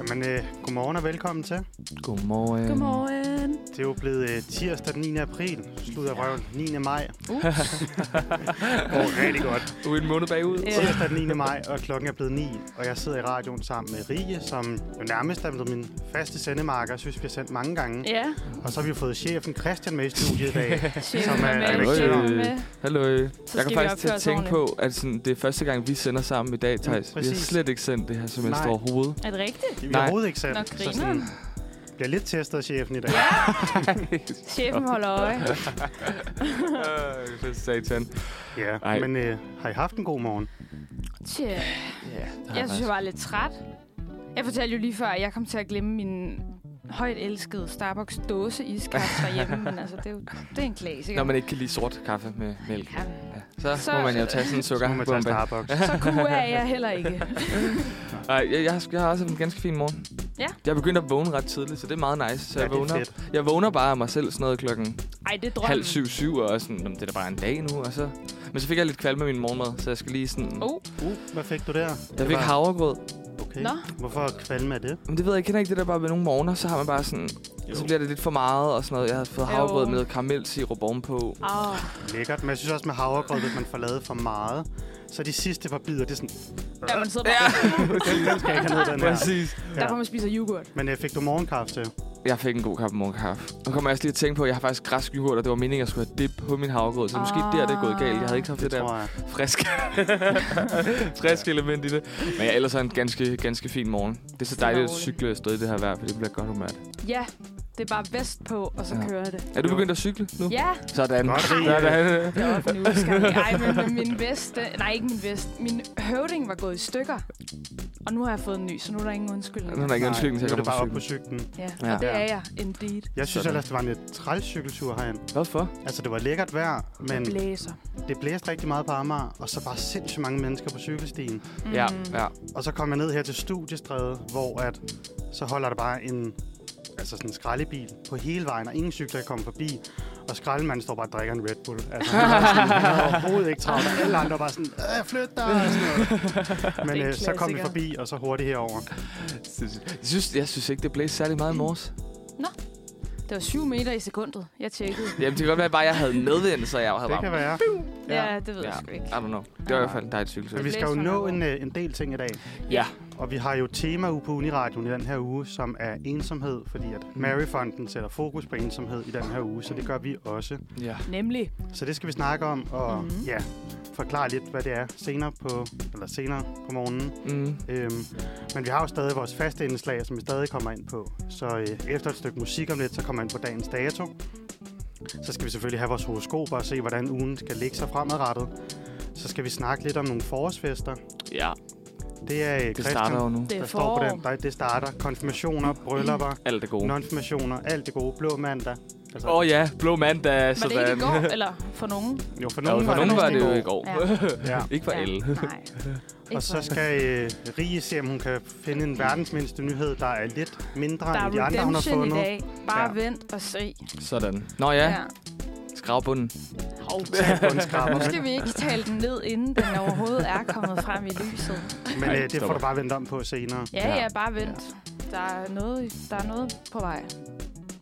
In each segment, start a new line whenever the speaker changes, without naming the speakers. Jamen, øh, godmorgen og velkommen til.
Godmorgen.
Godmorgen.
Det er jo blevet øh, tirsdag den 9. april, slut af røven, 9. maj.
Uh.
Åh, rigtig godt.
Du er en måned bagud.
Ja.
Tirsdag den 9. maj, og klokken er blevet 9, og jeg sidder i radioen sammen med Rie, som jo nærmest er blevet min faste sendemarker, Jeg synes vi har sendt mange gange.
Øh, Ja,
Og så har vi jo fået chefen Christian med i studiet i dag.
chef
Som er-
er med,
er
du
chef
ikke-
er med.
Hallo.
Så
Jeg
skal
kan
vi
faktisk til
opføre
at
os
tænke på, at sådan, det er første gang, vi sender sammen i dag, Thijs. Vi har
præcis.
slet ikke sendt det her semester
Nej.
overhovedet.
Er det rigtigt?
Vi har
Nej.
overhovedet ikke
Nå,
sendt. Så
griner.
bliver lidt testet af chefen i dag.
Ja, chefen holder øje.
Øh, for satan.
Ja,
Ej.
men øh, har I haft en god morgen?
Tja,
Ja,
jeg synes, jeg var lidt træt. Jeg fortalte jo lige før, at jeg kom til at glemme min højt elskede Starbucks dåse iskaffe derhjemme, men altså, det er jo det er en klassiker.
Når man ikke kan lide sort kaffe med mælk.
Ja,
Ja. Så,
Så-
så, må man jo tage sådan en
Så må man tage
sukkerbombe.
Starbucks.
så kunne jeg, jeg heller ikke.
Nej, jeg, jeg, har, jeg har også haft en ganske fin morgen.
Ja.
Jeg begyndte at vågne ret tidligt, så det er meget nice. Så
Ja,
jeg,
det er
vågner,
fedt.
jeg vågner bare af mig selv sådan noget klokken
Ej, det er drømmen.
halv syv, syv, og er sådan, "Nå, men det er da bare en dag nu, og så... Men så fik jeg lidt kvalme med min morgenmad, så jeg skal lige sådan...
Oh,
Uh, hvad fik du der?
jeg fik havregrød.
Okay.
Nå.
Hvorfor kvalme af det?
Men det ved jeg, jeg kender ikke det der bare med nogle morgener, så har man bare sådan... Jo. Så bliver det lidt for meget og sådan noget. Jeg havde fået
Jo.
havregrød med noget karamelsirup ovenpå.
oh.
Lækkert, men jeg synes også med havregrød, hvis man får lavet for meget, så de sidste par bidder, det er sådan,
Ja, man sidder bare,
den skal jeg ikke have ned, den her.
Præcis.
derfor man spiser yoghurt.
Men jeg fik du morgenkaffe til?
Jeg fik en god kaffe morgenkaffe. Nu kommer jeg også lige at tænke på, at jeg har faktisk græsk yoghurt, og det var meningen, at jeg skulle have dip på min havregrød. Så måske der, det er gået galt. Jeg havde ikke haft det,
Det
det der
tror jeg.
friske, friske element i det. Men jeg ellers har en ganske, ganske fin morgen. Det er så
Stille og
dejligt at
roligt.
cykle afsted i det her vejr, for det bliver godt humørt.
Ja, det er bare vest på, og så
Ja.
kører det.
Er du
Jo.
begyndt at cykle nu?
Ja,
Sådan.
Godt, Rie.
Sådan.
Det var for nu, skal jeg- Ej, men, men min vest, den- nej ikke min vest, min høvding var gået i stykker. Og nu har jeg fået en ny, så nu er der ingen undskyldning.
Nu er der ikke en
Nej,
cykling til
nu
at
er det
komme
bare op
på
på
cyklen.
cyklen.
Ja,
Ja.
og det er
Ja.
jeg, indeed.
Jeg synes
Sådan.
ellers, det var en lidt træls cykeltur herhen.
Hvorfor?
Altså, det var lækkert vejr, men
Men. Blæser.
det blæste rigtig meget på Amager, og så bare sindssygt mange mennesker på cykelstien.
Mm.
Ja, ja.
Og så kom jeg ned her til Studiestræde, hvor at, så holder der bare en, altså sådan en skraldebil på hele vejen, og ingen cykler kan komme forbi. Og skraldemanden står bare og drikker en Red Bull. Altså, han har sådan- han har overhovedet ikke travlt. og Alle andre var sådan, øh, flyt dig! og sådan noget. Men
Det er en
øh, så kom vi
klassiker.
forbi, og så hurtigt herover.
Jeg synes, jeg synes ikke, det blæste særlig meget i morges.
Det var 7 meter i sekundet, jeg tjekkede.
Jamen, det kan godt være, at bare jeg havde medvind, så jeg havde
Det
varmt.
kan være.
Ja, det ved jeg sgu ikke.
I don't know. Det var i hvert fald en dejlig cykeltur.
Men vi skal jo nå en, øh, en del ting i dag.
Ja.
Og vi har jo tema uge på Uniradioen i den her uge, som er ensomhed, fordi at Maryfonden sætter fokus på ensomhed i den her uge, så det gør vi også.
Ja.
Nemlig.
Så det skal vi snakke om, og mm-hmm.
Mhm.
ja, forklare lidt, hvad det er senere på, eller senere på morgenen.
Mm.
Øhm, men vi har jo stadig vores faste indslag, som vi stadig kommer ind på. Så øh, efter et stykke musik om lidt, så kommer jeg ind på dagens dato. Så skal vi selvfølgelig have vores horoskoper og se, hvordan ugen skal ligge sig fremadrettet. Så skal vi snakke lidt om nogle forårsfester.
ja,
Det er øh,
det
Christian,
starter jo nu.
Det
der
er
står på
forår. Mm.
den. Der, det starter konfirmationer, bryllupper,
Alt er gode. Åh
nonfirmationer, alt det gode, blå mandag. Altså,
oh, ja, blå mandag.
Var det ikke i
sådan.
går, eller for nogen?
jo, for
Ja,
nogen,
for nogen var det jo i
næsten
går.
Ja.
ikke for alle.
Nej. Ikke
Og så
for alle.
skal øh, Rie se, om hun kan finde en verdens mindste nyhed, der er lidt mindre
Der er
end de andre, hun har
redemption i
fundet.
dag. Bare
Ja.
vent og se.
Sådan. Nå ja, skrabbunden.
Hov.
bundskraber.
Nu skal vi ikke tale den ned, inden den overhovedet er kommet frem i lyset.
Men
Nej,
øh, det får
stopper.
du bare vente om på senere.
Ja,
Ja.
ja, bare vent. Der er noget, der er noget på vej.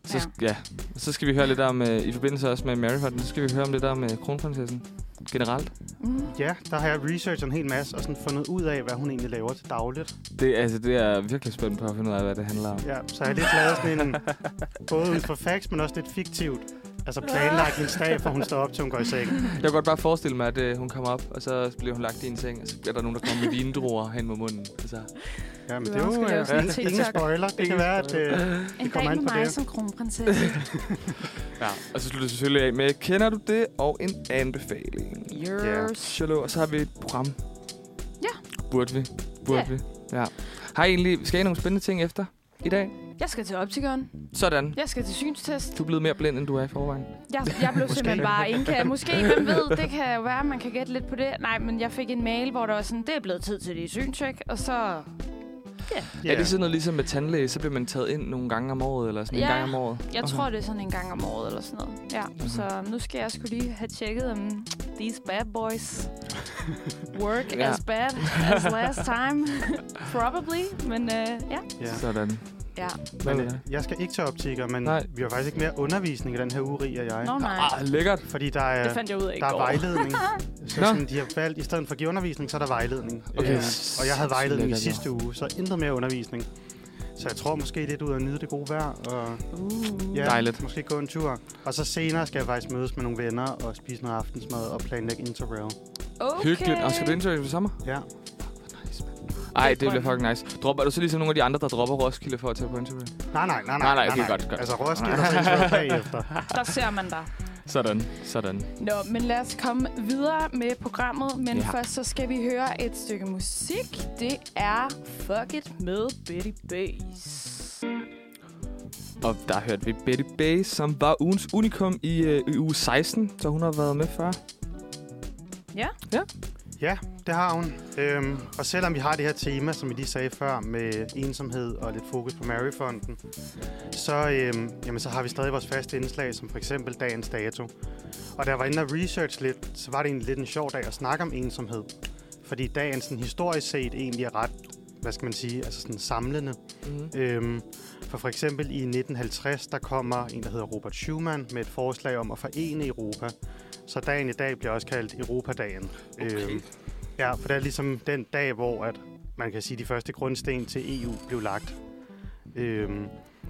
Så, sk- ja. Så skal vi høre lidt om, øh, i forbindelse også med Maryhotten, så skal vi høre om lidt om øh, kronprinsessen generelt.
Mm.
Ja, der har jeg researchet en hel masse og sådan fundet ud af, hvad hun egentlig laver til dagligt.
Det, altså, det er jeg virkelig spændt på at finde ud af, hvad det handler om.
Ja, så jeg har lidt lavet sådan en, både ud fra facts, men også lidt fiktivt. Altså planlagt en dag, for hun står op til, hun går i seng.
Jeg kan godt bare forestille mig, at øh, hun kommer op, og så bliver hun lagt i en seng, og så bliver der nogen, der kommer med vindruer hen mod munden. Altså,
Ja, men
Du
det er
også
jo
skal lave sådan en
øh, ingen
TikTok.
spoiler. Det kan
Ingen
være, at øh, kommer
En dag
an
med
på
mig
det.
som kronprinsesse.
ja. Og så slutter det selvfølgelig af med, kender du det? Og en anbefaling.
Yours.
Shallow, og så har vi et program.
Ja.
Burde vi? Burde
Ja.
vi? Ja. Har I egentlig, skal I nogle spændende ting efter i dag?
Jeg skal til optikeren.
Sådan.
Jeg skal til synstest.
Du er blevet mere blind, end du er i forvejen.
Jeg, jeg blev simpelthen bare indkaldt. Måske, hvem ved, det kan jo være, man kan gætte lidt på det. Nej, men jeg fik en mail, hvor der var sådan, det er blevet tid til det syntjek, og så...
Yeah. Er
ja,
det sådan noget ligesom med tandlæge, så bliver man taget ind nogle gange om året, eller sådan en
Ja.
gang om året?
Jeg
Okay.
tror, det er sådan en gang om året eller sådan noget. Ja, så nu skal jeg skulle lige have tjekket, om these bad boys work
Ja.
yeah. as bad as last time. Probably, men øh, ja.
Ja.
Sådan.
Ja.
Hvad
Men,
ved jeg?
øh, jeg skal ikke til optikker, men
Nej.
Nej. vi har faktisk ikke mere undervisning i den her uge, Ria og jeg.
Nå nej,
Ah, lækkert.
Fordi der er,
det fandt jeg ud af i
der er
går.
vejledning. så
Nå.
sådan, de har valgt, i stedet for at give undervisning, så er der vejledning. Øh, og
Okay,
jeg havde
sindssygt
vejledning i
lækkert,
sidste uge, så intet mere undervisning. Så jeg tror måske lidt ud at nyde det gode vejr, og
Uh.
ja,
Dejligt.
måske gå en tur. Og så senere skal jeg faktisk mødes med nogle venner og spise noget aftensmad og planlægge interrail.
Okay.
Hyggeligt. Og skal du interviewe sommer?
Ja,
Nice, mand. Ej, det bliver fucking nice. Dropper du så ligesom nogle af de andre, der dropper Roskilde for at tage på interview?
nej, nej, nej, nej.
Nej, nej, okay, godt, godt.
Altså Roskilde og så interrail bagefter.
Der ser man dig.
Sådan, sådan.
Nå, men lad os komme videre med programmet. Men
Ja.
ja. først så skal vi høre et stykke musik. Det er Fuck It med Betty Bass.
Og der hørte vi Betty Bay, som var ugens unikum i, øh, i uge 16, så hun har været med før.
Ja, det har hun. Øhm, og selvom vi har det her tema, som vi lige sagde før, med ensomhed og lidt fokus på Maryfonden, så, øhm, jamen, så har vi stadig vores faste indslag, som for eksempel dagens dato. Og da jeg var inde og research lidt, så var det en lidt en sjov dag at snakke om ensomhed. Fordi dagen sådan, historisk set egentlig er ret, hvad skal man sige, altså sådan samlende.
Mm.
Øhm, for for eksempel i 1950, der kommer en, der hedder Robert Schumann, med et forslag om at forene Europa. Så dagen i dag bliver også kaldt Europadagen. Øhm,
Okay.
ja, for det er ligesom den dag, hvor at man kan sige, de første grundsten til EU blev lagt. Øhm,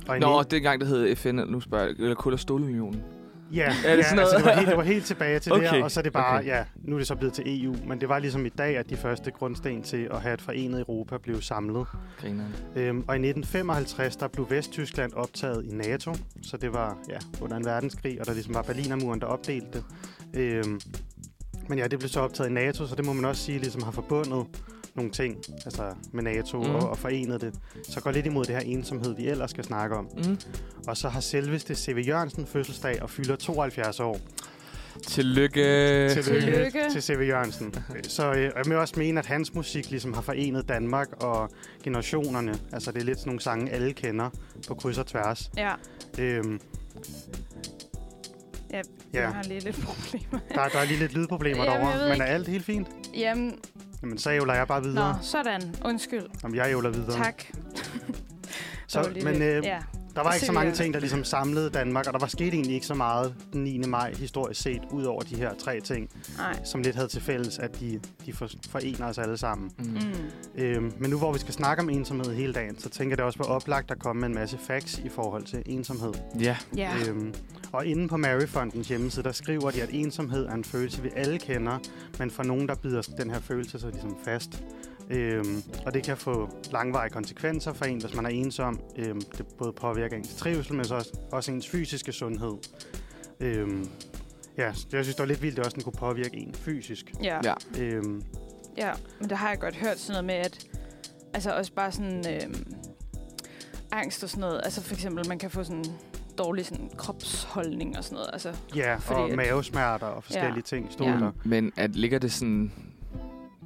og i
Nå,
nitten-
det gang, det hed FN, eller nu spørger jeg, eller Kul- og Stålunionen.
Ja,
det
ja
sådan
altså,
noget?
det, var helt, det var helt tilbage til okay. det
Okay,
her, og så er det bare,
okay.
okay. ja, nu er det så blevet til EU. Men det var ligesom i dag, at de første grundsten til at have et forenet Europa blev samlet.
Grineren.
Øhm, og i 1955, der blev Vesttyskland optaget i NATO, så det var ja, under en verdenskrig, og der ligesom var Berlinermuren, der opdelte det. Øhm, men ja, det blev så optaget i NATO, så det må man også sige ligesom har forbundet nogle ting altså med NATO
Mhm.
mm. og, og forenet det. Så går lidt imod det her ensomhed, vi ellers skal snakke om.
Mm.
Og så har selveste C.V. Jørgensen fødselsdag og fylder 72 år.
Tillykke.
Tillykke.
til C.V. Jørgensen. Så øh, og jeg vil også mene, at hans musik ligesom har forenet Danmark og generationerne. Altså det er lidt sådan nogle sange, alle kender på kryds og tværs.
Ja,
Øhm,
ja, ja.
Ja.
jeg har lige lidt problemer.
der, der er lige lidt lydproblemer
Jamen, jeg
derovre,
ved
men
ikke.
er alt helt fint?
Jamen,
Jamen, så ævler jeg bare videre.
nå, sådan. Undskyld.
Jamen, jeg ævler videre.
Tak.
Så,
Dårlig
men
lidt.
øh,
ja.
der var ikke så
C.V.
mange
Jørgensen.
ting, der ligesom samlede Danmark, og der var sket egentlig ikke så meget den 9. maj historisk set, ud over de her tre ting,
Nej.
som lidt havde til fælles, at de, de for, forener os alle sammen.
Mm.
Mm.
Øhm, men nu hvor vi skal snakke om ensomhed hele dagen, så tænker jeg det også var oplagt at komme med en masse facts i forhold til ensomhed.
Ja,
Ja.
Øhm, og inde på Maryfondens hjemmeside, der skriver de, at ensomhed er en følelse, vi alle kender, men for nogen, der bider den her følelse så ligesom fast. Øhm, og det kan få langvarige konsekvenser for en, hvis man er ensom. Øhm, det både påvirker ens trivsel, men så også, også ens fysiske sundhed. Øhm, ja, så jeg synes, det var lidt vildt, at det også den kunne påvirke en fysisk.
ja.
Ja.
Øhm,
Ja, men der har jeg godt hørt sådan noget med, at altså også bare sådan øh, angst og sådan noget. Altså for eksempel, man kan få sådan dårlig sådan, kropsholdning og sådan noget. Altså,
ja,
Fordi
og
at-
mavesmerter og forskellige
Ja.
ting stod
Ja.
der.
men at ligger det sådan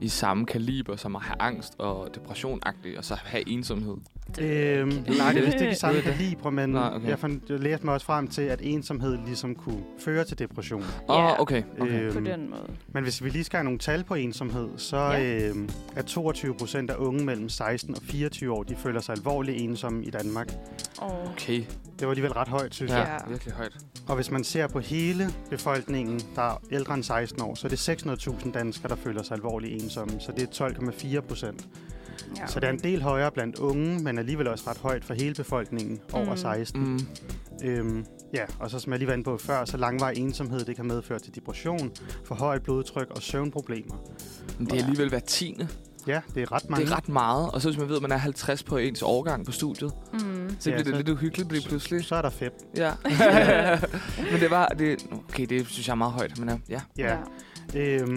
i samme kaliber som at have angst og depression og så have ensomhed?
Øhm, nej, det er vist ikke i samme
Ved I det?
kalibre, men
Nej,
nej,
okay.
okay. jeg, fandt, jeg læste mig også frem til, at ensomhed ligesom kunne føre til depression.
Åh,
Ja.
oh, okay. okay.
Øh,
på
Øhm,
den måde.
Men hvis vi lige skal have nogle tal på ensomhed, så
Ja.
ja. øhm, er 22 procent af unge mellem 16 og 24 år, de føler sig alvorligt ensomme i Danmark.
Og,
Okay,
Det var alligevel ret højt, synes
ja,
jeg.
Ja.
virkelig højt.
Og hvis man ser på hele befolkningen, der er ældre end 16 år, så er det 600.000 danskere, der føler sig alvorligt ensomme. Så det er 12,4 procent.
ja.
Så det er en del højere blandt unge, men alligevel også ret højt for hele befolkningen over
Mm.
16.
Mm.
Øhm, ja, og så som jeg lige var inde på før, så langvarig ensomhed, det kan medføre til depression, for højt blodtryk og søvnproblemer.
Men det er alligevel hver tiende.
Ja, det er ret
Det
mange.
er ret meget. Og så hvis man ved, at man er 50 på ens årgang på studiet,
Mm.
så
Ja,
bliver det
så-
lidt uhyggeligt lige pludselig.
Så er der fedt.
Ja. men det var... Det, okay, det synes jeg er meget højt, men ja. ja.
Ja. Øhm,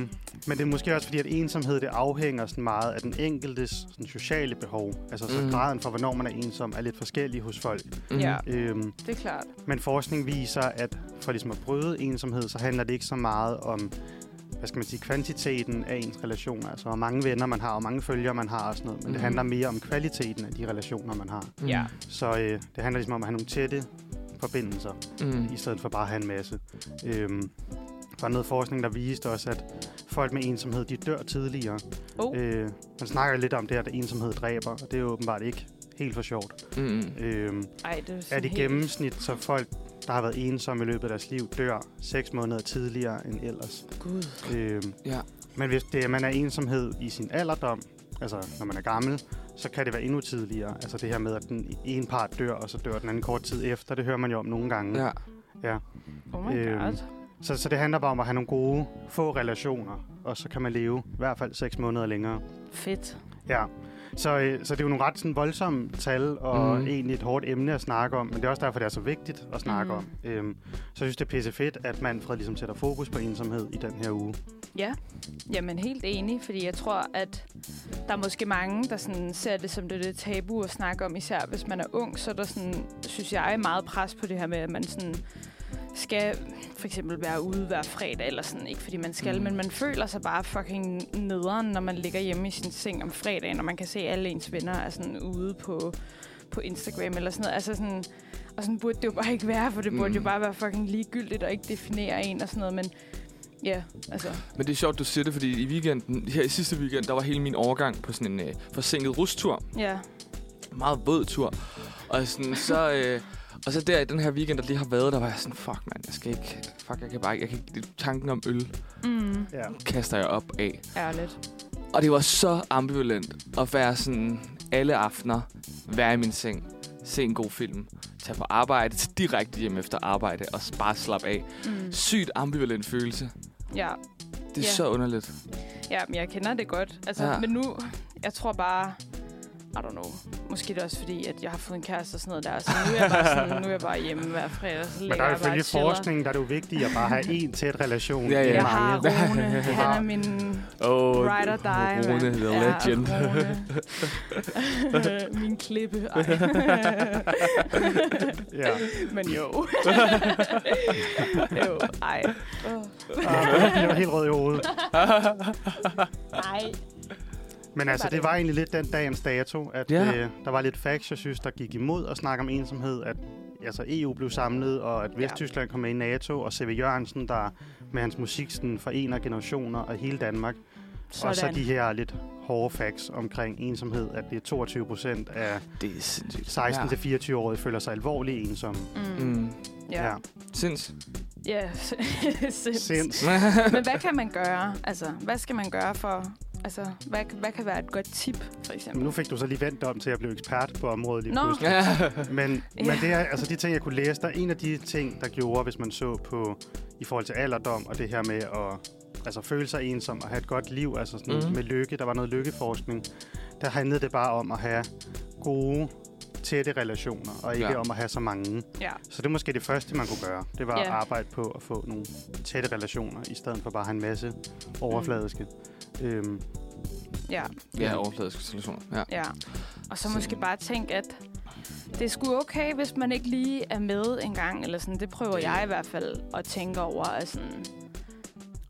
men det er måske også fordi, at ensomhed det afhænger sådan meget af den enkeltes sådan sociale behov. Altså så
Mm.
mm. graden for, hvornår man er ensom, er lidt forskellig hos folk.
Mhm.
ja,
Øhm,
det er klart.
men forskning viser, at for ligesom at bryde ensomhed, så handler det ikke så meget om hvad skal man sige, kvantiteten af ens relationer, altså hvor mange venner man har, og hvor mange følgere man har og sådan noget, men mm.
Mhm.
det handler mere om kvaliteten af de relationer, man har.
Mm.
Ja.
Så øh, det handler ligesom om at have nogle tætte forbindelser,
Mm.
i stedet for bare at have en masse. Øhm, Der var noget forskning, der viste også, at folk med ensomhed, de dør tidligere.
Oh.
Øh, man snakker lidt om det her, at ensomhed dræber, og det er jo åbenbart ikke helt for sjovt.
Mm.
Øh,
Ej, det er, sådan
at i
helt-
gennemsnit, så folk, der har været ensomme i løbet af deres liv, dør 6 måneder tidligere end ellers.
Gud.
Øh,
Ja.
Men hvis det, er- man er ensomhed i sin alderdom, altså når man er gammel, så kan det være endnu tidligere. Altså det her med, at den ene part dør, og så dør den anden kort tid efter, det hører man jo om nogle gange.
Ja.
Oh my
Øhm,
god.
Så, så det handler bare om at have nogle gode, få relationer, og så kan man leve i hvert fald 6 måneder længere.
Fedt.
Ja. Så, øh, så det er jo nogle ret sådan, voldsomme tal, og
Mhm.
mm. egentlig et hårdt emne at snakke om, men det er også derfor, det er så vigtigt at snakke
Mhm.
mm. om. Øhm, så jeg synes, det er pisse fedt, at Manfred ligesom sætter fokus på ensomhed i den her uge.
Ja, jamen helt enig, fordi jeg tror, at der er måske mange, der sådan ser det som det, det tabu at snakke om, især hvis man er ung, så er der sådan, synes jeg, er meget pres på det her med, at man sådan skal for eksempel være ude hver fredag, eller sådan, ikke fordi man skal,
Mm.
mm. men man føler sig bare fucking nederen, når man ligger hjemme i sin seng om fredagen, og man kan se at alle ens venner er sådan ude på, på Instagram eller sådan noget. Altså sådan, og sådan burde det jo bare ikke være, for det burde
Mm.
mm. jo bare være fucking ligegyldigt og ikke definere en og sådan noget, men ja, altså...
Men det er sjovt, du siger det, fordi i weekenden, her i sidste weekend, der var hele min overgang på sådan en øh, forsinket rustur.
Ja,
Meget våd tur. Og, sådan, så, øh, og så der i den her weekend, der lige har været, der var jeg sådan, fuck mand, jeg skal ikke, fuck, jeg kan bare ikke, jeg kan ikke, det- tanken om øl
mm,
Ja.
kaster jeg op af.
ærligt.
Og det var så ambivalent at være sådan alle aftener, være i min seng, se en god film, tage på arbejde, tage direkte hjem efter arbejde og s- bare slappe af.
Mm.
Sygt ambivalent følelse.
Ja,
Det er
Ja.
så underligt.
ja, men jeg kender det godt. Altså,
Ja.
ja. Men nu, jeg tror bare, I don't know. Måske det er også fordi, at jeg har fået en kæreste og sådan noget der. Så nu er jeg bare, sådan, nu er jeg bare hjemme hver fredag. Så
Men der
ligger
er jo
jeg bare
ifølge
og chiller.
forskningen, der er det jo vigtigt at bare have en tæt relation.
Ja, ja.
med
Jeg
mange.
har Rune. Han er min
Oh,
ride or die. mand.
Rune, the
Ja,
legend.
Rune. min klippe. Ej.
Ja.
men jo. jo, ej. Oh.
Og jeg bliver helt rød i hovedet.
Ej.
Men altså,
var
det
det.
var egentlig lidt den dagens dato, at
Ja.
ja. øh, der var lidt facts, jeg synes, der gik imod at snakke om ensomhed, at altså, EU blev samlet, og at Vesttyskland kom med i NATO, og C.V. Jørgensen, der med hans musik sådan, forener generationer og hele Danmark. Sådan. Og så de her lidt hårde facts omkring ensomhed, at det er 22 procent af
Det er sindssygt.
16-24-årige føler sig alvorligt ensomme.
Ja.
Mm.
Mm.
Ja.
Sinds.
Ja, sinds.
Sinds.
Men hvad kan man gøre? Altså, hvad skal man gøre for... Altså, hvad, hvad kan være et godt tip, for eksempel?
Nu fik du så lige vendt om til at blive ekspert på området lige
Nå.
pludselig.
ja.
Men,
Ja.
men det er, altså de ting, jeg kunne læse, der er en af de ting, der gjorde, hvis man så på i forhold til alderdom og det her med at altså, føle sig ensom og have et godt liv, altså sådan
Mhm.
mm. med lykke, der var noget lykkeforskning, der handlede det bare om at have gode, tætte relationer, og ikke
Ja.
ja. om at have så mange.
Ja.
Så det er måske det første, man kunne gøre. Det var ja. at
Ja.
arbejde på at få nogle tætte relationer, i stedet for bare at have en masse overfladiske. Mm. Øhm,
Ja,
ja, overfladiske situationer. Ja.
ja. Og så
Sådan.
måske bare tænke, at det er sgu okay, hvis man ikke lige er med en gang, eller sådan. Det prøver jeg i hvert fald at tænke over, at sådan...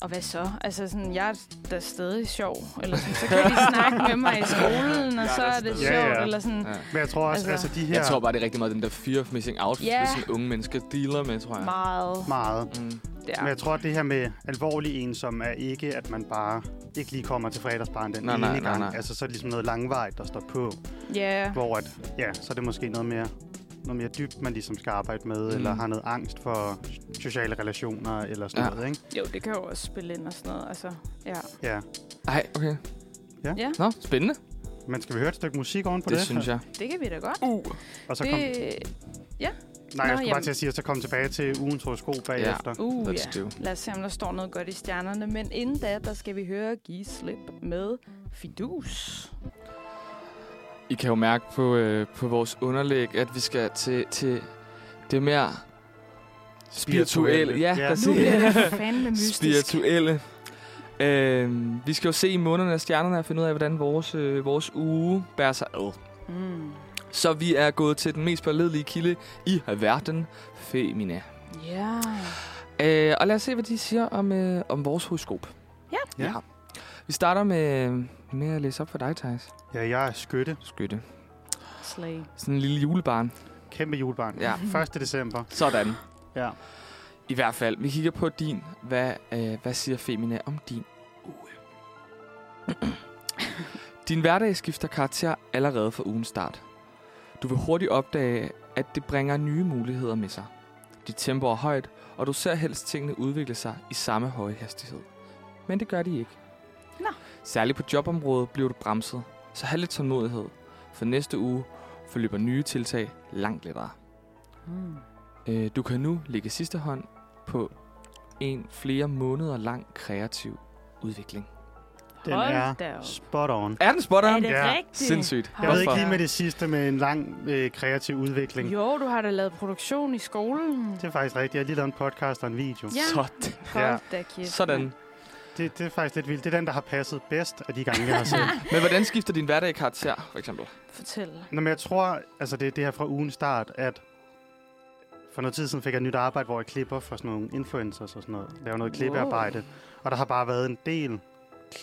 Og hvad så? Altså sådan, jeg er da stadig sjov, eller sådan, så kan de snakke med mig i skolen,
Jeg
og
er
så
da
er det
stadig-
sjovt,
Ja, ja.
eller sådan.
ja.
men jeg tror også,
Altså-
altså, altså de her
Jeg tror bare, det er rigtig meget den der fear of missing out,
Ja.
yeah. som unge mennesker dealer med, tror jeg.
Meget
meget
Mm.
der.
Men jeg tror, at det her med alvorlig ensom er ikke, at man bare ikke lige kommer til fredagsbaren den
Nej,
ene
nej, nej,
gang.
nej.
Altså, så er det ligesom noget langvejt, der står på.
Ja,
Hvor at, ja, så er det måske noget mere, noget mere dybt, man ligesom skal arbejde med,
Mm.
mm. eller har noget angst for sociale relationer eller sådan
Ja.
ja. noget, ikke?
jo, det kan jo også spille ind og sådan noget. Altså, ja.
Ja.
Ej, okay.
Ja.
Ja.
Nå, spændende.
Men skal vi høre et stykke musik ovenpå
Det,
det?
det synes jeg.
Det kan vi da godt.
Uh.
Og så
det,
kom, nej,
Nå,
jeg skulle bare
jamen.
til at sige, at så kom tilbage til ugens sko bagefter.
Uh,
Let's
ja.
do.
Lad os se, om der står noget godt i stjernerne. Men inden da, der skal vi høre Give Slip med Fidus.
I kan jo mærke på, øh, på vores underlæg, at vi skal til, til det mere spirituelle. Ja,
Ja.
Nu
præcis.
bliver det fandme mystisk.
spirituelle. Øhm, vi skal jo se i månederne af stjernerne og finde ud af, hvordan vores, øh, vores uge bærer sig ad.
Mm.
Så vi er gået til den mest pålidelige kilde i verden, Femina.
Ja.
Øh, og lad os se, hvad de siger om, øh, om vores horoskop.
Ja.
Ja.
Vi starter med, med at læse op for dig, Thijs.
ja, jeg er skytte.
Skytte.
Slay.
Sådan en lille julebarn.
Kæmpe julebarn.
Ja.
1. december.
Sådan.
Ja.
I hvert fald, vi kigger på din. Hvad, øh, hvad siger Femina om din uge? Din hverdag skifter karakter allerede fra ugens start. Du vil hurtigt opdage, at det bringer nye muligheder med sig. Dit tempo er højt, og du ser helst tingene udvikle sig i samme høje hastighed. Men det gør de ikke.
Nå.
Særligt på jobområdet bliver du bremset, så have lidt tålmodighed. For næste uge forløber nye tiltag langt lettere.
Mm.
Øh, Du kan nu lægge sidste hånd på en flere måneder lang kreativ udvikling.
Den
Hold
er
da op.
spot on.
Er den spot
Er
on?
det
Ja.
rigtigt?
Sindssygt.
Jeg ved ikke
Hvorfor?
lige med det sidste med en lang øh, kreativ udvikling.
Jo, du har da lavet produktion i skolen.
Det er faktisk rigtigt. Jeg har lige lavet en podcast og en video.
Ja.
Sådan.
Hold da kæft.
Sådan.
Det, det er faktisk lidt vildt. Det er den, der har passet bedst af de gange, jeg har set.
Men hvordan skifter din hverdag karakter, for eksempel?
Fortæl.
Nå, men jeg tror, altså det er det her fra ugen start, at for noget tid siden fik jeg et nyt arbejde, hvor jeg klipper for sådan nogle influencers og sådan noget. Laver noget
Wow.
klippearbejde. Og der har bare været en del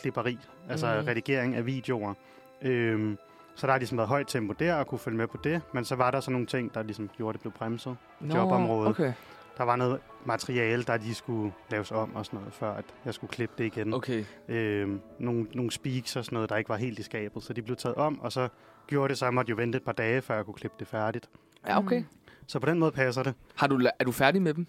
klipperi, altså
Mhm.
mm. redigering af videoer. Øhm, så der har ligesom været højt tempo der og kunne følge med på det. Men så var der sådan nogle ting, der ligesom gjorde, at det blev bremset.
Nå,
Jobområdet.
Okay.
Der var noget materiale, der lige skulle laves om og sådan noget, før at jeg skulle klippe det igen.
okay.
Øh, nogle, nogle speaks og sådan noget, der ikke var helt i skabet, så de blev taget om, og så gjorde det så, at jeg måtte jo vente et par dage, før jeg kunne klippe det færdigt.
Ja, okay.
Mm.
Så på den måde passer det.
Har du, la- er du færdig med dem?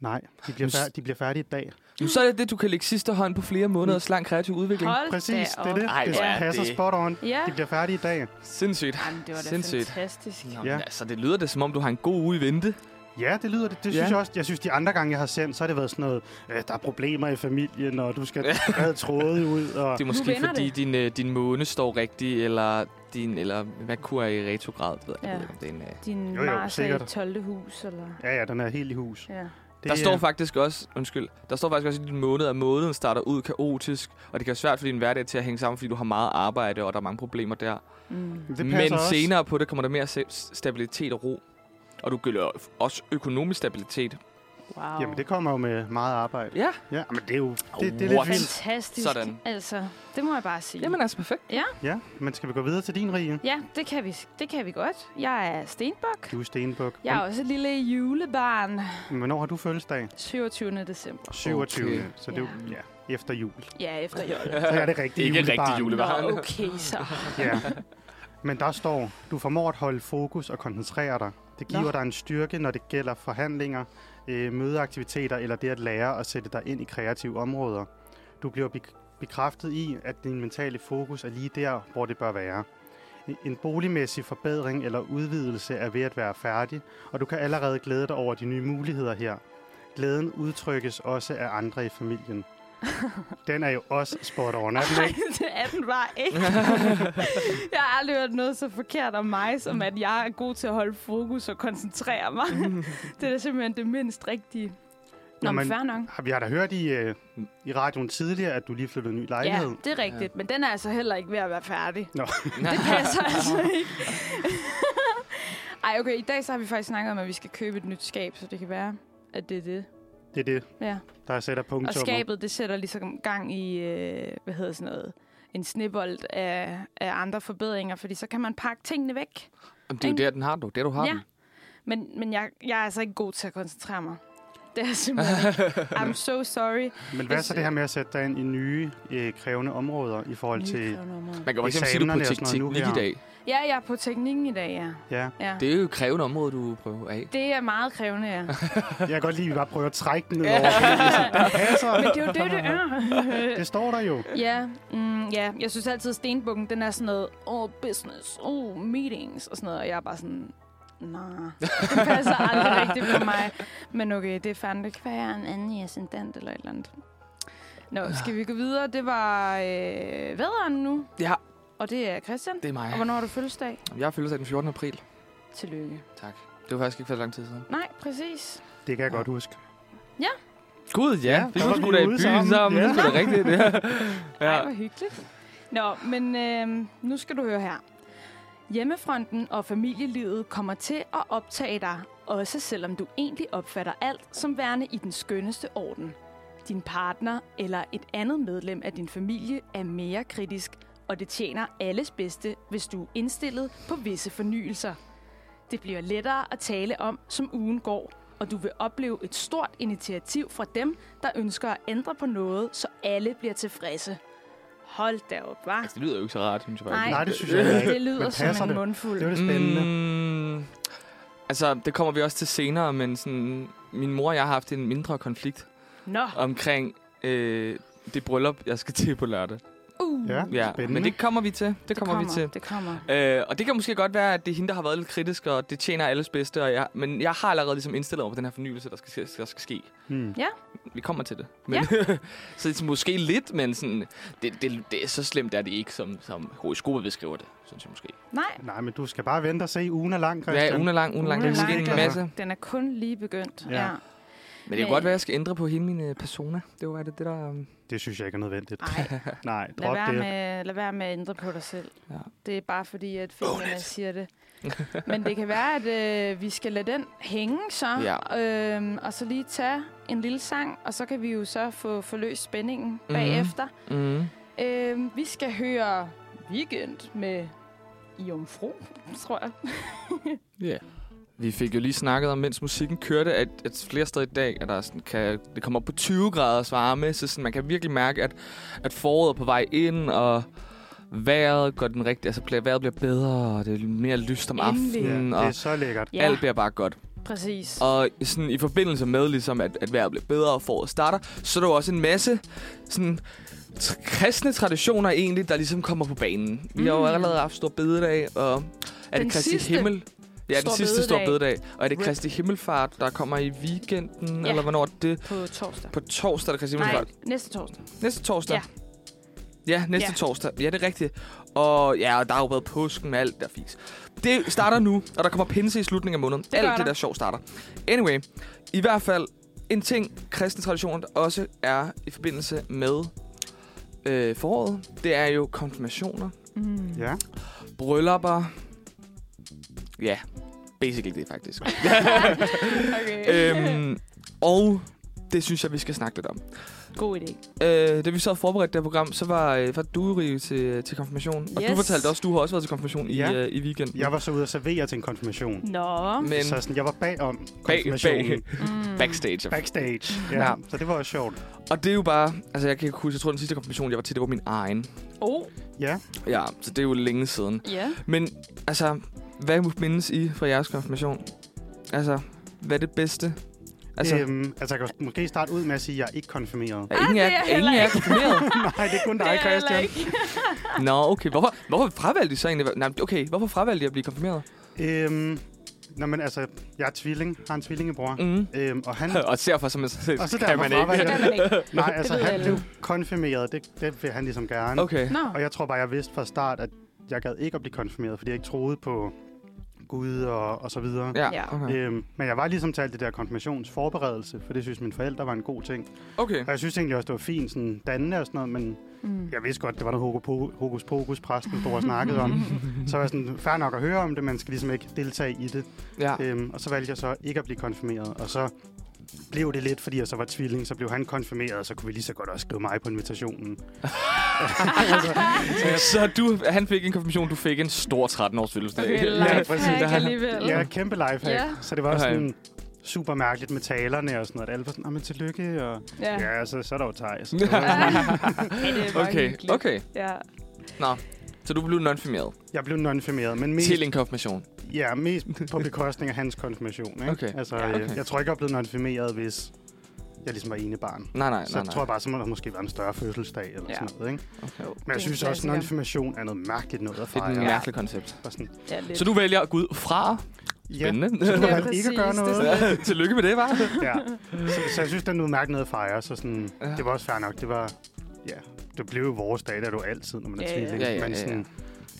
Nej, de bliver,
Men s-
færd- de bliver færdige i dag.
Nu så er det det, du kan lægge sidste hånd på flere måneders lang kreativ udvikling.
Mm. Hold
Præcis,
da
det er det.
op.
Ej,
det
hvor er
passer
det-
spot on.
Ja,
De bliver færdige i dag.
Sindssygt.
Jamen, det var da
Sindssygt.
fantastisk.
Nå,
Ja. Ah.
ja. altså, det lyder det, som om du har en god uge i vente.
Ja, det lyder det. Det synes
Ja.
jeg også. Jeg synes, de andre gange, jeg har sendt, så har det været sådan noget, øh, der er problemer i familien, og du skal have tråde ud. Og...
Det er måske
vender
fordi
det.
din, øh, din måne står rigtigt, eller din, eller hvad kur er i retrograd? Ved jeg,
Ja.
ja. det er en, øh.
Din
Jo, jo,
Mars er i
sikkert.
12. hus, eller?
Ja, ja, den er helt i hus. Det,
Ja.
Der står
øh,
faktisk også, undskyld, der står faktisk også i din måned, at måneden starter ud kaotisk, og det kan være svært for din hverdag til at hænge sammen, fordi du har meget arbejde, og der er mange problemer der.
Mm.
det
Men
passer også.
senere på det kommer der mere se- stabilitet og ro. Og du gælder også økonomisk stabilitet.
Wow.
Jamen, det kommer jo med meget arbejde.
Ja.
Ja, men det er jo... Det, det er
What?
lidt vildt.
Fantastisk.
Sådan.
Altså, det må jeg bare sige.
Jamen altså, perfekt.
Ja, men skal vi gå videre til din, Rie?
Ja, det kan, vi, det kan vi godt. Jeg er Stenbok.
Du er Stenbuk.
Jeg er også et lille julebarn.
Men Hvornår har du fødselsdag?
27. december.
27. Okay. Så det er jo,
Ja.
ja, efter jul.
Ja, efter jul.
Så er det rigtig
Ikke rigtig
julebarn.
julebarn.
Nå, okay så.
Ja. Men der står, du formår at holde fokus og koncentrere dig. Det giver
Nå.
Nå. dig en styrke, når det gælder forhandlinger, øh, mødeaktiviteter eller det at lære at sætte dig ind i kreative områder. Du bliver bek- bekræftet i, at din mentale fokus er lige der, hvor det bør være. En- En boligmæssig forbedring eller udvidelse er ved at være færdig, og du kan allerede glæde dig over de nye muligheder her. Glæden udtrykkes også af andre i familien. Den er jo også spot on, er den
Nej,
ikke?
det er den bare ikke. jeg har aldrig hørt noget så forkert om mig, som at jeg er god til at holde fokus og koncentrere mig. det er da simpelthen det mindst rigtige. Nå,
Nå,
men
men-
fair nok.
Har vi har da hørt i, øh, i radioen tidligere, at du lige flyttede en ny
Ja,
lejlighed.
det er rigtigt. Men den er altså heller ikke ved at være færdig.
Nå.
Det passer altså ikke. Ej, okay. I dag så har vi faktisk snakket om, at vi skal købe et nyt skab, så det kan være, at det er det.
Det er det,
Ja.
der sætter
Og
punktummet.
skabet, det sætter ligesom gang i, øh, hvad hedder sådan noget, en snebold af, af andre forbedringer, fordi så kan man pakke tingene væk.
Jamen, det er jo der, den har du. Det du har
Ja.
den.
Men, men jeg, jeg er altså ikke god til at koncentrere mig. Det er jeg simpelthen ikke. I'm so sorry.
Men hvad er
Hvis-
så det her med at sætte dig ind i nye øh, krævende områder i forhold til...
Man kan jo ikke sige, du er på
Eksamenerne og sådan noget nu
teknik i
her.
dag.
Ja, jeg er på teknikken i dag, ja.
Ja,
ja. Det.
Det er jo et krævende område, du prøver af.
det er meget krævende, ja.
jeg kan godt lide, at vi bare prøver at trække den ned over. Det
Men
passer.
det er jo det, det er.
Det står der jo.
ja, mm, ja, jeg synes altid, at stenbukken, den er sådan noget, oh, business, oh, meetings og sådan noget. Og jeg er bare sådan, nej, det passer aldrig rigtigt for mig. Men okay, det er fandme, det kan være jeg er en anden i ascendant eller et eller andet. Nå, skal vi gå videre? Det var øh, vædderen nu,
Ja,
og det er Christian.
det er mig.
Og hvornår har du fødselsdag?
Jeg har fødselsdag den 14. april.
Tillykke.
Tak. Det var faktisk ikke for så lang tid siden.
Nej, præcis.
Det kan jeg godt huske.
Gud, ja.
Ja,
Vi
der
var
var
sgu
vi
da i
ude
byen
sammen.
sammen. Det
Ja.
er sgu da rigtigt.
Ja.
Ja.
Ej, hvor hyggeligt. Nå, men øh, nu skal du høre her. Hjemmefronten og familielivet kommer til at optage dig, også selvom du egentlig opfatter alt som værende i den skønneste orden. Din partner eller et andet medlem af din familie er mere kritisk, og det tjener alles bedste, hvis du er indstillet på visse fornyelser. Det bliver lettere at tale om, som ugen går, og du vil opleve et stort initiativ fra dem, der ønsker at ændre på noget, så alle bliver tilfredse. Hold da op, hva'?
Altså, det lyder jo ikke så rart, synes jeg bare.
Nej, det synes jeg heller ikke.
Det lyder
Men
som
passer
en
det?
mundfuld.
Det var det spændende. Mm.
Mm, altså, det kommer vi også til senere, men sådan, min mor og jeg har haft en mindre konflikt
Nå,
omkring øh, det bryllup, jeg skal til på lørdag.
uh.
Ja,
Ja,
spændende.
men det kommer vi til. Det, kommer, vi til.
Det kommer.
Øh, og det kan måske godt være, at det er hende, der har været lidt kritisk, og det tjener alles bedste. Og jeg, men jeg har allerede ligesom indstillet over på den her fornyelse, der skal, der skal ske.
Mm.
Vi kommer til det. Men, så det er måske lidt, men sådan, det, det, det er så slemt er det ikke, som, som horoskoper beskriver det, synes jeg måske.
Nej,
Nej, men du skal bare vente og se. Ugen er lang, Christian.
Ja, ugen er lang, ugen er lang.
Ugen
Der
er
skal ske en
lang, altså.
masse.
den er kun lige begyndt.
Ja.
Ja.
Men det kan
Men-
godt være, at jeg skal ændre på hele min øh, persona. Det var det, det der... øhm,
Det synes jeg ikke er nødvendigt.
Nej,
Nej,
lad
drop
være,
det.
med, lad være med at ændre på dig selv.
Ja.
Det er bare fordi, at filmerne siger det. Men det kan være, at øh, vi skal lade den hænge så,
Ja.
øhm, og så lige tage en lille sang, og så kan vi jo så få forløst spændingen
Mhm.
mm-hmm. bagefter.
Mm.
Øhm, vi skal høre Weekend med Jomfru, tror jeg.
Yeah. Vi fik jo lige snakket om, mens musikken kørte, at, at flere steder i dag, at der er sådan, kan, det kommer op på 20 graders varme, så sådan, man kan virkelig mærke, at, at foråret er på vej ind, og vejret går den rigtige, altså bliver- vejret bliver bedre, og det er mere lyst om
Endelig.
aftenen,
Ja,
Mm, og
det er så lækkert.
ja. alt bliver bare godt.
præcis.
Og sådan, i forbindelse med, ligesom, at, at vejret bliver bedre og foråret starter, så er der jo også en masse sådan, tr- kristne traditioner egentlig, der ligesom kommer på banen. Vi har jo
Mm.
allerede haft stor bededag, og er
Den
det Kristi
sidste
Himmel? Ja, den
Store
sidste store
Bededag.
bededag. Og er det
Rip.
Kristi Himmelfart, der kommer i weekenden,
Ja.
eller hvornår er det?
På torsdag.
På torsdag er det Kristi
Nej,
Himmelfart.
næste torsdag.
Næste torsdag.
Ja.
Ja, næste
Ja.
ja. torsdag. Ja, det er rigtigt. Og ja, og der har jo været påsken og alt der fiks. Det starter nu, og der kommer pinse i slutningen af måneden. Det
gør
alt
der.
det der sjov starter. Anyway, i hvert fald en ting, kristne traditioner der også er i forbindelse med øh, foråret, det er jo konfirmationer,
Mm.
Ja.
bryllupper. Ja, basically det faktisk.
Okay.
øhm, og det synes jeg, vi skal snakke lidt om.
God idé.
Øh, da vi så forberedte det her program, så var, øh, var du, Rive, til, til konfirmation. Og
Yes.
du fortalte også, du har også været til konfirmation
Ja.
i, øh, i weekenden.
Jeg var så ude og servere til en konfirmation.
Nå.
Men
Så sådan, jeg var bagom
bag,
konfirmationen.
bag,
Mm.
backstage. Back.
Backstage. Ja,
Ja.
så det var også sjovt.
Og det er jo bare... Altså, jeg kan ikke huske, jeg tror, den sidste konfirmation, jeg var til, det var min egen.
Oh,
Ja,
Ja, så det er jo længe siden.
ja.
Men altså, hvad mindes I fra jeres konfirmation? Altså, hvad er det bedste? Altså,
altså,
øhm,
øhm, altså jeg kan jo måske starte ud med at sige, at jeg er ikke konfirmeret.
er ingen
Ah,
af
det er
er ingen
heller
af jer konfirmeret?
Nej, det er kun dig,
Det er heller
Christian.
ikke.
Nå, okay. Hvorfor, hvorfor fravalgte I så egentlig? Nej, okay. Hvorfor fravalgte I at blive konfirmeret?
Øhm, nå, men altså, jeg er tvilling, har en tvillingebror. Mm.
Mm.
Øhm, og han,
Og ser for sig, man selv
Og så
kan
derfor
man ikke.
fravalgte
Det kan man ikke.
nej, altså,
ved
han
alle.
blev konfirmeret, det, det vil han ligesom gerne.
Okay.
Nå.
Og jeg tror bare, jeg vidste fra start, at jeg gad ikke at blive konfirmeret, fordi jeg ikke troede på Gud og, og så videre.
Ja,
Ja.
okay.
Øhm, men jeg var ligesom til alt det der konfirmationsforberedelse, for det synes mine forældre var en god ting.
Okay.
Og jeg synes egentlig også, det var fint, sådan dannende og sådan noget, men
Mm.
jeg vidste godt, det var noget hokus po- hokus pokus, præsten stod og snakkede om. Så var jeg sådan, fair nok at høre om det, man skal ligesom ikke deltage i det.
Ja.
Øhm, og så valgte jeg så ikke at blive konfirmeret, og så blev det lidt, fordi jeg så var tvilling, så blev han konfirmeret, og så kunne vi lige så godt også skrive mig på invitationen.
Så du, han fik en konfirmation, du fik en stor 13-års fødselsdag.
Okay,
Ja,
life
præcis.
hack
Der-
alligevel.
Jeg er et kæmpe lifehack,
Ja.
så det var også
Okay.
sådan super mærkeligt med talerne og sådan noget. Alle var sådan, "Nå, men tillykke, og
Ja.
ja, ja så, så er der jo Thijs.
Ja, det var
okay,
hyggeligt.
okay.
Ja.
Nå, så du blev nonfirmeret
Jeg blev nonfirmeret, men mest,
til en konfirmation.
ja, mest på bekostning af hans konfirmation. Ikke?
Okay.
Altså,
Ja,
øh,
okay.
Jeg tror ikke, jeg blev nonfirmeret, hvis jeg ligesom var ene barn.
Nej, nej,
Så
nej,
jeg tror
nej.
jeg bare, så må der måske være en større fødselsdag eller ja.
Ja.
sådan noget. Ikke?
Okay.
Jo,
Men jeg
det er
synes også,
en
at
klassiker.
nonfirmation er noget mærkeligt noget at
Det er et
fejre.
Ja.
mærkeligt koncept.
Og sådan,
Ja, lidt.
Så du vælger at gå ud fra.
ja,
Spændende.
så kunne
Ja,
han ikke
præcis,
gøre
det er
noget.
sådan
Tillykke med det, var.
Ja. Så, så jeg synes, det er noget mærkeligt noget at fejre. Så sådan,
Ja.
ja. det var også fair nok. Det var, ja, det blev jo vores dag, der er du altid, når man er
Ja, ja.
tvilling.
Ja, ja,
Men
ja,
sådan,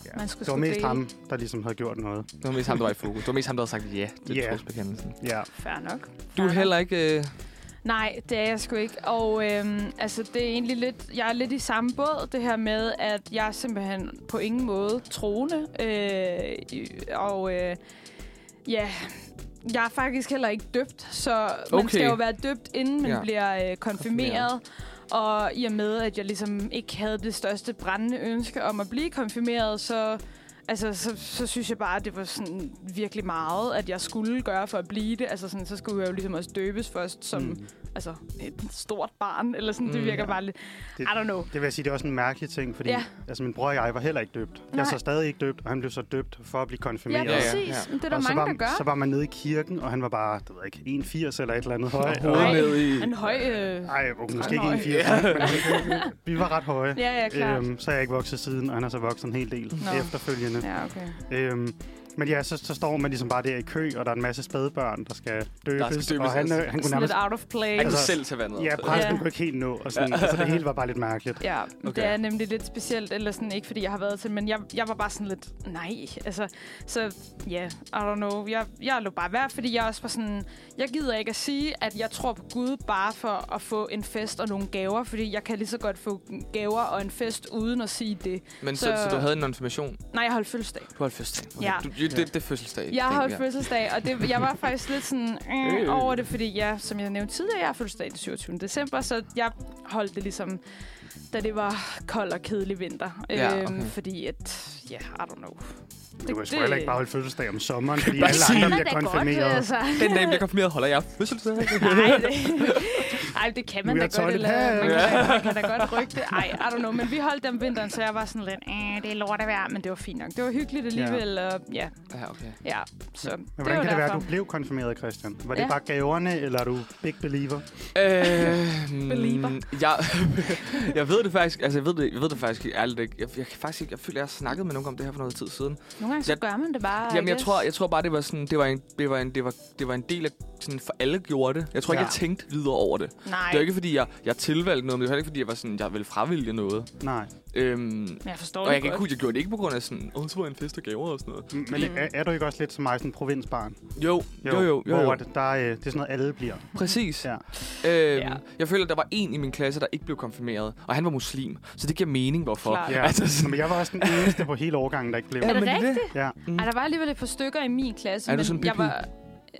ja.
Man skulle
det var
sgu
mest
dele.
ham, der ligesom havde gjort noget.
Det var mest ham, der var i fokus. Det var mest ham, der havde sagt ja til
Ja.
yeah. trosbekendelsen.
Ja.
Fair nok.
Du er
Fair
heller ikke... Øh...
Nej, det er jeg sgu ikke. Og øhm, altså, det er egentlig lidt, jeg er lidt i samme båd, det her med, at jeg er simpelthen på ingen måde troende. Øh, i- og øh, ja, jeg er faktisk heller ikke døbt, så okay. man
Okay.
skal jo være døbt, inden man
Ja.
ja. bliver øh, konfirmeret. Og i og med, at jeg ligesom ikke havde det største brændende ønske om at blive konfirmeret, så altså, så, så synes jeg bare, at det var sådan virkelig meget, at jeg skulle gøre for at blive det. Altså, sådan, så skulle jeg jo ligesom også døbes først som mm. altså, et stort barn, eller sådan. Mm, det
Mm,
virker
ja.
ja. bare lidt...
Det-
I don't know.
Det vil jeg sige, det er også en mærkelig ting, fordi ja.
Ja.
altså, min bror og jeg var heller ikke døbt. Jeg er
Nej.
så stadig ikke døbt, og han blev så døbt for at blive
Ja,
konfirmeret.
ja, ja.
præcis. Men Det er der
og så
mange,
var,
der gør.
Så var man nede i kirken, og han var bare, det ved jeg ikke, 1,80 eller et eller andet høj.
Hovedet
Ej.
ned i...
En høj... Øh...
Nej, måske
Ej,
ikke 1,80, men vi var ret høje.
Ja, ja, klart. Øhm.
så er jeg ikke vokset siden, og han har så vokset en hel del
Nå.
efterfølgende.
Ja, okay.
Øhm, men ja, så, så står man ligesom bare der i kø, og der er en masse spædbørn, der skal døbes.
døbes,
og han,
altså.
øh, han kunne
Sådan lidt
nærmest...
out of
Han
place.
Altså,
kunne selv tage vandet.
Ja,
op.
præsten
Ja.
kunne ikke helt nå, og sådan, altså, det hele var bare lidt mærkeligt.
Ja, okay.
Okay.
det er nemlig lidt specielt, eller sådan ikke, fordi jeg har været til, men jeg, jeg var bare sådan lidt, nej, altså, så ja, yeah, I don't know, jeg, jeg lå bare være, fordi jeg også var sådan, jeg gider ikke at sige, at jeg tror på Gud bare for at få en fest og nogle gaver, fordi jeg kan lige så godt få gaver og en fest uden at sige det.
Men så,
Så-
så, du havde en konfirmation.
Nej, jeg holdt fødselsdag.
Du holdt fødselsdag.
Ja.
Du, det, det, det er fødselsdag.
Jeg har holdt
ja.
fødselsdag, og det, jeg var faktisk lidt sådan
Øh.
øh, over det, fordi jeg, som jeg nævnte tidligere, jeg har fødselsdag den 27. december, så jeg holdt det ligesom, da det var kold og kedelig vinter.
Ja,
Øhm,
okay.
Fordi at, ja, I don't know.
Du kan sgu heller ikke bare holde fødselsdag om sommeren, fordi
Bare
alle
sige-
andre bliver konfirmeret.
Den dag, jeg bliver konfirmeret, holder jeg fødselsdag.
Nej, det, ej, det kan man
We
da
are
godt.
toilet
Eller, man, kan,
pads.
da- man kan da godt rykke det. Ej, I don't know. Men vi holdt dem vinteren, så jeg var sådan lidt, "Øh, det er lort at være, men det var fint nok. Det var hyggeligt alligevel, og ja,
Ja, okay.
ja. Så
Men
det
hvordan
var
kan det være,
derfor.
at du blev konfirmeret, Christian? Var det
Ja.
bare gaverne, eller er du big believer?
Øh,
Belieber.
Jeg, jeg ved det faktisk, altså jeg ved det, jeg ved det faktisk ærligt ikke. Jeg, jeg kan faktisk ikke, jeg føler, jeg har snakket med nogen om det her for noget tid siden.
Nogle gange så
Jeg-
gør man det bare. Ah, I
Jamen, jeg
guess.
tror, jeg tror bare, det var sådan, det var en, det var en, det var, det var en del af, sådan, for alle gjorde det. Jeg tror ikke,
Ja.
jeg tænkte videre over det.
Nej,
Det er ikke, fordi jeg, jeg tilvalgte noget, men det var heller ikke, fordi jeg var sådan, jeg ville fravælge noget.
Nej.
Øhm,
men jeg forstår
og jeg
det
kan ikke
godt.
huske, jeg gjorde det ikke på grund af sådan, åh, oh, så var jeg en fest og gaver og sådan noget.
Men
Mm.
er, er du ikke også lidt som mig, sådan en provinsbarn?
Jo, jo, jo, jo. jo,
Hvor at der, er, øh, det er sådan noget, alle bliver.
Præcis.
Ja.
Øhm,
Ja.
Jeg føler, at der var en i min klasse, der ikke blev konfirmeret, og han var muslim, så det giver mening, hvorfor.
Klart.
Ja.
Altså, sådan,
Men jeg var også den eneste på hele årgangen, der ikke blev.
Er det
men det-
rigtigt?
Ja.
Ej, der var alligevel et par stykker i min
Mm.
klasse.
Er du
men
sådan en
jeg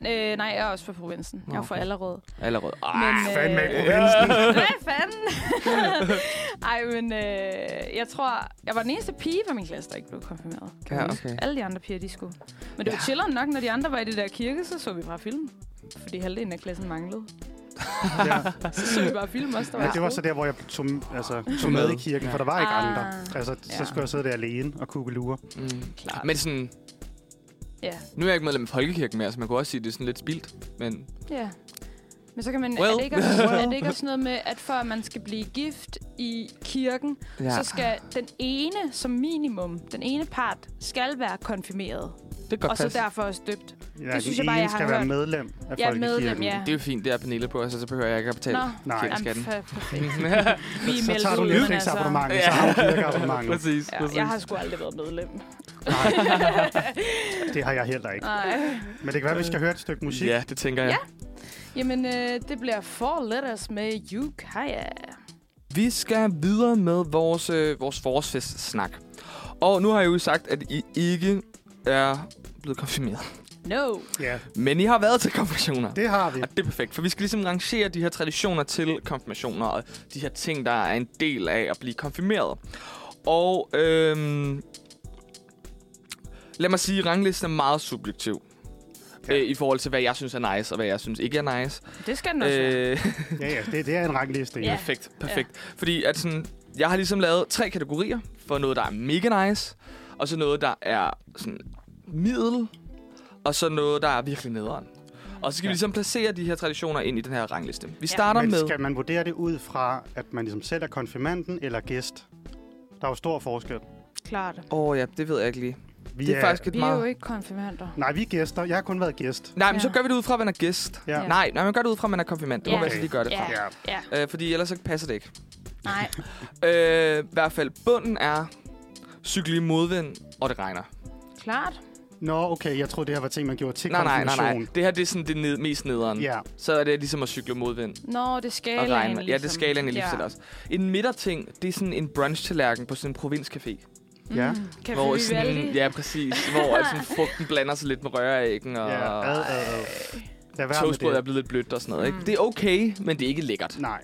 bipige?
var, øh, nej, jeg er også fra provinsen. Jeg er fra
Okay.
Allerød.
allerede. Ah,
Men,
Fandme ikke
øh,
provinsen.
Hvad fanden? Ej, men øh, jeg tror, jeg var den eneste pige fra min klasse, der ikke blev konfirmeret. Kan
Ja,
jeg huske.
okay.
Alle de andre piger, de skulle. Men det var
Ja.
chilleren nok, når de andre var i det der kirke, så så vi bare film. Fordi halvdelen af klassen manglede.
Ja.
Så så vi bare film også, der var
Ja,
i
det var så
skole.
der, hvor jeg tog, altså, tog med i kirken,
Ja.
for der var ikke
Ah.
andre. Altså, så
Ja.
skulle jeg sidde der alene og kugle lure.
mm,
Klart.
men sådan,
Ja.
nu er jeg ikke medlem af Folkekirken mere, så man kunne også sige, at det er sådan lidt spildt. Men
Ja. Men så kan man, well. er,
Well.
det ikke også, er det ikke også noget med, at for at man skal blive gift i kirken, ja. så skal den ene som minimum, den ene part, skal være konfirmeret.
det kan godt
Og så
passe.
derfor også døbt.
Ja,
synes
den
jeg bare, jeg
ene
har
skal være
hørt.
medlem af
Ja, medlem,
folkekirken.
ja.
Det er jo fint, det er Pernille på, altså, så behøver jeg ikke at betale.
Nå,
Nej.
kirken.
jamen,
Skatten.
fa- perfekt. Vi er
Så
meldt
tager du
ud, men altså-
Netflix-abonnementet, så har du kirkeabonnementet.
Præcis, præcis.
Ja, jeg har sgu aldrig været medlem.
Det har jeg heller ikke.
Nej.
Men det kan være, at vi skal høre et stykke musik.
Ja, det tænker jeg.
Jamen, øh, det bliver Four Letters med Yukaya.
Vi skal videre med vores, øh, vores forårsfest-snak. Og nu har jeg jo sagt, at I ikke er blevet konfirmeret.
No.
ja,
Men I har været til konfirmationer.
det har vi.
Og det er perfekt, for vi skal ligesom rangere de her traditioner til konfirmationer, og de her ting, der er en del af at blive konfirmeret. Og øhm, lad mig sige, ranglisten er meget subjektiv.
Ja.
Ja. Øh, I forhold til, hvad jeg synes er nice, og hvad jeg synes ikke er nice.
Det skal den også være.
Øh,
Ja, ja, det, det er en rangliste. Ja.
Ja.
perfekt, perfekt. Ja. Fordi at sådan, jeg har ligesom lavet tre kategorier for noget, der er mega nice, og så noget, der er sådan middel, og så noget, der er virkelig nederen. Og så skal ja.
Ja.
vi ligesom placere de her traditioner ind i den her rangliste. Vi starter
Men
med...
skal man vurdere det ud fra, at man ligesom selv er konfirmanden eller gæst? Der er jo stor forskel.
Klart.
Åh oh, ja, det ved jeg ikke lige.
Vi
det er faktisk et
Vi er
meget...
jo ikke konfirmander.
Nej, vi er gæster. Jeg har kun været gæst.
Nej, men
Ja.
så gør vi det ud fra, at man er gæst.
Ja.
Ja.
Nej, nej, man gør det ud fra, at man er konfirmand. Det må
Ja.
man altså lige gøre det
Ja.
fra.
ja.
Ja,
Øh, fordi ellers så passer det ikke.
nej.
Øh, I hvert fald, bunden er cykel i modvind, og det regner.
Klart.
Nå, okay. Jeg troede, det her var ting, man gjorde til
Nej, nej, nej,
konfirmation.
nej. Det her det er sådan det ned, mest nederen.
Ja,
Så er det ligesom at cykle i modvind
Nå, det er
og
skalaen. ligesom.
regn. Ja, det er skalaen i
Ja.
livsstil også. En midterting, det er sådan en brunch-tallerken på sådan en provinscafé.
ja.
Mm. Kan vi
sådan, ja, præcis. hvor at sådan, frugten blander sig lidt med røræggen, og
ja. Ad, ad, ad. Lad være med
toastbrød er
det.
blevet lidt blødt og sådan noget. Ikke?
Mm.
Det er okay, men det er ikke lækkert.
Nej.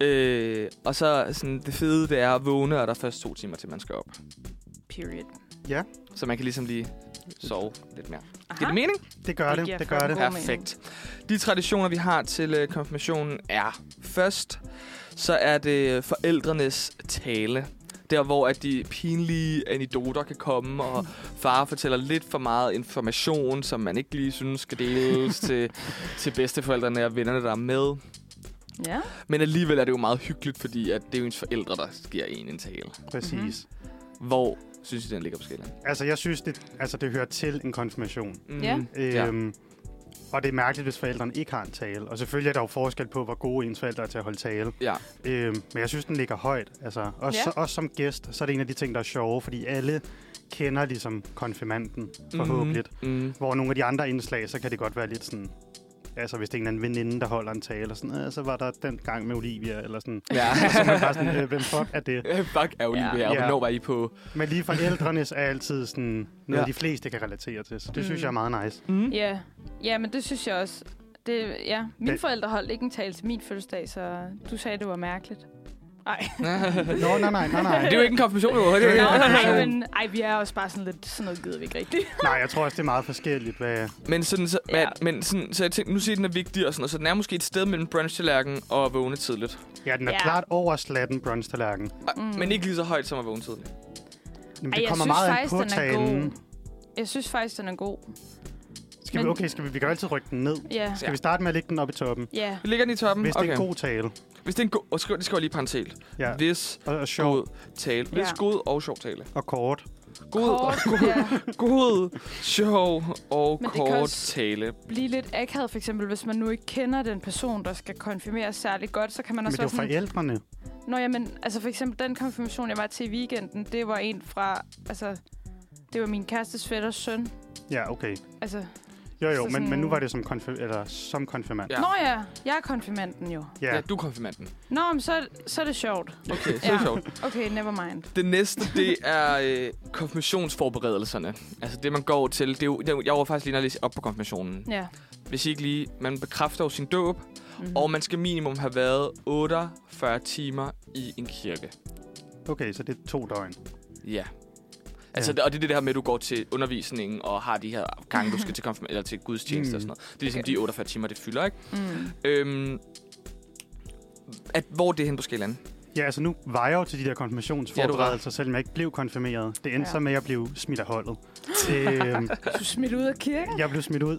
Nej.
Øh, og så sådan, det fede, det er at vågne, og der er først to timer, til man skal op.
Period.
Ja.
Så man kan ligesom lige sove lidt mere.
Aha.
Giver det mening?
Det gør
Det
det,
giver
det gør
fandme
det.
god mening.
Perfekt. De traditioner, vi har til øh, konfirmationen er først, så er det øh, forældrenes tale. Der, hvor at de pinlige anekdoter kan komme, og far fortæller lidt for meget information, som man ikke lige synes skal deles til, til bedsteforældrene og vennerne, der er med.
Ja.
Men alligevel er det jo meget hyggeligt, fordi at det er jo ens forældre, der giver en en tale.
Præcis.
Hvor synes I, den ligger på skalaen?
Altså, jeg synes, det, altså, det hører til en konfirmation.
Mm,
Ja.
ja.
Øhm, Og det er mærkeligt, hvis forældrene ikke har en tale. Og selvfølgelig er der jo forskel på, hvor gode ens forældre er til at holde tale.
Ja.
Øhm, men jeg synes, den ligger højt. Altså, også,
Ja.
ja. også som gæst, så er det en af de ting, der er sjove, fordi alle kender ligesom konfirmanden,
Mhm.
forhåbentlig. Mm-hmm.
Mm, mm.
Hvor nogle af de andre indslag, så kan det godt være lidt sådan... Altså, hvis det er en eller anden veninde, der holder en tale, og sådan, "Øh, så var der den gang med Olivia, eller sådan.
Ja.
Og så er man bare sådan, "Øh, hvem fuck er det?
Øh, Fuck, er Olivia,
Ja.
og
Ja.
hvornår var I på?
Men lige forældrenes er altid sådan noget,
Ja.
ja. de fleste kan relatere til, så det mm. synes
Mm.
jeg er meget nice.
Mm.
Ja. ja, men det synes jeg også. Det, ja. Mine
Det-
forældre holdt ikke en tale til min fødselsdag, så du sagde, det var mærkeligt. Nej.
Nå, nej, nej, nej, nej.
det er jo ikke en konfirmation, jo. Det er jo ikke en
nej,
konfirmation.
men ej, vi er også bare sådan lidt, sådan noget gider vi ikke rigtigt.
Nej, jeg tror også, det er meget forskelligt, hvad...
Men, sådan, så,
Ja.
ja. men sådan, så jeg tænkte, nu siger I, den er vigtig, og sådan, og så den er måske et sted mellem brunch og at vågne tidligt.
Ja, den er
Ja.
ja. klart over slatten, brunch-tallerken.
Mm. Men ikke lige så højt som at vågne tidligt.
Jamen,
Ej,
det
jeg
kommer
synes
meget an
faktisk,
på
den er god.
talen.
Jeg synes faktisk, den er god.
Skal vi,
Men-
okay, skal vi, vi kan jo altid rykke den ned.
Ja. Mm.
Skal vi starte med at lægge den op i toppen?
Ja.
Vi ligger den i toppen.
Hvis okay.
okay.
det er en god tale.
Hvis det er en god... Og skriv, det skal jeg lige parentelt.
Ja.
Ja. Hvis
Og, og sjov
god tale. Hvis
Ja.
god og sjov tale.
og kort.
God, og,
Kort, ja.
god sjov og
Men det kan
kort
også-
tale.
Blive lidt akavet, for eksempel, hvis man nu ikke kender den person, der skal konfirmeres særlig godt, så kan man
Men
også
det er
være
jo
sådan...
forældrene.
Nå, jamen, altså for eksempel den konfirmation, jeg var til i weekenden, det var en fra, altså, det var min kærestes fætters søn.
Ja, okay.
Altså,
Jo, jo,
Så
men, men
sådan-
nu var det som, konfir- eller, som konfirmand.
Ja.
ja. nå ja, jeg er konfirmanden jo.
Ja,
Ja.
ja
ja.
du er konfirmanden.
Nå, men så, så er det sjovt.
Okay, så er
Ja.
det sjovt.
Okay, never mind.
Det næste, det er øh, konfirmationsforberedelserne. Altså det, man går til. Det er jo, det- jeg var faktisk lige når jeg læste op på konfirmationen.
Ja.
Hvis I ikke lige, man bekræfter jo sin dåb,
Mm-hmm.
og man skal minimum have været 48 timer i en kirke.
Okay, så det er to døgn.
Ja. Altså,
Ja.
ja. og det er det her med, at du går til undervisningen og har de her gange, du skal til, konfirm- eller til gudstjeneste mm. og
Mm.
sådan noget. Det er ligesom
Okay.
okay. de 48 timer, det fylder, ikke?
mm.
Øhm, at, hvor er det hen på skalaen?
Ja, altså nu var jeg jo til de der konfirmationsforberedelser, selvom jeg ikke blev konfirmeret. Det endte
Ja.
ja. så med, at jeg blev smidt af holdet. øhm,
Du er smidt ud af kirken?
jeg blev smidt ud.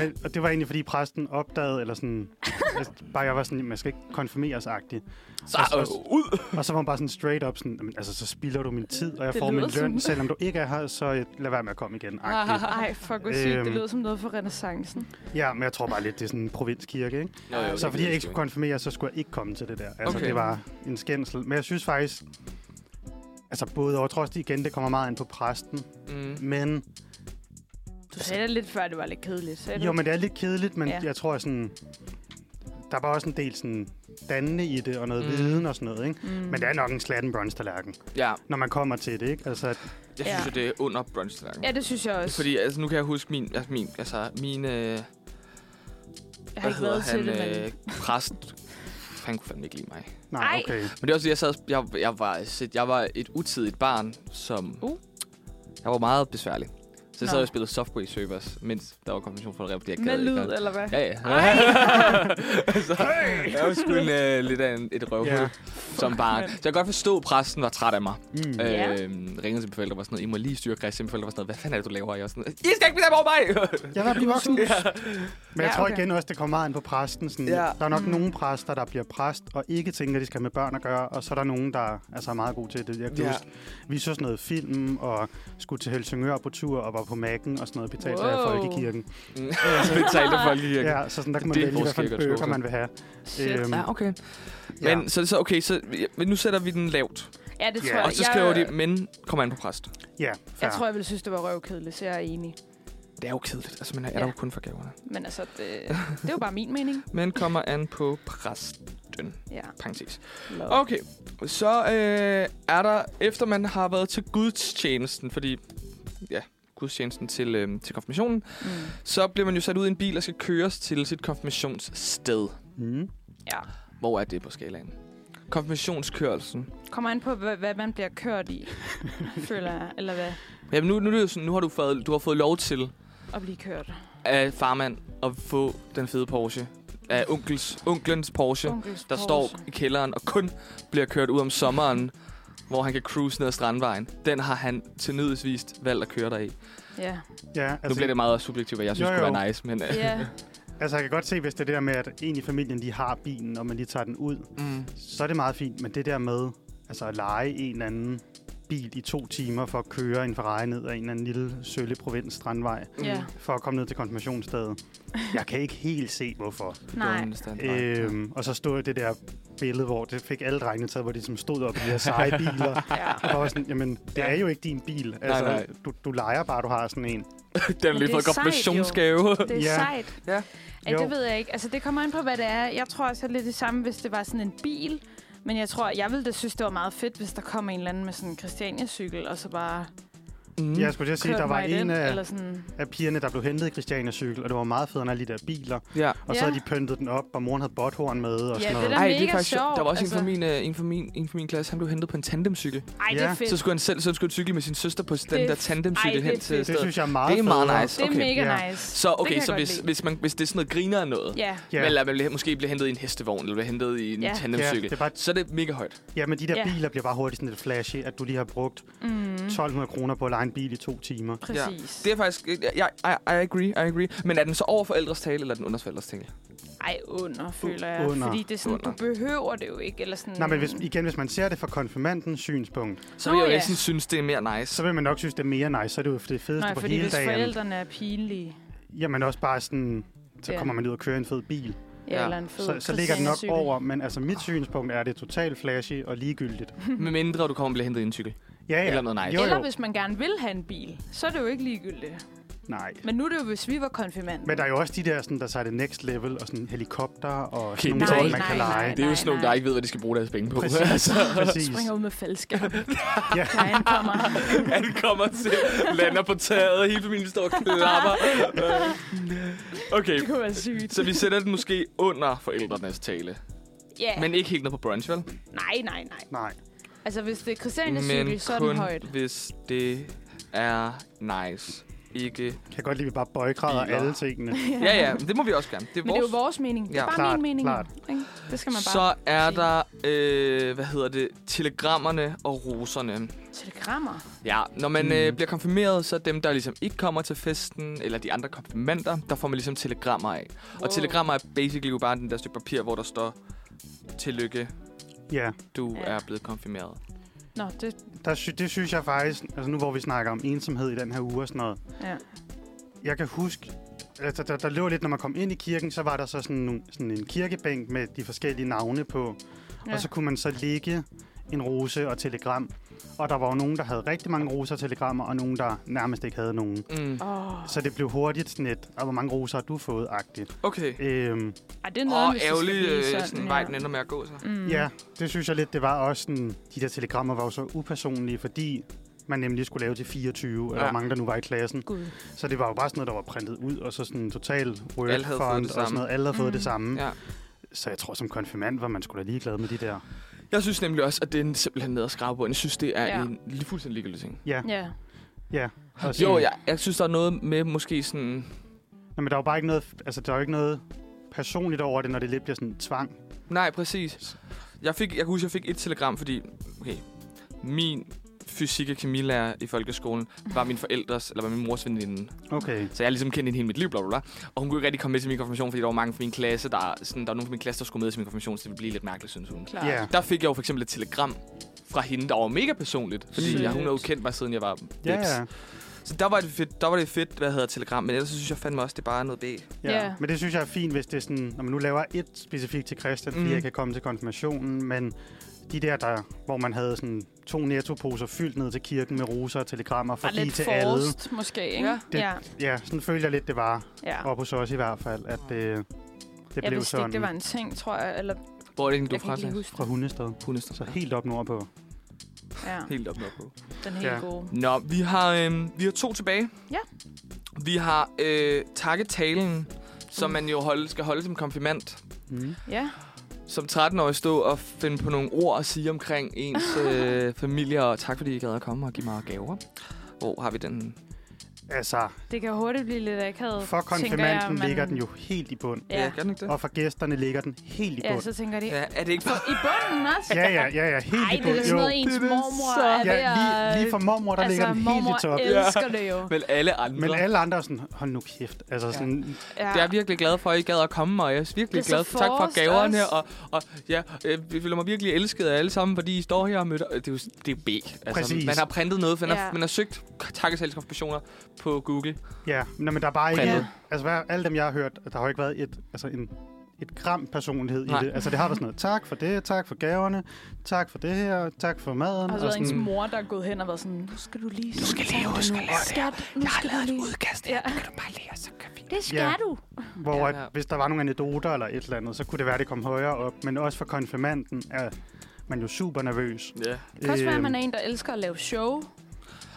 Men, og det var egentlig, fordi præsten opdagede, eller sådan... Altså, bare jeg var sådan, man skal ikke konfirmeres-agtig.
Så
Altså,
øh,
også-
ud!
Og så var hun bare sådan straight up sådan, "Jamen, altså så spilder du min tid, og jeg
Det
det får min
lyder
løn,
sådan.
sådan. selvom du ikke er her, så øh, lad være med at komme igen. agtigt."
Ej, fuck, hvor sygt. Det
Øhm.
lyder som noget for renaissancen.
Ja, men jeg tror bare lidt, det er sådan en provinskirke, ikke?
Nå, jo,
Så
det
fordi jeg
ved
ikke skulle konfirmere, så skulle jeg ikke komme til det der. Altså,
Okay.
okay. det var en skændsel. Men jeg synes faktisk, altså både over, jeg tror også det igen, det kommer meget an på præsten,
Mm.
men
Du sagde det lidt før, det var lidt kedeligt. Sagde du
jo, men det er lidt kedeligt, men
Ja.
ja. jeg tror sådan, der er bare også en del sådan dannende i det, og noget
Mm.
mm. viden og sådan noget, ikke?
Mm.
Men det er nok en slatten brunch-tallerken,
Ja,
når man kommer til det, ikke? Altså, at-
jeg
Ja.
synes, at det er under brunch ja,
Ja, det synes jeg også.
Fordi altså, nu kan jeg huske min, altså, min, altså, min øh,
jeg har
hvad
ikke
hedder
været
han,
til det, men...
øh, præst. Han kunne fandme ikke lide mig.
nej,
Ej.
okay.
Men det er også det, jeg sad, jeg, jeg, var, jeg var et utidigt barn, som...
Uh.
Jeg var meget besværlig. Så jeg
Nå.
sad og spillede Subway Surfers, mens der var konfirmation for det, fordi jeg
Med
gad
lyd,
ikke.
eller hvad?
Øhm,
Ja, ja.
Ej!
så, jeg var sgu en, øh, lidt af en, et røvhul
Ja.
yeah. som barn. Så jeg kan godt forstå, at præsten var træt af mig.
Mm.
Øh,
Ja.
ringede til mine forældre og var sådan noget, I må lige styre Christian. Mine forældre var sådan noget, hvad fanden er det, du laver? Og Jeg var sådan, I skal ikke blive over mig!
Jeg var blive voksen.
Ja.
Men jeg
Ja,
tror
okay.
igen også, det kommer meget an på præsten. Sådan,
Ja.
ja. Der er nok
Mm.
mm. nogle præster, der bliver præst og ikke tænker, at de skal have med børn at gøre. Og så er der nogen, der altså, er meget gode til det. Jeg kan
Ja.
ja. huske, vi så sådan noget film og skulle til Helsingør på tur og var på Mac'en og sådan noget betalt wow. af
Wow.
Folkekirken.
Mm. Så betalte folk lige. Ja.
Ja, så sådan, der kan man
Det er
vælge, hvad for en
forskel, jeg
bøger
tror,
man vil have.
Shit.
Øhm,
Ja, okay.
Ja.
Men, så, er det så, okay, så, men nu sætter vi den lavt.
Ja, det
Ja.
tror jeg.
Og så
Jeg-
skriver de, men kommer an på præst.
ja,
Jeg
fair.
tror, jeg ville synes, det var røvkedeligt, så jeg er enig.
Det er jo kedeligt. Altså, man er
Ja.
ja. der jo kun for gaverne.
Men altså, det, det var bare min mening.
Men kommer an på præsten.
Ja.
Parenthes.
Love.
Okay, så øh, er der, efter man har været til gudstjenesten, fordi ja, gudstjenesten til, øh, til konfirmationen,
Mm.
så bliver man jo sat ud i en bil og skal køres til sit konfirmationssted.
Mm.
Ja.
Hvor er det på skalaen? konfirmationskørelsen.
Kommer an på, hvad, hvad man bliver kørt i, føler jeg. Eller hvad?
Jamen nu, nu, er det jo sådan, nu har du fået, du har fået lov til
At blive kørt.
af farmand at få den fede Porsche. Af onkels, onklens Porsche,
Onkels
der
Porsche.
står i kælderen og kun bliver kørt ud om sommeren, hvor han kan cruise ned ad Strandvejen. Den har han til nyhedsvist valgt at køre dig i.
Ja.
Ja,
Nu bliver det meget subjektivt, hvad jeg synes
Altså- Jo,
jo, jo. kunne
jo.
være nice, men... øh,
ja.
altså, jeg kan godt se, hvis det er det der med, at en i familien lige har bilen, og man lige tager den ud,
Mm.
så er det meget fint. Men det der med altså, at lege en eller anden bil i to timer for at køre en Ferrari ned ad en eller anden lille sølle provins strandvej,
Ja.
for at komme ned til konfirmationsstedet. Jeg kan ikke helt se, hvorfor.
Nej.
Øh,
Øhm, og så stod det der billede, hvor det fik alle drengene taget, hvor de som stod op i de her seje biler.
ja.
Og var sådan, jamen, det er jo ikke din bil. Altså,
nej. Mm.
Du, du leger bare, du har sådan en.
den har
det
lige
er
fået
sejt,
konfirmationsgave.
Det
Ja.
er ja. sejt.
Ja.
Ej,
Jo.
det ved jeg ikke. Altså, det kommer an på, hvad det er. Jeg tror også, at lidt det samme, hvis det var sådan en bil. Men jeg tror, jeg ville da synes, det var meget fedt, hvis der kom en eller anden med sådan en Christiania-cykel, og så bare
Mm.
Jeg skulle til at sige,
kørte
der var
mig i den,
en
øh,
af,
eller sådan.
af pigerne, der blev hentet i Christiania cykel, og det var meget federe end alle de der biler.
Ja.
Og så
Ja.
havde de pyntet den op, og moren havde botthorn med og
Ja,
sådan
det
noget.
er
Ej,
mega
det er faktisk sjovt.
sjovt,
Der var også altså. en,
altså.
fra min, øh, en, fra min, en fra min klasse, han blev hentet på en tandemcykel.
Ej, det
Ja.
er fedt.
Så skulle han selv, så skulle han cykle med sin søster på den
Det-
der
Ej,
tandemcykel
det er
hen til
fedt.
Det
stedet.
synes jeg er meget
Det er meget
federe.
nice.
det er
Okay.
mega
ja.
nice.
Så
Det
okay,
kan
så
jeg
hvis,
godt lide.
hvis, man, hvis det er sådan noget griner af noget,
Ja,
Ja.
eller man bliver, måske bliver hentet i en hestevogn, eller bliver hentet i en
Ja.
tandemcykel,
Ja, det er bare-
så er det mega højt.
Ja, men de der
Ja.
biler bliver bare hurtigt sådan lidt flashy, at du lige har brugt mm. 1200 kroner på at lege en bil i to timer.
præcis.
Det er faktisk... Jeg, jeg, I, I agree, I agree. Men er den så over forældres tale, eller er den under forældres tale?
Ej, under, føler jeg.
Under.
Fordi det er sådan,
Under.
du behøver det jo ikke. Eller sådan,
Nej, men hvis, igen, hvis man ser det fra konfirmandens synspunkt,
Så vil
Nå,
jeg jo
ja.
ikke sådan synes, det er mere nice.
så vil man nok synes, det er mere nice. Så er det jo det fedeste
Nej,
på
fordi
hele
hvis
dagen.
forældrene er pinlige,
Jamen også bare sådan, så
Ja.
kommer man ud og kører i en fed bil.
ja,
Ja.
ja. eller en fed
Så, så ligger det nok
Christiania-cykel.
over, men altså mit synspunkt er, at det er totalt flashy og ligegyldigt.
Med mindre du kommer og bliver hentet i en cykel.
Ja, ja.
Eller noget nice.
Jo,
Eller
jo.
hvis man gerne vil have en bil, så er det jo ikke ligegyldigt.
Nej.
Men nu er det jo, hvis vi var konfirmander.
Men der er jo også de der, sådan, der tager det next level, og sådan helikopter og sådan
Kæmpe
nogle ting,
tårn.
man kan
Nej, nej,
lege.
Det er jo
nej,
sådan nogle,
nej.
der ikke ved, hvad de skal bruge deres penge på. Altså,
Præcis,
altså-
præcis.
springer ud med faldskærm.
Ja.
ja. Han kommer.
Han kommer til, lander på taget, hele familien står og klapper. Øh. Okay,
Det kunne være sygt.
så vi sætter den måske under forældrenes tale.
Ja.
Men ikke helt ned på brunch, vel?
Nej, nej, nej.
Nej.
Altså, hvis det er Christiania
Men
cykel, så er den højt.
kun hvis det er nice. Ikke...
Kan jeg godt lide, at vi bare bøjgræder
Biler.
alle tingene.
Ja, ja, men det må vi også gerne. Det er
Men det er
vores.
jo vores mening. Det
Ja,
er bare
klart,
min mening.
klart.
ikke? Det skal man
Så
bare...
er
sige.
der, øh, hvad hedder det, telegrammerne og roserne.
Telegrammer.
Ja, når man øh, bliver konfirmeret, så er dem, der ligesom ikke kommer til festen, eller de andre konfirmander, der får man ligesom telegrammer af. Wow. Og
Wow.
telegrammer er basically jo bare den der stykke papir, hvor der står, tillykke,
Ja,
du
Ja.
ja. er blevet konfirmeret.
Nå, det...
der sy- det synes jeg faktisk, altså nu hvor vi snakker om ensomhed i den her uge og sådan noget.
Ja.
Jeg kan huske, altså, der, der lå lidt, når man kom ind i kirken, så var der så sådan, nogle, sådan en kirkebænk med de forskellige navne på. Ja.
ja.
Og så kunne man så lægge en rose og telegram. Og der var jo nogen, der havde rigtig mange roser og telegrammer, og nogen, der nærmest ikke havde nogen.
Mm.
Åh,
Så det blev hurtigt sådan et, og hvor mange roser har du fået, agtigt.
Okay.
Øhm,
Ej, det er noget,
Åh,
hvis det skal
ærgerlig,
blive
øh, sådan,
sådan,
sådan
ja.
vej den ender med at gå så.
Mm.
ja, det synes jeg lidt, det var også sådan, de der telegrammer var jo så upersonlige, fordi man nemlig skulle lave til 24, eller
Ja.
hvor mange der nu var i klassen.
Gud.
Så det var jo bare sådan noget, der var printet ud, og så sådan total word
Alle havde fået
font
det
og sådan
samme.
noget. Alle havde fået
Mm.
det samme.
Ja.
Så jeg tror, som konfirmand var man skulle da ligeglad med de der.
Jeg synes nemlig også, at det er en- simpelthen ned at skrabe på. Jeg synes, det er
Ja.
ja. en lige fuldstændig ligegyldig ting.
Ja.
Og sådan-
Jo, jeg, jeg synes, der er noget med måske sådan...
Nå, men der er jo bare ikke noget, altså, der er jo ikke noget personligt over det, når det lidt bliver sådan tvang.
Nej, præcis. Jeg, fik, jeg kan huske, jeg fik et telegram, fordi okay, min fysik- og kemilærer i folkeskolen var min forældres, eller var min mors veninde.
Okay.
Så jeg har ligesom kendt hende hele mit liv, bla, bla, bla. Og hun kunne ikke rigtig komme med til min konfirmation, fordi der var mange fra min klasse, der, sådan, der var nogen fra min klasse, der skulle med til min konfirmation, så det ville blive lidt mærkeligt, synes hun.
Klart.
Ja.
Der fik jeg jo for eksempel et telegram fra hende, der var mega personligt, fordi
Sødt.
jeg, hun havde jo kendt mig, siden jeg var bips.
Ja, ja.
Så der var, det fedt, der var det fedt, hvad hedder telegram, men ellers så synes jeg fandme også, det er bare noget B.
Ja.
Ja.
Men det synes jeg er fint, hvis det er sådan, når man nu laver et specifikt til Christian, fordi
Mm.
mm. jeg kan komme til konfirmationen, men de der, der, hvor man havde sådan to nettoposer fyldt ned til kirken med roser og telegrammer,
Var
fordi
lidt
til alle.
forrest, måske, ikke?
Ja.
Det-
ja.
Ja, sådan følte jeg lidt, det var
ja.
oppe hos os i hvert fald, at øh, det
Jeg
blev
vidste
sådan
ikke, det var en ting, tror jeg. Eller,
Hvor er det egentlig, du
jeg
er
kan
fra?
ikke lige
Thijs?
huske
fra Hundested.
Hundested.
Så helt op nordpå.
Ja,
helt op, op på.
den helt
Ja.
gode.
Nå, vi har, øh, vi har to tilbage.
Ja.
Vi har øh, takketalen, som man jo holde, skal holde som konfirmand.
Mm.
Ja,
som 13-årig stå og finde på nogle ord at sige omkring ens øh, familie, og tak fordi I gad at komme og give mig gaver. Hvor har vi den?
Altså,
Det kan hurtigt blive lidt akavet,
for
tænker jeg.
konfirmanden
men-
ligger den jo helt i bund.
Ja,
Gør den ikke det?
Og for gæsterne ligger den helt i
ja
bund.
så tænker de...
Ja, er det ikke for...
I bunden også?
Ja, ja, ja, ja, helt
Ej,
i
det er
bund.
da sådan noget, ens
Det er da
mormor
så-
er
ja,
ved at...
lige, lige for mormor, der altså, ligger den helt i top.
el-
mormor elsker det jo.
Vel alle andre.
Men alle andre er sådan, hold nu kæft. Altså sådan,
Ja.
Det er jeg virkelig glad for, at I gad at komme, og jeg er virkelig
Det er så
glad for, tak for
forrest
gaverne,
også.
og, og ja, øh, vi føler mig virkelig elsket af alle sammen, fordi I står her og møder... øh, Det er jo, det er jo B. Altså,
Præcis.
Man har printet noget, man, ja. har,
Ja.
man har søgt takkeselskabspersoner på Google.
ja, Nå, men der er bare ikke...
Printet.
Altså, hvad, alle dem, jeg har hørt, der har jo ikke været et, altså en, et gram personlighed
Nej.
i det. Altså, det har været sådan noget, tak for det, tak for gaverne, tak for det her, tak for maden.
Og så er
sådan,
ens mor, der er gået hen og været sådan, nu skal du lige... Nu
skal lave, du skal lave det
Skat, nu
Jeg har
skal du
lavet et
lige...
udkast
Ja.
her, ja. kan du bare lære, så kan vi...
Det
skal Ja.
du.
hvor
Ja.
at, hvis der var nogle anekdoter eller et eller andet, så kunne det være, at det kom højere op. Men også for konfirmanden er man jo super nervøs.
Ja.
Det kan også være, at
Øhm,
man er en, der elsker at lave show.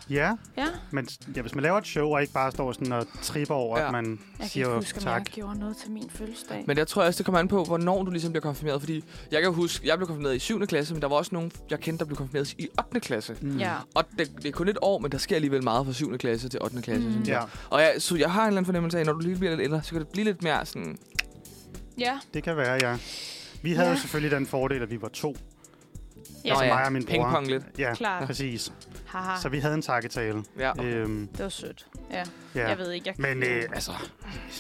Ja,
Ja.
men ja, hvis man laver et show og ikke bare står sådan og tripper over,
Ja.
ja. at man
Jeg kan
siger
ikke huske, om
tak.
jeg gjorde noget til min fødselsdag.
Men jeg tror også, det kommer an på, hvornår du ligesom bliver konfirmeret. Fordi jeg kan huske, jeg blev konfirmeret i 7. klasse, men der var også nogen, jeg kendte, der blev konfirmeret i 8. klasse.
Mm.
Ja.
Og det, det er kun et år, men der sker alligevel meget fra 7. klasse til 8. klasse.
Mm.
Mm.
Ja,
Og jeg, så jeg har en eller anden fornemmelse af, at når du lige bliver lidt ældre, så kan det blive lidt mere sådan...
Ja.
det kan være, ja. Vi havde
Ja.
ja. selvfølgelig den fordel, at vi var to.
Ja.
Altså
Nå
mig og min bror.
Pingpong lidt.
Ja,
Klart.
præcis.
Haha.
Så vi havde en takketale.
Ja.
Øhm,
Det var sødt. Ja.
ja.
Jeg ved ikke. Jeg,
Men øh, altså,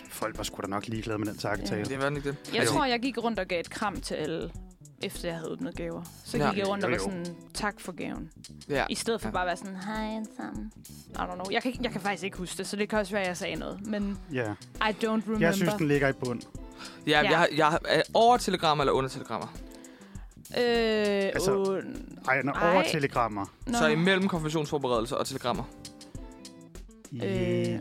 folk var sgu da nok ligeglade med den takketale.
Det var den ikke det.
jeg
jo.
tror, jeg gik rundt og gav et kram til alle, efter jeg havde åbnet gaver. Så
Ja.
gik jeg rundt og
Jo,
var
jo.
sådan, tak for gaven.
Ja.
I stedet for
Ja.
bare at være sådan, hej alle sammen. I don't know. Jeg kan, ikke- jeg kan faktisk ikke huske det, så det kan også være, at jeg sagde noget. Men
Ja.
I don't remember.
Jeg synes, den ligger i bund.
ja,
Ja.
Jeg, har- jeg, har- er over telegrammer eller under telegrammer.
Øh,
Altså,
åh,
Ej, når
Ej.
over telegrammer.
nå.
Så imellem konfirmationsforberedelser og telegrammer.
Øh. Ej,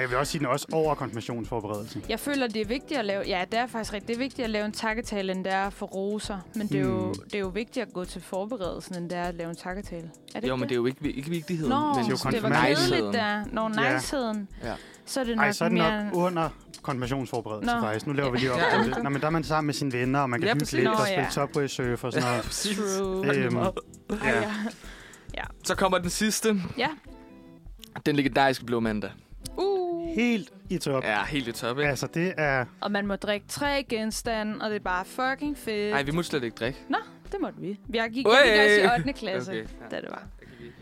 jeg vil også sige den er også over konfirmationsforberedelse.
Jeg føler, det er vigtigt at lave... Ja, det er faktisk rigtigt. Det er vigtigt at lave en takketale, end det er for roser. Men det er, jo,
Hmm.
det er jo vigtigt at gå til forberedelsen, end det er at lave en takketale. Er det
Jo,
ikke
men det er jo ikke, vi- ikke vigtigheden.
Nå,
men
Det er jo
sådan
det var
konfirmation.
kedeligt
niceheden.
der. Nå,
Ja.
niceheden.
Ja.
Så er det nok
Ej, så er den
mere...
nok under konfirmationsforberedelse
Nå.
Nå. faktisk. Nu laver vi lige op
Ja.
på det. Nå, men der er man sammen med sine venner, og man kan
Ja,
ja, hygge
præcis.
lidt
Nå,
og
ja.
spille Subway Surf og sådan noget.
True.
Øhm,
Ej,
ja.
ja.
Så kommer den sidste.
Ja.
Den legendariske blå mandag.
Uh.
Helt i top. Ja.
Ja, helt i top, ikke?
Altså, det er...
Og man må drikke tre genstande, og det er bare fucking fedt.
Nej, vi må slet ikke drikke.
Det måtte vi. Vi har gik
Ui.
ikke også i 8. klasse, okay.
ja.
da det var,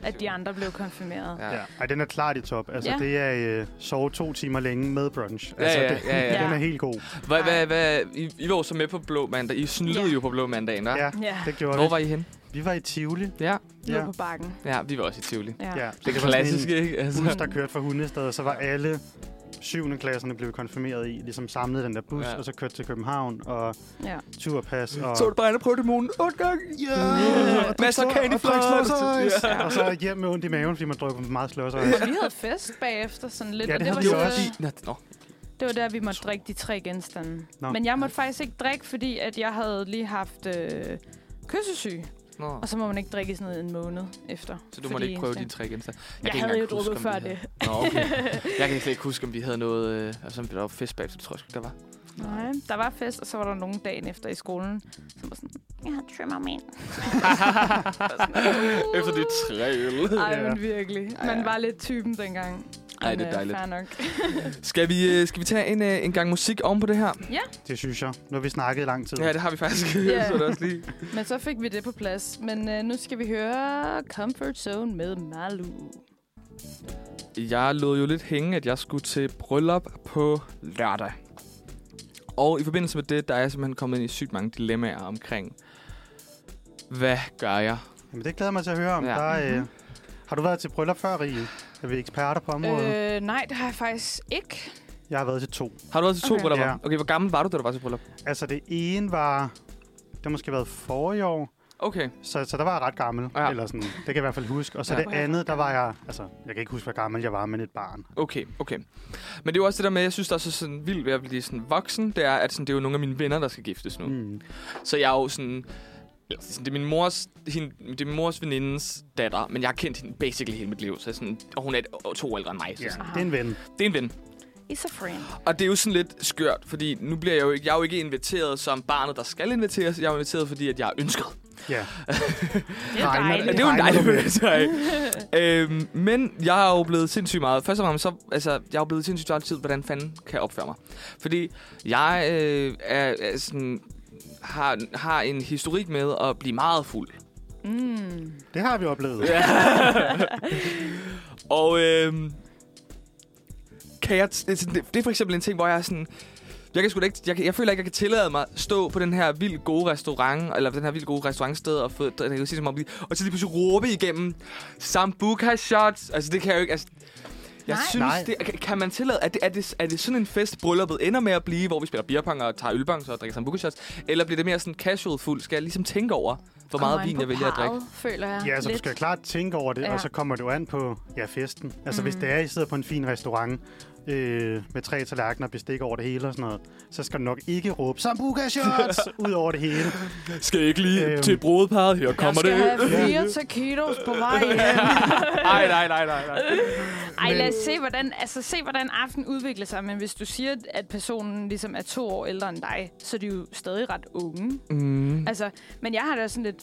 at de andre blev konfirmeret.
Ja.
Ja. Ej, den er klart i top. Altså,
Ja.
ja. det er øh, sove to timer længe med brunch.
Ja,
Altså,
ja,
det,
ja, ja.
den er helt god.
Hvad, hvad, hvad, I, I var jo så med på Blå Mandag. I snyllede
Ja.
jo på Blå Mandagen, hva'?
Ja,
Ja,
det gjorde
Hvor
vi.
var I henne?
Vi var i Tivoli.
Ja,
ja. på bakken.
ja vi var også i Tivoli.
Ja.
ja.
Det klassiske, ikke? Altså.
bus, der kørte fra Hundested, og så var alle syvende klasserne blev konfirmeret i, ligesom samlede den der bus,
Ja.
ja. og så kørte til København, og
ja.
turpas, og...
Så du bare ind og prøve det morgen 8 gange?
Ja,
Masser af candy floss.
Ja. Og så hjem med ondt i maven, fordi man drukket for meget sløs. Ja.
Vi havde fest bagefter sådan lidt,
Ja,
og
det
det var,
havde vi
så,
også.
Nå, nå.
det var der, vi måtte drikke de tre genstande.
Nå.
Men jeg måtte faktisk ikke drikke, fordi at jeg havde lige haft øh, kyssesyge.
nå.
Og så må man ikke drikke i sådan en måned efter.
Så du måtte
Fordi- øh,
ikke prøve dine tre genstande. Jeg,
Jeg
kan ikke
havde jo
engang huske,
drukket
om
før
vi havde- Nå, okay. Jeg kan slet ikke huske, om vi havde noget... Øh, altså, om der var fest bagefter, det tror jeg sgu, der var.
Nej, der var fest, og så var der nogen dagen efter i skolen, som var sådan, jeg har trimmer mig ind.
Efter det tre øl.
Ej,
Ja.
men virkelig.
Ej,
Man
ja.
var lidt typen dengang.
Ej,
Men,
det er
øh,
dejligt.
Fair nok.
Skal vi, øh, skal vi tage en, øh, en gang musik oven på det her?
Det synes jeg. Nu har vi snakket i lang tid.
Ja, det har vi faktisk.
Ja.
så er det også lige.
Men så fik vi det på plads. Men øh, nu skal vi høre Comfort Zone med Malu.
Jeg lod jo lidt hænge, at jeg skulle til bryllup på lørdag. Og i forbindelse med det, der er jeg simpelthen kommet ind i sygt mange dilemmaer omkring, hvad gør jeg?
Jamen, det glæder jeg mig til at høre om.
Ja.
Ja. Der, øh, har du været til bryllup før, Rie? Er vi eksperter på området? Øh.
Øh, nej, det har jeg faktisk ikke.
Jeg har været til to.
Har du været til to
Okay.
bryllupper?
Ja.
Okay, hvor gammel var du, da du var til bryllup?
Altså, det ene var... Det har måske været forrige år.
Okay.
Så, så der var jeg ret gammel,
Ja.
ja. eller sådan, det kan jeg i hvert fald huske. Og så
Ja.
ja. det andet, der var jeg, altså, jeg kan ikke huske, hvor gammel jeg var, men et barn.
Okay, okay. Men det er jo også det der med, jeg synes, der er så sådan vildt ved at blive sådan voksen, det er, at sådan, det er jo nogle af mine venner, der skal giftes nu. Mm.
Mm.
Så jeg er jo sådan... eller sådan, Det er, min mors, hende, det er min mors venindens datter, men jeg har kendt hende basically hele mit liv. Så jeg er sådan, og hun er et, to år ældre end mig. Så
Ja,
sådan,
det er en ven.
det er en ven.
is a friend.
Og det er jo sådan lidt skørt, fordi nu bliver jeg jo ikke, jeg er jo ikke inviteret som barnet, der skal inviteres. Jeg er jo inviteret, fordi at jeg er ønsket.
Ja.
Det er
Nej, men-
Ja,
dejligt.
det er jo en
Regner
dejlig
du med?
følelse, ikke? øhm, men jeg er jo blevet sindssygt meget. Først og fremmest, så, altså, jeg er jo blevet sindssygt meget tid, hvordan fanden kan jeg opføre mig? Fordi jeg øh, er, er sådan, har, har en historik med at blive meget fuld.
Mm.
Det har vi oplevet.
Ja. og øhm, kan jeg, det, er sådan- det det er for eksempel en ting, hvor jeg er sådan... Jeg, kan sgu da ikke, jeg, kan- jeg føler ikke, jeg kan tillade mig at stå på den her vildt gode restaurant, eller den her vildt gode restaurantsted, og, få, der, kan sige, som om, de- og så lige pludselig råbe igennem, Sambuca shots! Altså, det kan jeg jo ikke... Altså, jeg
Nej.
synes,
Nej.
Det, kan- kan man tillade, er det, er, det, er det sådan en fest, brylluppet ender med at blive, hvor vi spiller beerpong og tager ølbong og drikker sambuca shots? Eller bliver det mere sådan casual fuld? Skal jeg ligesom tænke over, hvor
Kommer
meget
an
vin
på
jeg vælger at drikke?
parret, føler jeg.
Ja, så du
lidt.
skal klart tænke over det, ja.
Ja.
og så kommer det jo an på ja, festen. Altså, mm. hvis det er, I sidder på en fin restaurant øh, med tre tallerkener og bestik over det hele og sådan noget, så skal du nok ikke råbe Sambuca shots ud over det hele.
Skal ikke lige
Øhm.
øhm, til brudeparet? Her
Jeg
kommer
skal
det.
have fire taquitos på vej hjem.
Nej, nej, nej, nej, nej.
Ej,
Men-
lad os se hvordan, altså, se, hvordan aftenen udvikler sig. Men hvis du siger, at personen ligesom er to år ældre end dig, så er de jo stadig ret unge.
Mm.
Altså, men jeg har da sådan lidt...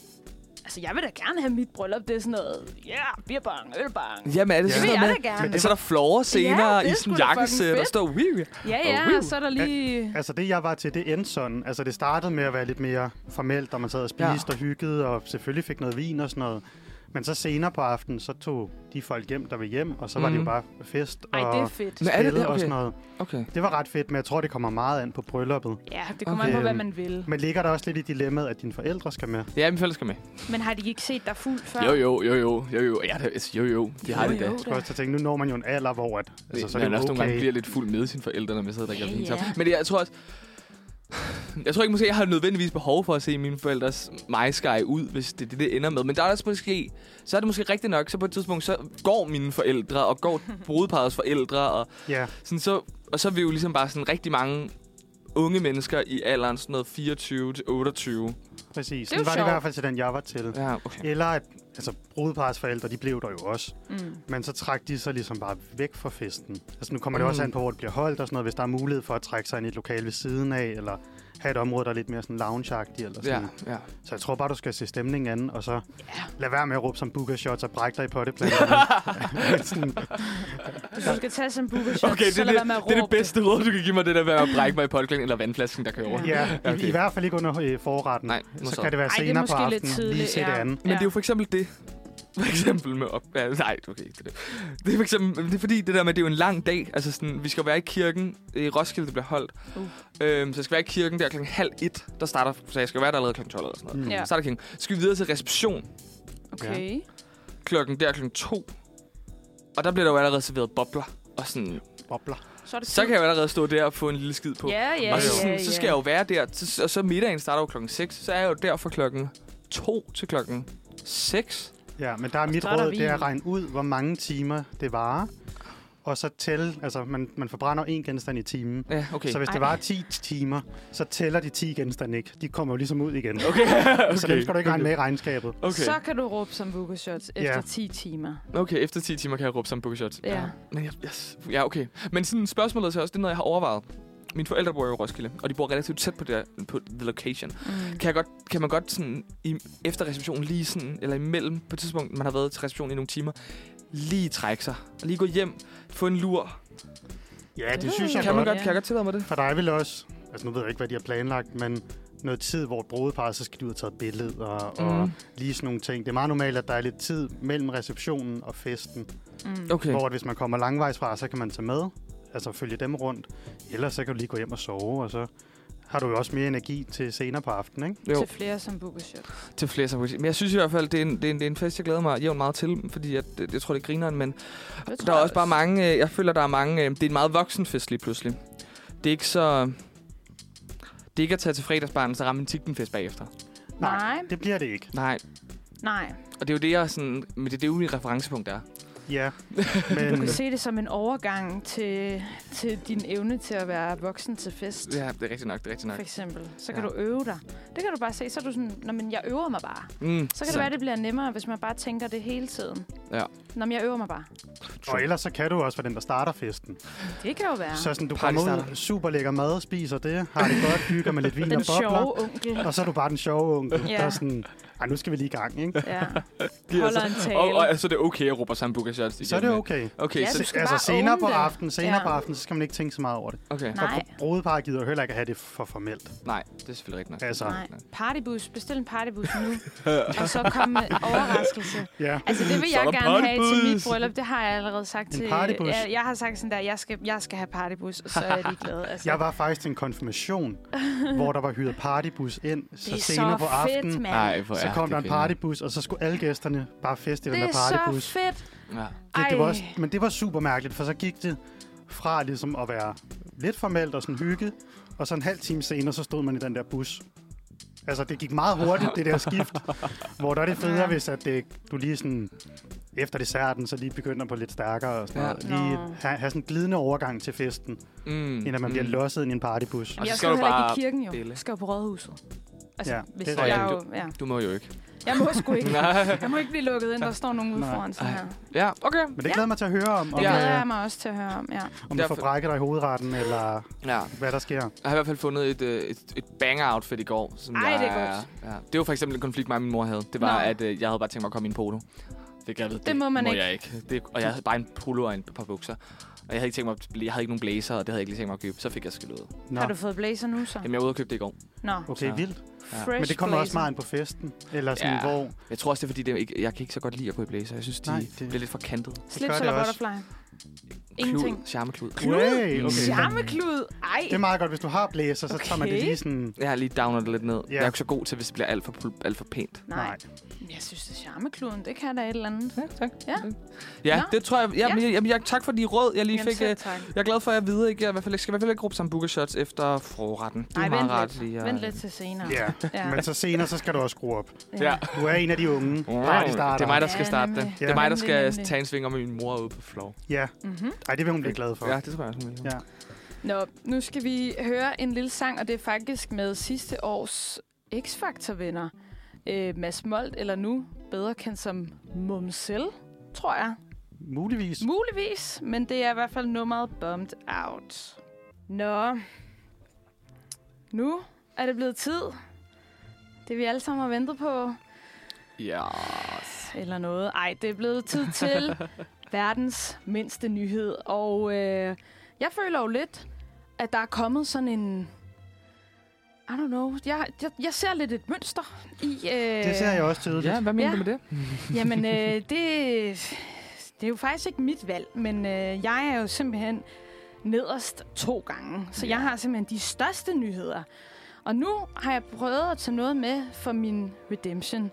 Altså, jeg vil da gerne have mit bryllup. Det er sådan noget, ja, yeah, beerbang, ølbang.
Jamen, er det
Ja.
Det
sådan
vil
noget
jeg
med...
da gerne.
Men så Altså, er der flore senere
Ja, det er
i
sgu
sådan en
da fucking
jakkesæt, der
fedt.
står Wii.
Ja,
Og
ja,
whiv.
og så er der lige...
Altså, det jeg var til, det endte sådan. Altså, det startede med at være lidt mere formelt, og man sad og spiste
Ja.
ja. og hyggede, og selvfølgelig fik noget vin og sådan noget. Men så senere på aftenen, så tog de folk hjem, der var hjem, og så var det jo
Mhm.
bare fest og
Ej, det er fedt.
Men- er det
spil
det?
og sådan
Okay.
noget.
Okay.
Det var ret fedt, men jeg tror, det kommer meget an på brylluppet.
Ja, det kommer an
Okay.
på, hvad man vil.
Men ligger der også lidt i dilemmaet, at dine forældre skal med?
Ja, min fælles skal med.
Men har de ikke set dig fuld før?
Jo, jo, jo, jo, jo, jo. Ja, det, altså, jo, jo. De har
Jo,
det da.
jo,
Jeg skulle også til at tænke, nu når man jo en alder, hvor at, altså, så er det
man
jo
også nogle gange
okay.
bliver lidt fuld med sine forældre, når man sidder der
Ja,
og yeah,
ja.
yeah. Men det- jeg tror også... Jeg tror ikke måske, jeg har nødvendigvis behov for at se mine forældres mig sky ud, hvis det er det, det ender med. Men der er også måske, så er det måske rigtigt nok, så på et tidspunkt, så går mine forældre, og går brudeparrets forældre, og
Ja,
Sådan så, og så er vi jo ligesom bare sådan rigtig mange unge mennesker i alderen sådan noget 24 til 28.
præcis.
Det er jo
Det var det i
sjovt.
hvert fald til den, jeg var til. Ja.
okay.
Eller at altså, brudepars forældre, de blev der jo også.
Mm.
Men så trak de sig ligesom bare væk fra festen. Altså nu kommer det også
Mm.
an på, hvor det bliver holdt og sådan noget. Hvis der er mulighed for at trække sig ind i et lokal ved siden af, eller have et område, der er lidt mere sådan lounge eller sådan. Ja.
Ja, ja.
Så jeg tror bare, du skal se stemningen an, og så
Ja.
lad være med at råbe som booker shots og brække dig i potteplanterne. sådan,
Hvis du skal tage sådan en booker shot,
Okay, det,
så
er
lad være med
det,
at
det er det
råbe
bedste råd, du kan give mig, det der med at brække mig i polklæden eller vandflasken, der kører over.
Ja.
ja, i, okay. i,
Okay.
hvert fald ikke under øh, forretten.
Nej, nu
så
så.
kan det være
Ej, det er
senere på
måske lidt
aftenen, lige
tidligt,
se det
ja.
andet.
Men det er jo for eksempel det. For eksempel med op... Ja, nej, okay, ikke det, er det. det er for eksempel, det er fordi det der med, det er jo en lang dag. Altså sådan, vi skal jo være i kirken. I Roskilde, det bliver holdt.
Uh.
Øhm, så jeg skal være i kirken der klokken halv et, der starter. Så jeg skal være der allerede klokken 12 eller sådan noget.
Mm.
Ja.
Så starter kirken. Så skal vi videre til reception.
Okay.
klokken der klokken to. Og der bliver der jo allerede serveret bobler. Og sådan,
Bobler.
Så er det
så kan
tid.
jeg jo allerede stå der og få en lille skid på.
Ja, ja,
og så,
ja,
sådan,
ja.
så skal jeg jo være der. Så- Og så middagen starter jo klokken 6. Så er jeg jo der fra klokken 2 til klokken 6.
Ja, men der er mit
så er der
råd, det er at
vin.
regne ud, hvor mange timer det varer. Og så tælle, altså man, man forbrænder en genstand i timen. Okay.
Ja, okay.
Så hvis det
Ej.
varer 10 timer, så tæller de 10 genstande ikke. De kommer jo ligesom ud igen. Okay.
Okay, okay.
Så dem skal du ikke regne med i regnskabet.
Okay.
Så kan du råbe som Vuka Shots
Ja.
efter 10 timer.
okay, efter 10 timer kan jeg råbe sammen på shots.
Ja.
Men jeg, yes. ja, okay. Men sådan spørgsmålet så også, det er noget, jeg har overvejet. Mine forældre bor jo i Roskilde, og de bor relativt tæt på, det, på the location.
Mm.
Kan, jeg godt, kan man godt sådan, i, efter receptionen lige sådan, eller imellem på et tidspunkt, man har været til receptionen i nogle timer, lige trække sig, og lige gå hjem, få en lur.
Ja, det
Øh,
synes jeg
Kan, man
godt.
godt,
Ja.
kan jeg godt tillade mig det?
For dig vil også, altså nu ved jeg ikke, hvad de har planlagt, men noget tid, hvor et brudepar, så skal de ud og tage et billede og, mm. og
Mm.
lige sådan nogle ting. Det er meget normalt, at der er lidt tid mellem receptionen og festen.
Mm.
Okay.
Hvor at hvis man kommer langvejs fra, så kan man tage med, altså følge dem rundt. Ellers så kan du lige gå hjem og sove, og så har du jo også mere energi til senere på aftenen, ikke?
Jo,
Til flere som Vuka Shots.
til flere som Men jeg synes i hvert fald, det er en, det er en, det er en fest, jeg glæder mig jævnt meget til, fordi jeg, jeg tror, det er grineren, men
Det tror
Der er
jeg
også bare mange, øh, jeg føler, der er mange, øh, det er en meget voksen fest lige pludselig. Det er ikke så... Det er ikke at tage til fredagsbarn, så ramme en fest bagefter.
Nej.
det bliver det ikke.
Nej.
Nej,
Og det er jo det, jeg sådan... Men det, det er jo mit referencepunkt, der er.
Ja,
du
men
kan se det som en overgang til, til din evne til at være voksen til fest.
Ja, det er rigtigt nok, det er rigtigt nok.
For eksempel. Så kan
Ja.
ja. du øve dig. Det kan du bare se. Så er du sådan, Nå, men jeg øver mig bare.
Mm,
Så kan det være, det bliver nemmere, hvis man bare tænker det hele tiden.
Ja.
Nå, men jeg øver mig bare.
Og ellers så kan du også være den, der starter festen.
Det kan jo være.
Så sådan, du
Party
kommer
starter.
ud, super lækker mad, spiser det, har det godt, hygger med lidt vin
Den
og bobler.
sjove onkel.
Og så er du bare den sjove onkel,
Ja.
yeah. der er sådan, Ej, nu skal vi lige i gang, ikke?
Ja.
Det er
Holder en
altså-
tale.
Og, og, altså, det er okay at råbe sammen Bukas Shots
Så er det okay.
Okay,
Ja,
så,
du skal
altså
bare
senere
own
på
det.
aftenen, senere
Ja.
ja. på aftenen, så skal man ikke tænke så meget over det.
okay.
Nej,
Og brudepar gider heller ikke at have det for formelt.
Nej, det er selvfølgelig rigtigt nok.
Altså,
nej. Partybus. Bestil en partybus nu. og så kom med overraskelse.
ja.
Altså, det vil
Så er
jeg
der
gerne have til mit
partybus.
bryllup. Det har jeg allerede sagt
En
til...
partybus.
Jeg, jeg har sagt sådan der, jeg skal, jeg skal have partybus, og så er de glade. Altså.
Jeg var faktisk til en konfirmation, hvor der var hyret partybus ind,
det
så
er
senere
så
på aftenen,
fedt, mand.
Nej, hvor
så
er
kom
det
der en
grineren.
partybus, og så skulle alle gæsterne bare feste i den
det
der
er
partybus.
så fedt.
Ja.
Det, det var
Ej.
også, men det var super mærkeligt, for så gik det fra ligesom at være lidt formelt og sådan hygge, og så en halv time senere, så stod man i den der bus. Altså, det gik meget hurtigt, det der skift, hvor der er det federe,
Ja.
hvis at det, du lige sådan, efter desserten, så lige begynder på lidt stærkere og sådan
Ja.
noget. Lige
Nå.
have, have sådan en glidende overgang til festen,
Mm,
end at man bliver losset ind i en partybus.
Jamen,
så
jeg
skal
skal jo
du
heller ikke
bare
i kirken, jo.
dele.
Jeg skal jo på rådhuset. Altså,
Ja,
ja, hvis
det
er
jeg, jeg,
rigtigt.
jo, ja.
Du må jo ikke.
jeg må sgu ikke.
Nej.
Jeg må ikke blive lukket ind. Der står nogen ude
Nej.
foran sådan
Ej.
her.
Ja, okay.
Men det glæder mig til at høre om, øh, om,
Det glæder
ja.
jeg mig også til at høre om, ja.
om du får
Derfor-
brækket dig i hovedretten, eller
Ja.
hvad der sker.
Jeg har i hvert fald fundet et, øh, et, et banger-outfit i går. Som
Ej,
jeg,
det er godt.
Ja. Det var for eksempel en konflikt, mig og min mor havde. Det var,
Nå.
at øh, jeg havde bare tænkt mig at komme i en polo. Det, jeg ved,
Det må man
må
ikke.
Jeg ikke. Det, og jeg havde bare en polo og en par bukser. Og jeg havde ikke tænkt mig, at bl- jeg havde ikke nogen blazer, og det havde jeg ikke lige tænkt mig at købe. Så fik jeg skæld ud.
Nå,
Har du fået blazer nu, så?
Jamen, jeg var ude og købe det i går.
Nå,
okay,
Så-
vildt.
fresh
Men det kommer også
blazer.
meget ind på festen, eller sådan,
Ja.
ja. hvor...
Jeg tror også, det er fordi, det er ikke, jeg kan ikke så godt lide at gå i blazer. Jeg synes, de
Nej,
Nej,
det-
det... bliver lidt for kantet.
Slips
det
eller
også.
butterfly? Ingenting.
Klud, charmeklud.
Way, okay.
Charmeklud? Ej.
Det er meget godt, hvis du har blæser, så okay. tager man det
Okay.
lige sådan...
Jeg har lige downer det lidt ned.
Ja.
Jeg er jo ikke så god til, hvis det bliver alt for, pul- alt for pænt.
Nej. Jeg synes, det er charmekluden. Det kan da et eller andet.
Ja, tak.
Ja.
Ja,
Nå.
det tror jeg. Ja,
Ja.
ja. Jeg, jamen, jeg, tak for de råd, jeg lige
Jamen,
fik.
selv
øh,
tak.
Jeg er glad for, at jeg videre ikke, jeg i hvert fald, skal i hvert fald ikke gruppe sammen booker shots efter forretten. Det er
Nej,
meget
vent
rart
lidt.
lige. øh. at-
Vent lidt til senere.
Ja,
Ja.
men så senere, så skal du også skrue op.
Ja.
Du er en af de unge. Party
Det er mig, der skal
Ja,
starte det.
nemlig.
Det er mig, der
Nemlig,
skal øh,
nemlig.
tage en sving om min mor ude på floor.
Ja,
Mm-hmm.
Ej, det vil hun blive glad for.
Ja, det tror jeg også, hun vil.
Ja.
Nå, nu skal vi høre en lille sang, og det er faktisk med sidste års X-Factor-vinder. Øh, Mads Molt, eller nu bedre kendt som Mumsel, tror jeg.
Muligvis.
Muligvis, men det er i hvert fald nummeret Bumped Out. Nå, nu er det blevet tid. Det vi alle sammen har ventet på,
Ja.
eller noget. Ej, det er blevet tid til verdens mindste nyhed. Og øh, jeg føler jo lidt, at der er kommet sådan en... I don't know. Jeg, jeg, jeg ser lidt et mønster i... Øh,
Det ser jeg også tydeligt.
ja, hvad mener
Ja.
du med det?
Jamen, øh, det, det er jo faktisk ikke mit valg, men øh, jeg er jo simpelthen nederst to gange. Så jeg har simpelthen de største nyheder. Og nu har jeg prøvet at tage noget med for min redemption.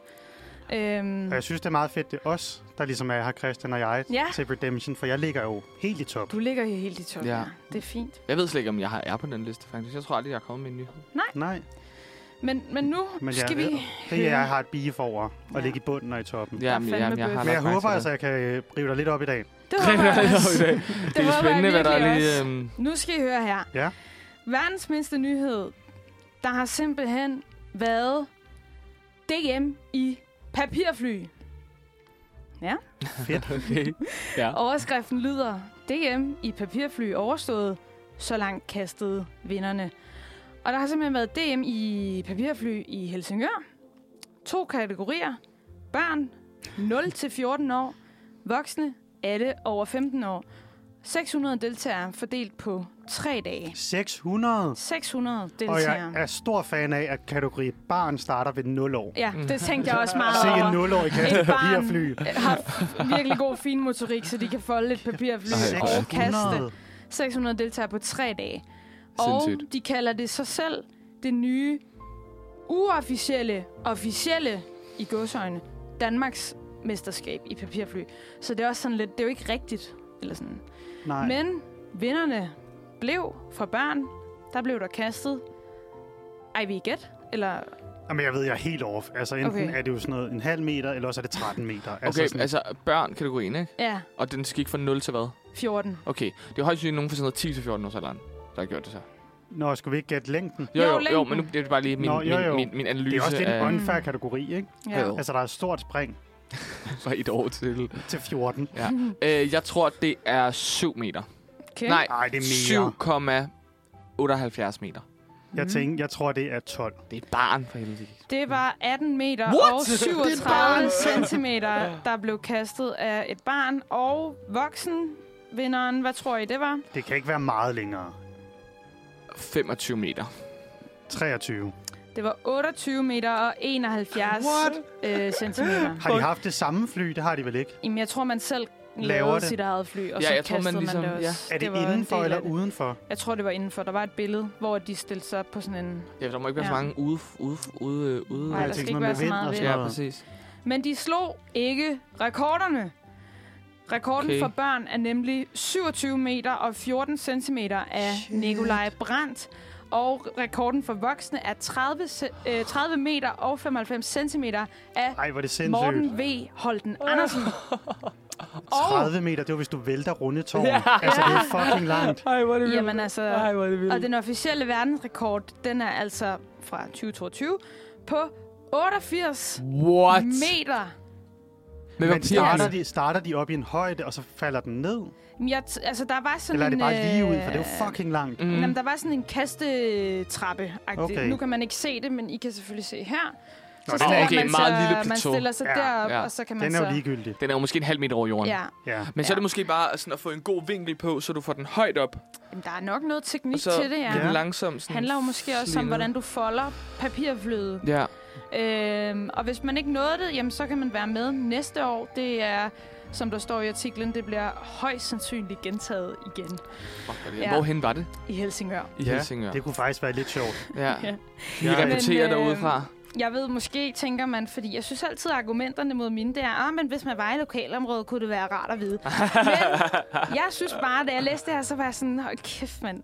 Øhm,
Og jeg synes, det er meget fedt, det er os, der ligesom er her, Christian og jeg,
Ja.
til Redemption, for jeg ligger jo helt i top.
Du ligger her helt i toppen.
Ja.
Ja. Det er fint.
Jeg ved slet ikke, om jeg har er på den liste, faktisk. Jeg tror aldrig, jeg er kommet med en nyhed.
Nej,
Men, men nu
men
men
jeg,
skal vi...
det er, jeg har et bige for over, at
Ja.
ligge i bunden og i toppen.
Ja,
fandme
jeg
bøf.
har
Men
nok
jeg håber
faktisk
altså, jeg kan øh, rive dig lidt op i dag.
Det
Det
håber jeg
i
også.
dag. Det er
håber jeg
spændende, hvad der er
virkelig
lige...
også.
øhm,
Nu skal I høre her.
Ja.
Verdens mindste nyhed. Der har simpelthen været DM i papirfly.
Fedt.
Okay. Ja.
Overskriften lyder, DM i papirfly overstået, så langt kastede vinderne. Og der har simpelthen været DM i papirfly i Helsingør. To kategorier. Børn 0-14 år, voksne alle over 15 år. 600 deltagere fordelt på tre dage.
600.
600
Og jeg
deltagere.
er stor fan af, at kategori barn starter ved 0 år.
Ja, det tænkte jeg også meget
Mm. Se
over.
en 0 år i
Et barn
papirfly.
har virkelig god finmotorik, så de kan folde et papirfly
Ej,
og kaste.
600.
600 deltagere på tre dage.
Sindssygt.
Og de kalder det sig selv det nye uofficielle, officielle i godsøjne, Danmarks mesterskab i papirfly. Så det er også sådan lidt, det er jo ikke rigtigt. Eller sådan.
Nej.
Men vinderne blev fra børn. Der blev der kastet. Ej, vi gæt? Eller
Jamen, jeg ved, jeg er helt off. Altså, enten
Okay.
okay. er det jo sådan noget en halv meter, eller også er det 13 meter.
Okay,
sådan,
altså børn-kategorien, ikke?
ja,
Og den skal ikke fra 0 til hvad?
14.
Okay, det er højst sandsynligt nogen fra sådan noget 10-14 års alderen, der har gjort det så.
Nå, skulle vi ikke gætte længden?
Jo,
Jo,
jo, jo,
længden.
men nu det er det bare lige min,
Nå, jo, jo.
min, min, min analyse
Det er også lidt
af...
en unfair kategori, ikke?
Ja.
Jo.
Altså, der er et stort spring.
Fra et år til.
til 14.
Ja. Øh, jeg tror, det er 7 meter.
Okay.
Nej,
Nej, det er mere.
7,78 meter. Mm.
Jeg tænker, jeg tror, det er 12.
Det er et barn for helvede.
Det var 18 meter
What?
og
Det er et
37
barn.
centimeter, der blev kastet af et barn. Og voksen vinderen, hvad tror I, det var?
Det kan ikke være meget længere.
25 meter.
23.
Det var 28 meter og 71
What?
øh, centimeter.
Har de haft det samme fly? Det har de vel ikke.
Jamen, jeg tror, man selv
Laver
lavede
det.
sit eget fly, og
Ja,
så
jeg tror, man
kastede man,
ligesom-
det
ja.
også.
Er det,
var en
det indenfor
del
eller
af det.
udenfor?
Jeg tror, det var indenfor. Der var et billede, hvor de stillede sig op på sådan en...
Ja, der må ikke være så
Ja.
mange ude... ude, ude, ude
Nej, der
tænkte
skal
sådan
ikke
noget
være
med
så
vind
meget
og
vind.
sådan
ja,
noget.
præcis.
Men de slog ikke rekorderne. Rekorden
Okay.
okay. for børn er nemlig 27 meter og 14 centimeter af
Shit.
Shit. Nikolaj Brandt. Og rekorden for voksne er 30, se- øh, 30 meter og 95 centimeter af
Ej, hvor er det sindssygt.
Morten V. Holten Andersen. Og,
30 meter, det var, hvis du vælter runde tårn.
Ja.
Ja. Altså, det er fucking langt.
Ej, hvor er
jamen altså,
hvor er det
og den officielle verdensrekord, den er altså fra 2022 på 88
What?
meter.
Med
Men starter
papirfly.
de, starter de op i en højde, og så falder den ned?
Jamen, Jeg t- altså, der var sådan
Eller er det bare
en,
lige ud? For det er
øh,
jo fucking langt.
Mm.
Mm. Jamen, der var sådan en kastetrappe okay.
Okay.
Nu kan man ikke se det, men I kan selvfølgelig se her.
Nå, den
Åh,
er,
stiller
okay,
ikke,
man
meget
sig,
lille
Man
plateau.
stiller sig
Ja.
derop,
Ja.
ja. og så kan man
den er
så...
jo ligegyldig.
Den er jo måske en halv meter over jorden.
Ja.
Ja.
Men så er det
Ja.
måske bare sådan at få en god vinkel på, så du får den højt op.
Jamen, der er nok noget teknik
Og så
så, til det, ja.
bliver
ja.
den langsomt sådan
handler jo måske også om,
slingret.
hvordan du folder papirfløde.
Ja.
Øhm, og hvis man ikke nåede det, jamen, så kan man være med næste år. Det er, som der står i artiklen, det bliver højst sandsynligt gentaget igen
Fuck, hvor er det-
Ja.
Hvorhen var det?
i Helsingør.
I
Ja,
Helsingør.
det kunne faktisk være lidt sjovt.
Ja.
Ja.
Vi
Ja, ja.
rapporterer
Men, øh,
derudefra.
Jeg ved, måske tænker man, fordi jeg synes altid, at argumenterne mod mine, det er, ah, men hvis man var i lokalområdet, kunne det være rart at vide. men jeg synes bare, da jeg læste det her, så var jeg sådan, hold kæft, mand.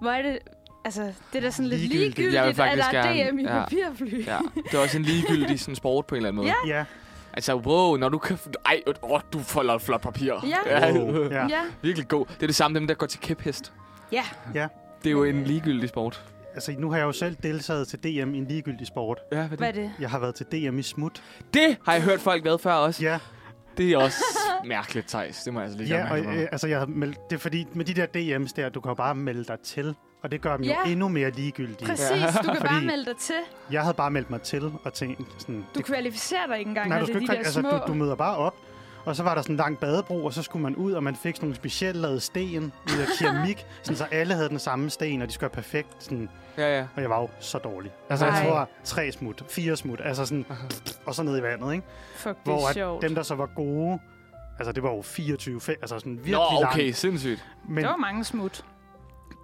Hvor er det, altså, det er da sådan lidt
Ligegyldigt.
ligegyldigt,
Jeg vil
at der
faktisk
er
gerne-
DM i
ja.
ja. papirfly.
Ja, det er også en ligegyldig sådan sport på en eller anden måde.
Ja.
Ja.
Altså, wow, når du kan... Ej, åh, du folder et flot papir.
Ja.
Wow. ja.
ja.
Virkelig god. Det er det samme dem, der går til kæphest.
Ja.
Ja.
Det er jo en ligegyldig sport.
Altså, nu har jeg jo selv deltaget til DM i en ligegyldig sport.
Ja,
Hvad er det?
Jeg har været til DM i smut.
Det har jeg hørt folk været før også.
Ja,
Det er også mærkeligt, Thijs. Det må jeg altså lige
ja og,
gøre
øh, altså, jeg har meldt, det er fordi, med de der DM's der, du kan jo bare melde dig til. Og det gør dem
Ja.
jo endnu mere ligegyldige.
Præcis, du kan bare
Fordi-
melde dig til.
Jeg havde bare meldt mig til og tænkt sådan...
Du kvalificerer dig ikke engang, når
du,
det er de
ikke, kval-
der
altså,
små.
du, du møder bare op, og så var der sådan en lang badebro, og så skulle man ud, og man fik sådan nogle specielt lavede sten ud af keramik, sådan, så alle havde den samme sten, og de skulle være perfekt. Sådan,
Ja, ja.
og jeg var jo så dårlig. Altså,
Ej.
jeg tror, tre smut, fire smut, altså sådan, og så ned i vandet, ikke?
Fuck, det
Hvor
er
at
sjovt.
dem, der så var gode, altså det var jo 24, fe- altså sådan virkelig
Nå, okay,
langt.
sindssygt.
Men,
Det var mange smut.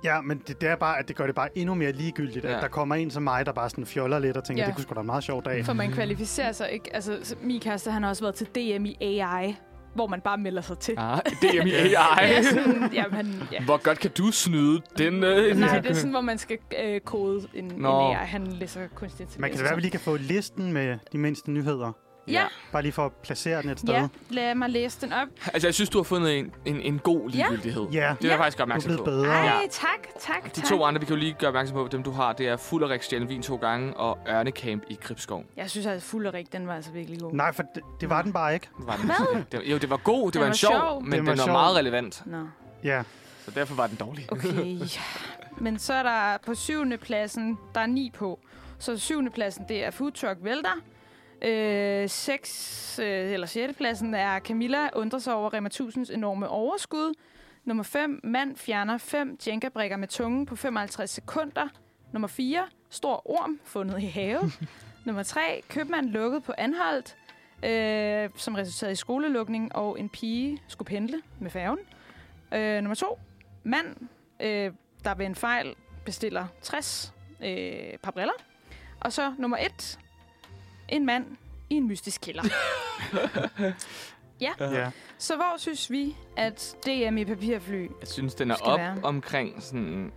ja, men det, det, er bare, at det gør det bare endnu mere ligegyldigt,
Ja.
at der kommer en som mig, der bare sådan fjoller lidt og tænker,
Ja.
det kunne sgu da være en meget sjov dag.
For man kvalificerer sig ikke. Altså, så min kæreste, han har også været til DM i AI, hvor man bare melder sig til.
Ah, DM i AI.
Ja, sådan, jamen, ja.
Hvor godt kan du snyde den? Øh?
Nej, det er sådan, hvor man skal øh, kode en, en
Nå.
AI. Han læser kunstig intelligens.
Man kan da i hvert fald lige kan få listen med de mindste nyheder.
Ja,
Bare lige for at placere den et sted.
ja, lad mig læse den op.
Altså, jeg synes, du har fundet en, en, en god ligegyldighed.
Ja,
Det er jeg
Ja.
faktisk godt
du er
opmærksom
blevet
på.
bedre.
Ej, tak, tak,
De
tak.
to andre, vi kan jo lige gøre opmærksom på, dem du har, det er Fullerik Stjernvin to gange og Ørnecamp i Gribskov.
Jeg synes altså, Fullerik, den var altså virkelig god.
Nej, for det, det var den bare ikke.
Var den. Hvad? Jo, det var god, det
Den
var en
var
sjov,
sjov.
men den
Den var
var,
sjov.
meget relevant.
Nå,
Ja,
Så derfor var den dårlig.
okay. ja. Men så er der på syvende pladsen, der er ni på. Så syvende pladsen, det er Food Truck Vælter. Øh, seks, øh, eller sjette pladsen er Camilla undrer sig over Rema 1000's enorme overskud. Nummer 5, mand fjerner fem jenkabrikker med tungen på 55 sekunder. Nummer 4, stor orm fundet i have. Nummer 3, købmand lukket på anholdt, øh, som resulterede i skolelukning, og en pige skulle pendle med færgen. Øh, nummer 2, mand, øh, der ved en fejl bestiller 60 øh, par briller. Og så nummer 1, en mand i en mystisk kælder.
Øh,
ja.
så hvor synes vi, at DM i papirfly
Jeg synes, den er
Skal
op
være.
omkring sådan...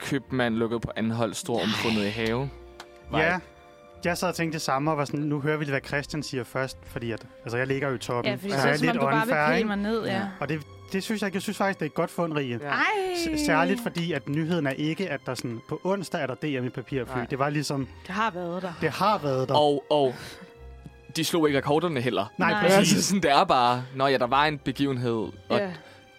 Købmand lukket på anhold, storm fundet i have. Var
Ja, jeg sad og tænkte det samme, og var sådan, nu hører vi, hvad Christian siger først, fordi at, altså, jeg ligger jo i toppen.
Ja, fordi
altså,
så er
jeg
det, som om du bare vil pille
ikke?
mig ned, ja.
Ja.
ja.
Og det, det synes jeg, ikke- jeg synes faktisk, det er et godt fund, Rie.
Ja.
Ej!
S- Særligt fordi, at nyheden er ikke, at der sådan, på onsdag er der DM i papirfly.
Nej.
Det var ligesom,
Det har været der.
det har været der.
Og, og de slog ikke rekorderne heller.
Nej,
Nej.
præcis.
Altså, sådan, det er bare, nå ja, der var en begivenhed, og
Ja.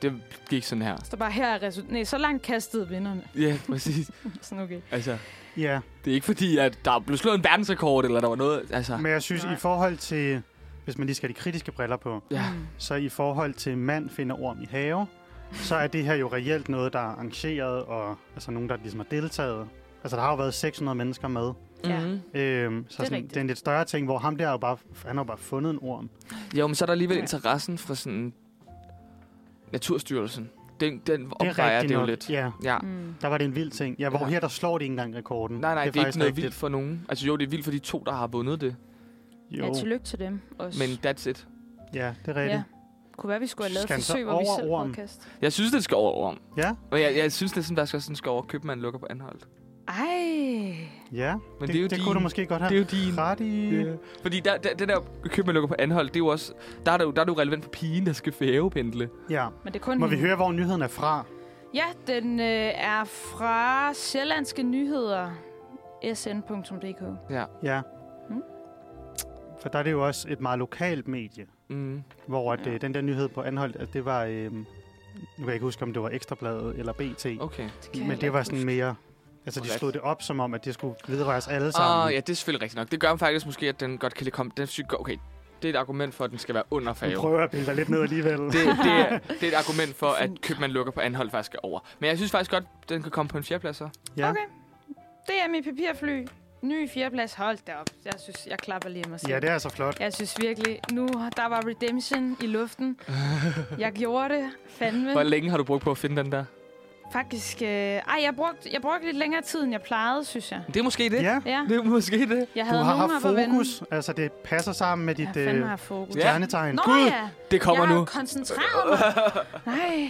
det gik sådan her.
Så bare her er resultat. Nej, så langt kastede vinderne.
Ja, præcis.
Sådan okay.
Altså,
Ja,
det er ikke fordi, at der blev slået en verdensrekord, eller der var noget, altså...
men jeg synes,
Nej.
i forhold til, hvis man lige skal have de kritiske briller på,
Ja,
Mm.
så i forhold til mand finder orm i have, så er det her jo reelt noget, der er arrangeret, og altså nogen, der ligesom har deltaget. Altså, der har jo været 600 mennesker med.
Ja.
Mhm.
Øhm, så
er
det sådan,
rigtigt.
det er en lidt større ting, hvor ham der er jo bare, han har jo bare fundet en orm.
Jo, men så er der alligevel
Ja.
interessen fra sådan... Naturstyrelsen. Den, den opvejer det,
rigtigt
jo
nok.
lidt.
Ja,
Ja.
Mm.
der var det en vild ting. Ja, hvor
Ja.
her der slår de ikke engang rekorden.
Nej, nej, det er, det er
faktisk
ikke noget vildt for nogen. Altså jo, det er vildt for de to, der har vundet det.
Jo,
Ja, tillykke til dem også.
Men that's it.
ja, det er rigtigt.
Kunne være, vi skulle have lavet
Skal den så
forsøg, hvor vi
over
selv
ormen?
prøvede at kaste.
Jeg synes, det skal over om.
Ja,
Og jeg, jeg synes, det er sådan, der skal, sådan skal over købmand lukker på anholdt.
Ej.
ja.
Men det, det er jo
det
din.
kunne du måske godt
Det er
have
jo din.
ret i.
Ja. Fordi der, der, den der købmand lukker på anholdt, det er jo også... Der er, det jo, der er det jo relevant for pigen, der skal færgependle.
Ja.
Men det er kun
Må vi
hende.
høre, hvor nyheden er fra?
Ja, den øh, er fra Sjællandske Nyheder. sn.dk.
Ja.
Mm.
For der er det jo også et meget lokalt medie,
Mm.
hvor at,
Ja.
ja. den der nyhed på Anholdt, at det var... Øh, nu kan jeg ikke huske, om det var Ekstrabladet eller BT, okay.
Okay.
Det kan jeg
men
heller
det var
ikke
sådan
huske.
mere... Altså, de
Korrekt.
slog det op som om, at det skulle vedrøre os alle sammen.
Åh, oh, ja, det er selvfølgelig rigtigt nok. Det gør faktisk måske, at den godt kan lige komme... Den synes, jeg- okay, det er et argument for, at den skal være under
Vi
færge.
prøver at pille dig lidt ned alligevel.
Det, det, er, det er et argument for, at
Fint.
købmand lukker på anhold faktisk er over. Men jeg synes faktisk godt, den kan komme på en fjerdeplads så.
ja.
Okay. DM i papirfly. Ny fjerdeplads. Hold da op. Jeg synes, jeg klapper lige af mig selv.
ja, det er altså flot.
Jeg synes virkelig, nu der var redemption i luften. Jeg gjorde det, fandme.
Hvor længe har du brugt på at finde den der?
Faktisk, øh, ej, jeg brugte, jeg brugte lidt længere tid, end jeg plejede, synes jeg.
Det er måske det.
Ja,
Ja,
Det er måske det.
jeg
du
havde
har
nogen
haft
op at vende.
fokus. Altså, det passer sammen med
Jeg
dit
fandme
øh,
har fokus.
Ja.
stjernetegn.
Nå
Gud,
ja,
Det kommer
jeg
nu.
har koncentreret mig. Nej.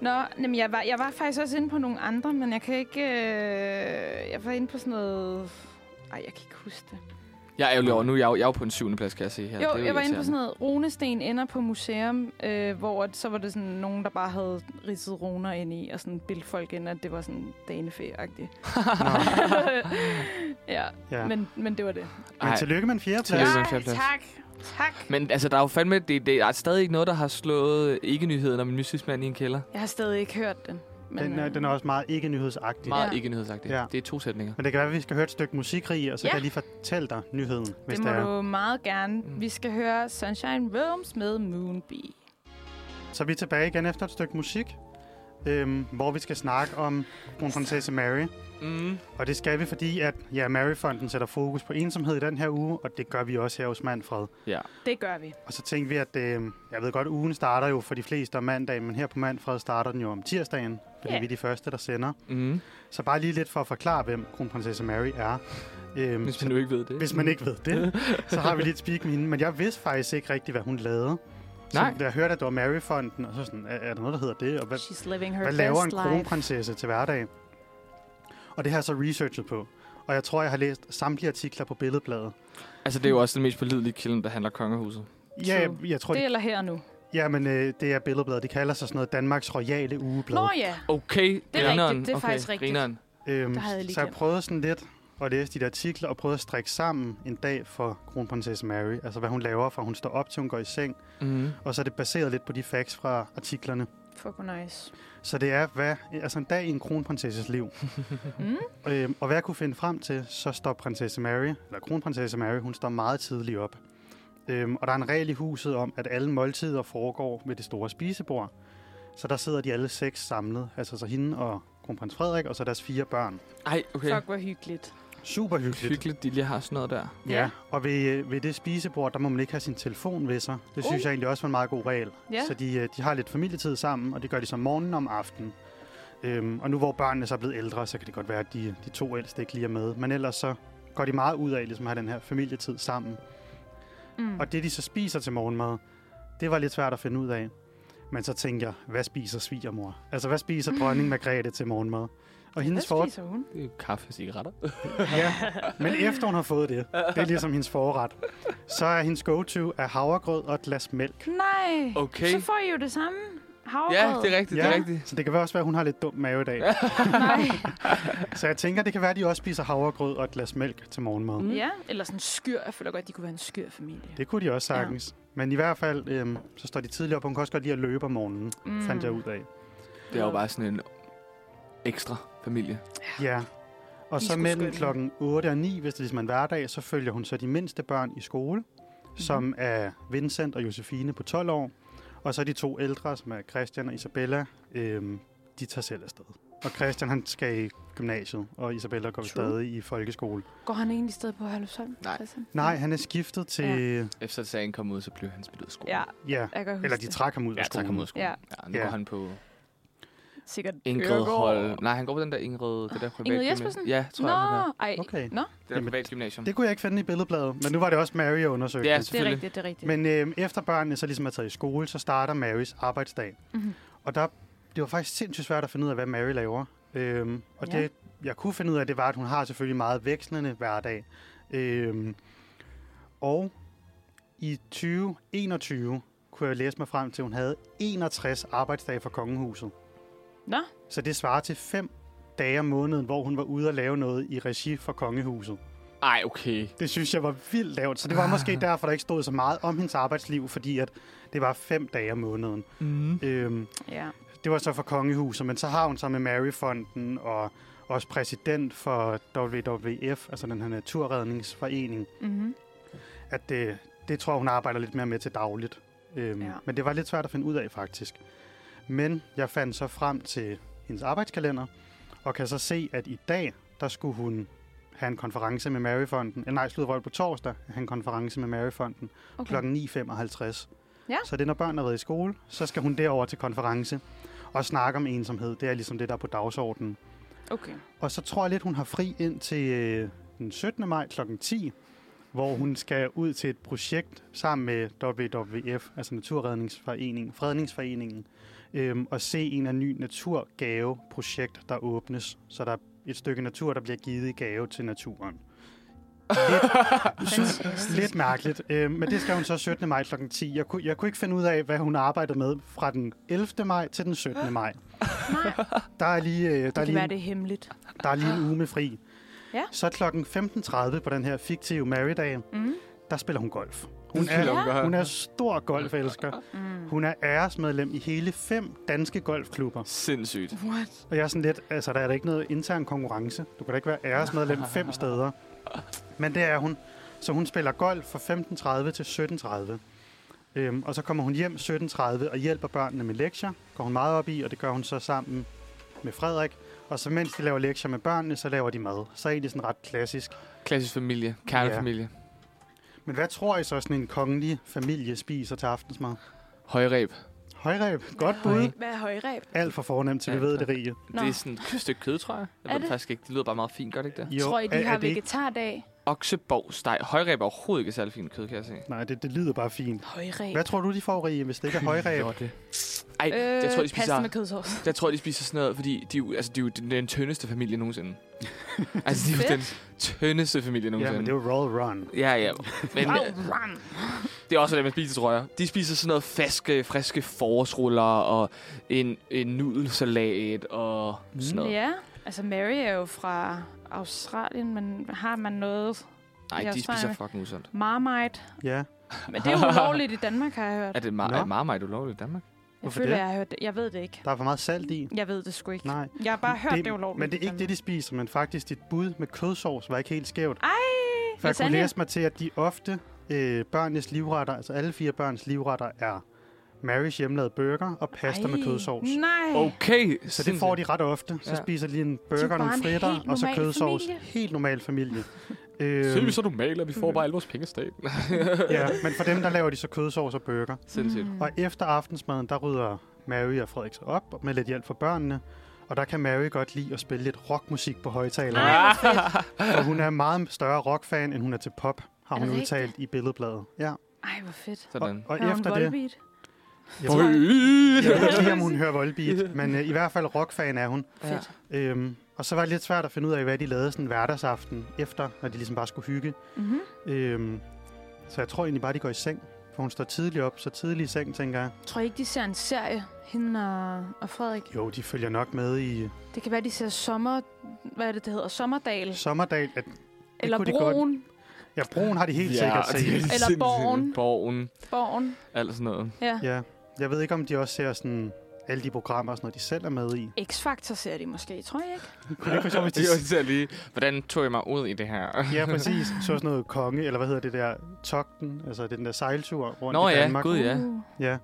Nå, jamen, jeg, var, jeg var faktisk også inde på nogle andre, men jeg kan ikke... Øh, jeg var inde på sådan noget... Ej, jeg kan ikke huske det.
Jeg er ærgerlig over, nu er jeg, jo, jeg er jo på en syvende plads, kan jeg se her.
Ja,
Det er
jo, jeg var inde på
irriterende.
sådan noget, runesten ender på museum, øh, hvor at, så var det sådan nogen, der bare havde ridset runer ind i, og sådan bildte folk ind, at det var sådan danefæ-agtigt. ja,
Ja.
ja.
Men,
Men, men det var det.
men
Ej.
tillykke med en fjerdeplads.
Tillykke. var en
Ej,
fjerdeplads.
tak. Tak.
Men altså, der er jo fandme, det, det er stadig ikke noget, der har slået øh, ikke-nyheden om en mystisk mand i en kælder.
Jeg har stadig ikke hørt den. Men,
Den, er,
øh,
den er også meget ikke-nyhedsagtig.
Meget
Ja.
ikke-nyhedsagtigt.
Ja.
Det er to sætninger.
Men det kan være, at vi skal høre et stykke musik i, og så
Ja.
ja. kan jeg lige fortælle dig nyheden, hvis
det må
er.
du meget gerne.
Mm.
Mm. Vi skal høre Sunshine Realms med Moonbee.
Så er vi tilbage igen efter et stykke musik, øhm, hvor vi skal snakke om kronprinsesse Mary.
Mm.
Og det skal vi, fordi at ja, Mary-fonden sætter fokus på ensomhed i den her uge, og det gør vi også her hos Manfred.
Ja.
Det gør vi.
Og så tænkte vi, at øh, jeg ved godt, ugen starter jo for de fleste om mandag, men her på Manfred starter den jo om tirsdagen, fordi
Ja.
vi er de første, der sender.
Mm.
Så bare lige lidt for at forklare, hvem kronprinsesse Mary er. Øhm,
Hvis
så-
man nu ikke ved det.
Hvis man ikke ved det, så har vi lidt speak med hende. Men jeg vidste faktisk ikke rigtigt, hvad hun lavede.
Nej.
Så da jeg hørte, at det var Mary-fonden, og så sådan, er, er der noget, der hedder det? Og hvad,
She's living her
hvad
best
laver en
life.
kronprinsesse til hverdag? Og det har jeg så researchet på. Og jeg tror, jeg har læst samtlige artikler på Billedbladet.
Altså, det er jo også den mest pålidelige kilde, der handler om kongehuset.
Ja, jeg,
True.
jeg tror,
Det
det...
eller her nu.
ja, men øh, det er Billedbladet. De kalder sig sådan noget Danmarks Royale Ugeblad.
Nå ja.
Okay, det
er
grineren.
rigtigt, det er
okay,
faktisk rigtigt.
Grineren.
Øhm,
Der havde jeg lige
så jeg
glemt.
prøvede sådan lidt at læse de der artikler og prøvede at strikke sammen en dag for kronprinsesse Mary. Altså hvad hun laver, fra hun står op til hun går i seng.
Mm.
Og så er det baseret lidt på de facts fra artiklerne.
Fuck, hvor nice.
Så det er hvad, altså en dag i en kronprinsesses liv.
Mm.
Øhm, og hvad jeg kunne finde frem til, så står prinsesse Mary, eller kronprinsesse Mary, hun står meget tidligt op. Øhm, og der er en regel i huset om, at alle måltider foregår ved det store spisebord. Så der sidder de alle seks samlet, altså så hende og kronprins Frederik, og så deres fire børn.
Ej, okay.
Fuck, hvor hyggeligt.
Super hyggeligt.
Hyggeligt, de lige har sådan noget der.
Ja, og ved, øh, ved det spisebord, der må man ikke have sin telefon ved sig. Det synes
Uh.
jeg egentlig også var en meget god regel.
Ja.
Så de, øh, de har lidt familietid sammen, og det gør de så om morgenen og om aftenen. Øhm, og nu hvor børnene så er blevet ældre, så kan det godt være, at de, de to ældste ikke lige er med. Men ellers så går de meget ud af ligesom, at have den her familietid sammen.
Mm.
Og det, de så spiser til morgenmad, det var lidt svært at finde ud af. Men så tænker jeg, hvad spiser svigermor? Altså, hvad spiser dronning Margrethe til morgenmad? Og hendes
Hvad
for...
spiser hun?
Det er jo kaffe og cigaretter.
Ja, men efter hun har fået det, det er ligesom hendes forret, så er hendes go-to af havregrød og et glas mælk.
Nej.
Okay.
Så får I jo det samme. havregrød.
Ja, det er rigtigt, det er
Ja.
rigtigt.
Så det kan vel også være, at hun har lidt dum mave i dag.
Nej.
Så jeg tænker, det kan være, at de også spiser havregrød og et glas mælk til morgenmad.
Mm.
Ja, eller sådan en skyr. Jeg føler godt, de kunne være en skyr familie.
Det kunne de også sagtens. Men i hvert fald, øhm, så står de tidligere op. Hun kan også godt lide at løbe om morgenen, mm. fandt jeg ud af.
Det er jo bare sådan en ekstra familie.
Ja. Og
De er
så
sgu
mellem
skønne.
klokken 8 og 9, hvis det ligesom er en hverdag, så følger hun så de mindste børn i skole, mm-hmm. som er Vincent og Josefine på 12 år. Og så de to ældre, som er Christian og Isabella, øhm, de tager selv afsted. Og Christian han skal i gymnasiet, og Isabella går
True.
stadig i folkeskole.
Går han egentlig sted på Herlufsholm?
Nej.
Christian?
Nej, han er skiftet til...
Efter sagen kom ud, så blev han smidt ud af skolen.
Ja,
Ja,
jeg kan godt huske
eller de
det.
trak ham ud
Ja,
af
tak,
skolen.
kom ud af skolen.
Ja.
ja nu
Ja.
går han på
Sikkert
Ingrid
Øregård.
Hold. Nej, han går på den der Ingrid, det der privat
Jespersen?
Ja, tror
Nå,
jeg, han er.
ej.
Okay.
Nå,
Det der
Jamen,
privat gymnasium.
Det kunne jeg ikke finde i billedbladet, men nu var det også Mary, jeg undersøgte.
Ja,
det er
Selvfølgelig.
rigtigt, det er rigtigt.
Men øh, efter børnene så ligesom er taget i skole, så starter Marys arbejdsdag.
Mhm.
Mm-hmm. Og der, det var faktisk sindssygt svært at finde ud af, hvad Mary laver. Øhm, og
Ja.
det, jeg kunne finde ud af, det var, at hun har selvfølgelig meget vekslende hverdag. Øhm, og i 2021 kunne jeg læse mig frem til, at hun havde 61 arbejdsdage for kongehuset.
Nå.
Så det svarer til fem dage om måneden, hvor hun var ude og lave noget i regi for kongehuset.
Ej, okay.
Det synes jeg var vildt lavt, så det var måske derfor, der ikke stod så meget om hendes arbejdsliv, fordi at det var fem dage om måneden.
Mm.
Øhm,
Ja.
det var så for kongehuset, men så har hun så med Maryfonden og også præsident for WWF, altså den her naturredningsforening,
Mm-hmm.
at det, det tror jeg, hun arbejder lidt mere med til dagligt. Øhm,
Ja.
ja. Men det var lidt svært at finde ud af, faktisk. Men jeg fandt så frem til hendes arbejdskalender, og kan så se, at i dag, der skulle hun have en konference med Maryfonden. Eller nej, slutvold på torsdag, have en konference med Maryfonden
Okay.
okay. kl. 9.55.
Ja.
Så det er, når børnene har været i skole, så skal hun derover til konference og snakke om ensomhed. Det er ligesom det, der er på dagsordenen.
Okay.
Og så tror jeg lidt, hun har fri ind til øh, den 17. maj kl. 10, hvor hun skal ud til et projekt sammen med WWF, altså Naturredningsforeningen, Fredningsforeningen, øhm, og se en af ny naturgaveprojekt, der åbnes. Så der er et stykke natur, der bliver givet i gave til naturen. Lidt, lidt mærkeligt, øhm, men det skal hun så 17. maj kl. 10. Jeg kunne, jeg kunne ikke finde ud af, hvad hun arbejdede med fra den 11. maj til den 17. maj.
Nej,
Der er lige, øh, der
det
er
kan
lige
være, det er hemmeligt.
der er lige en uge med fri.
Ja.
Så klokken 15.30 på den her fiktive Mary-dag,
Mm.
der spiller hun golf.
Hun
er-
er,
Hun er stor golfelsker.
Mm.
Hun er æresmedlem i hele fem danske golfklubber.
sindssygt.
What?
Og jeg er sådan lidt, altså der er da ikke noget intern konkurrence. Du kan da ikke være æresmedlem fem steder. Men det er hun. Så hun spiller golf fra 15.30 til 17.30. Øhm, og så kommer hun hjem 17.30 og hjælper børnene med lektier. Går hun meget op i, og det gør hun så sammen med Frederik. Og så mens de laver lektier med børnene, så laver de mad. Så er det egentlig sådan ret klassisk.
Klassisk familie. Kernefamilie. Ja.
Men hvad tror I så, sådan en kongelig familie spiser til aftensmad?
Højreb.
Højreb. Godt bud.
Hvad er højreb?
Alt for fornemt til, vi
Ja,
ved det
tak.
rige.
Nå.
Det er sådan et stykke kød, tror jeg. Jeg ved
Er
det
det?
faktisk ikke. Det lyder bare meget fint, gør det ikke det?
Tror I, de
er,
har
er det ikke-
vegetardag?
Okseborgsteg. Højreb er overhovedet ikke særlig fint kød, kan jeg se.
Nej, det, det lyder bare fint.
Højreb.
Hvad tror du, de får rige, hvis det ikke er højreb?
Lotte. Ej, øh, jeg tror, de spiser...
Pasta med kødsovs.
Jeg tror, de spiser sådan noget, fordi de, er jo- altså, de er jo den, den tyndeste familie nogensinde. altså, de er jo den tyndeste
Ja,
familie
men det
nogensinde.
er jo roll run.
Ja, ja. Men øh,
Run.
det er også det, man spiser, tror jeg. De spiser sådan noget friske, friske forårsruller og en, en nudelsalat og sådan noget.
Ja, altså Mary er jo fra Australien, men har man noget
Nej,
Ja,
de
så er
spiser
jeg-
fucking usundt.
marmite?
Ja.
Men det er jo ulovligt i Danmark, har jeg hørt.
Er det ma-
Nå.
er marmite ulovligt i Danmark?
Jeg
Hvorfor
føler,
det?
jeg har hørt det. Jeg ved det ikke.
Der er for meget salt i.
Jeg ved det sgu ikke.
Nej.
Jeg har bare hørt, det, det er ulovligt.
Men det er ikke det, de spiser, men faktisk dit bud med kødsovs var ikke helt skævt.
Ej,
For jeg kunne
lasagne?
læse mig til, at de ofte, øh, børnenes livretter, altså alle fire børns livretter, er Marys hjemlavede burger og pasta
Ej, Mm.
med kødsovs.
Nej.
Okay.
Så det får de ret ofte. Så
Ja.
ja. spiser de lige en
Det er
burger,
bare
nogle
en
fritter,
helt
og så
normal
kødsovs.
familie.
Helt normal familie. øhm,
Så er vi så normale, og vi får bare alle vores penge stat.
ja, men for dem, der laver de så kødsovs og burger.
Sindssygt.
Mm.
Og efter aftensmaden, der rydder Mary og Frederik sig op med lidt hjælp fra børnene. Og der kan Mary godt lide at spille lidt rockmusik på højtalerne.
Ej, hvor fedt.
Og hun er en meget større rockfan, end hun er til pop, har
Er
hun
det
udtalt i billedbladet. Ja.
Ej, hvor fedt.
Og,
Sådan.
og
Har hun
efter det...
Volbeat?
Jeg,
Bøj.
ved- jeg ved ikke lige, om hun hører Volbeat, men øh, i hvert fald rockfan er hun.
Ja.
Fedt.
Øhm, og så var det lidt svært at finde ud af, hvad de lavede sådan hverdagsaften efter, når de ligesom bare skulle hygge.
Mhm.
Øhm, så jeg tror egentlig bare, de går i seng. For hun står tidligt op, så tidlig i seng, tænker jeg.
Tror I ikke, de ser en serie, hende og, og Frederik?
Jo, de følger nok med i
Det kan være, de ser sommer... Hvad er det, det hedder? Sommerdal?
Sommerdal. At,
Eller
kunne de
Broen?
ja, broen har de helt sikkert
det er
set.
Eller
sindssygt.
Borgen.
Borgen,
Borgen?
alt sådan noget.
Ja.
Ja. Jeg ved ikke, om de også ser sådan alle de programmer og sådan noget, de selv er med i.
X-Factor ser de måske, tror jeg ikke?
Kunne det ikke for så, hvis de...
Det var især lige, hvordan tog jeg mig ud i det her?
Ja, præcis. Så sådan noget konge, eller hvad hedder det der, togten, altså det er den der sejltur rundt
Nå
i
ja,
Danmark.
gud ja.
Uh,
Ja.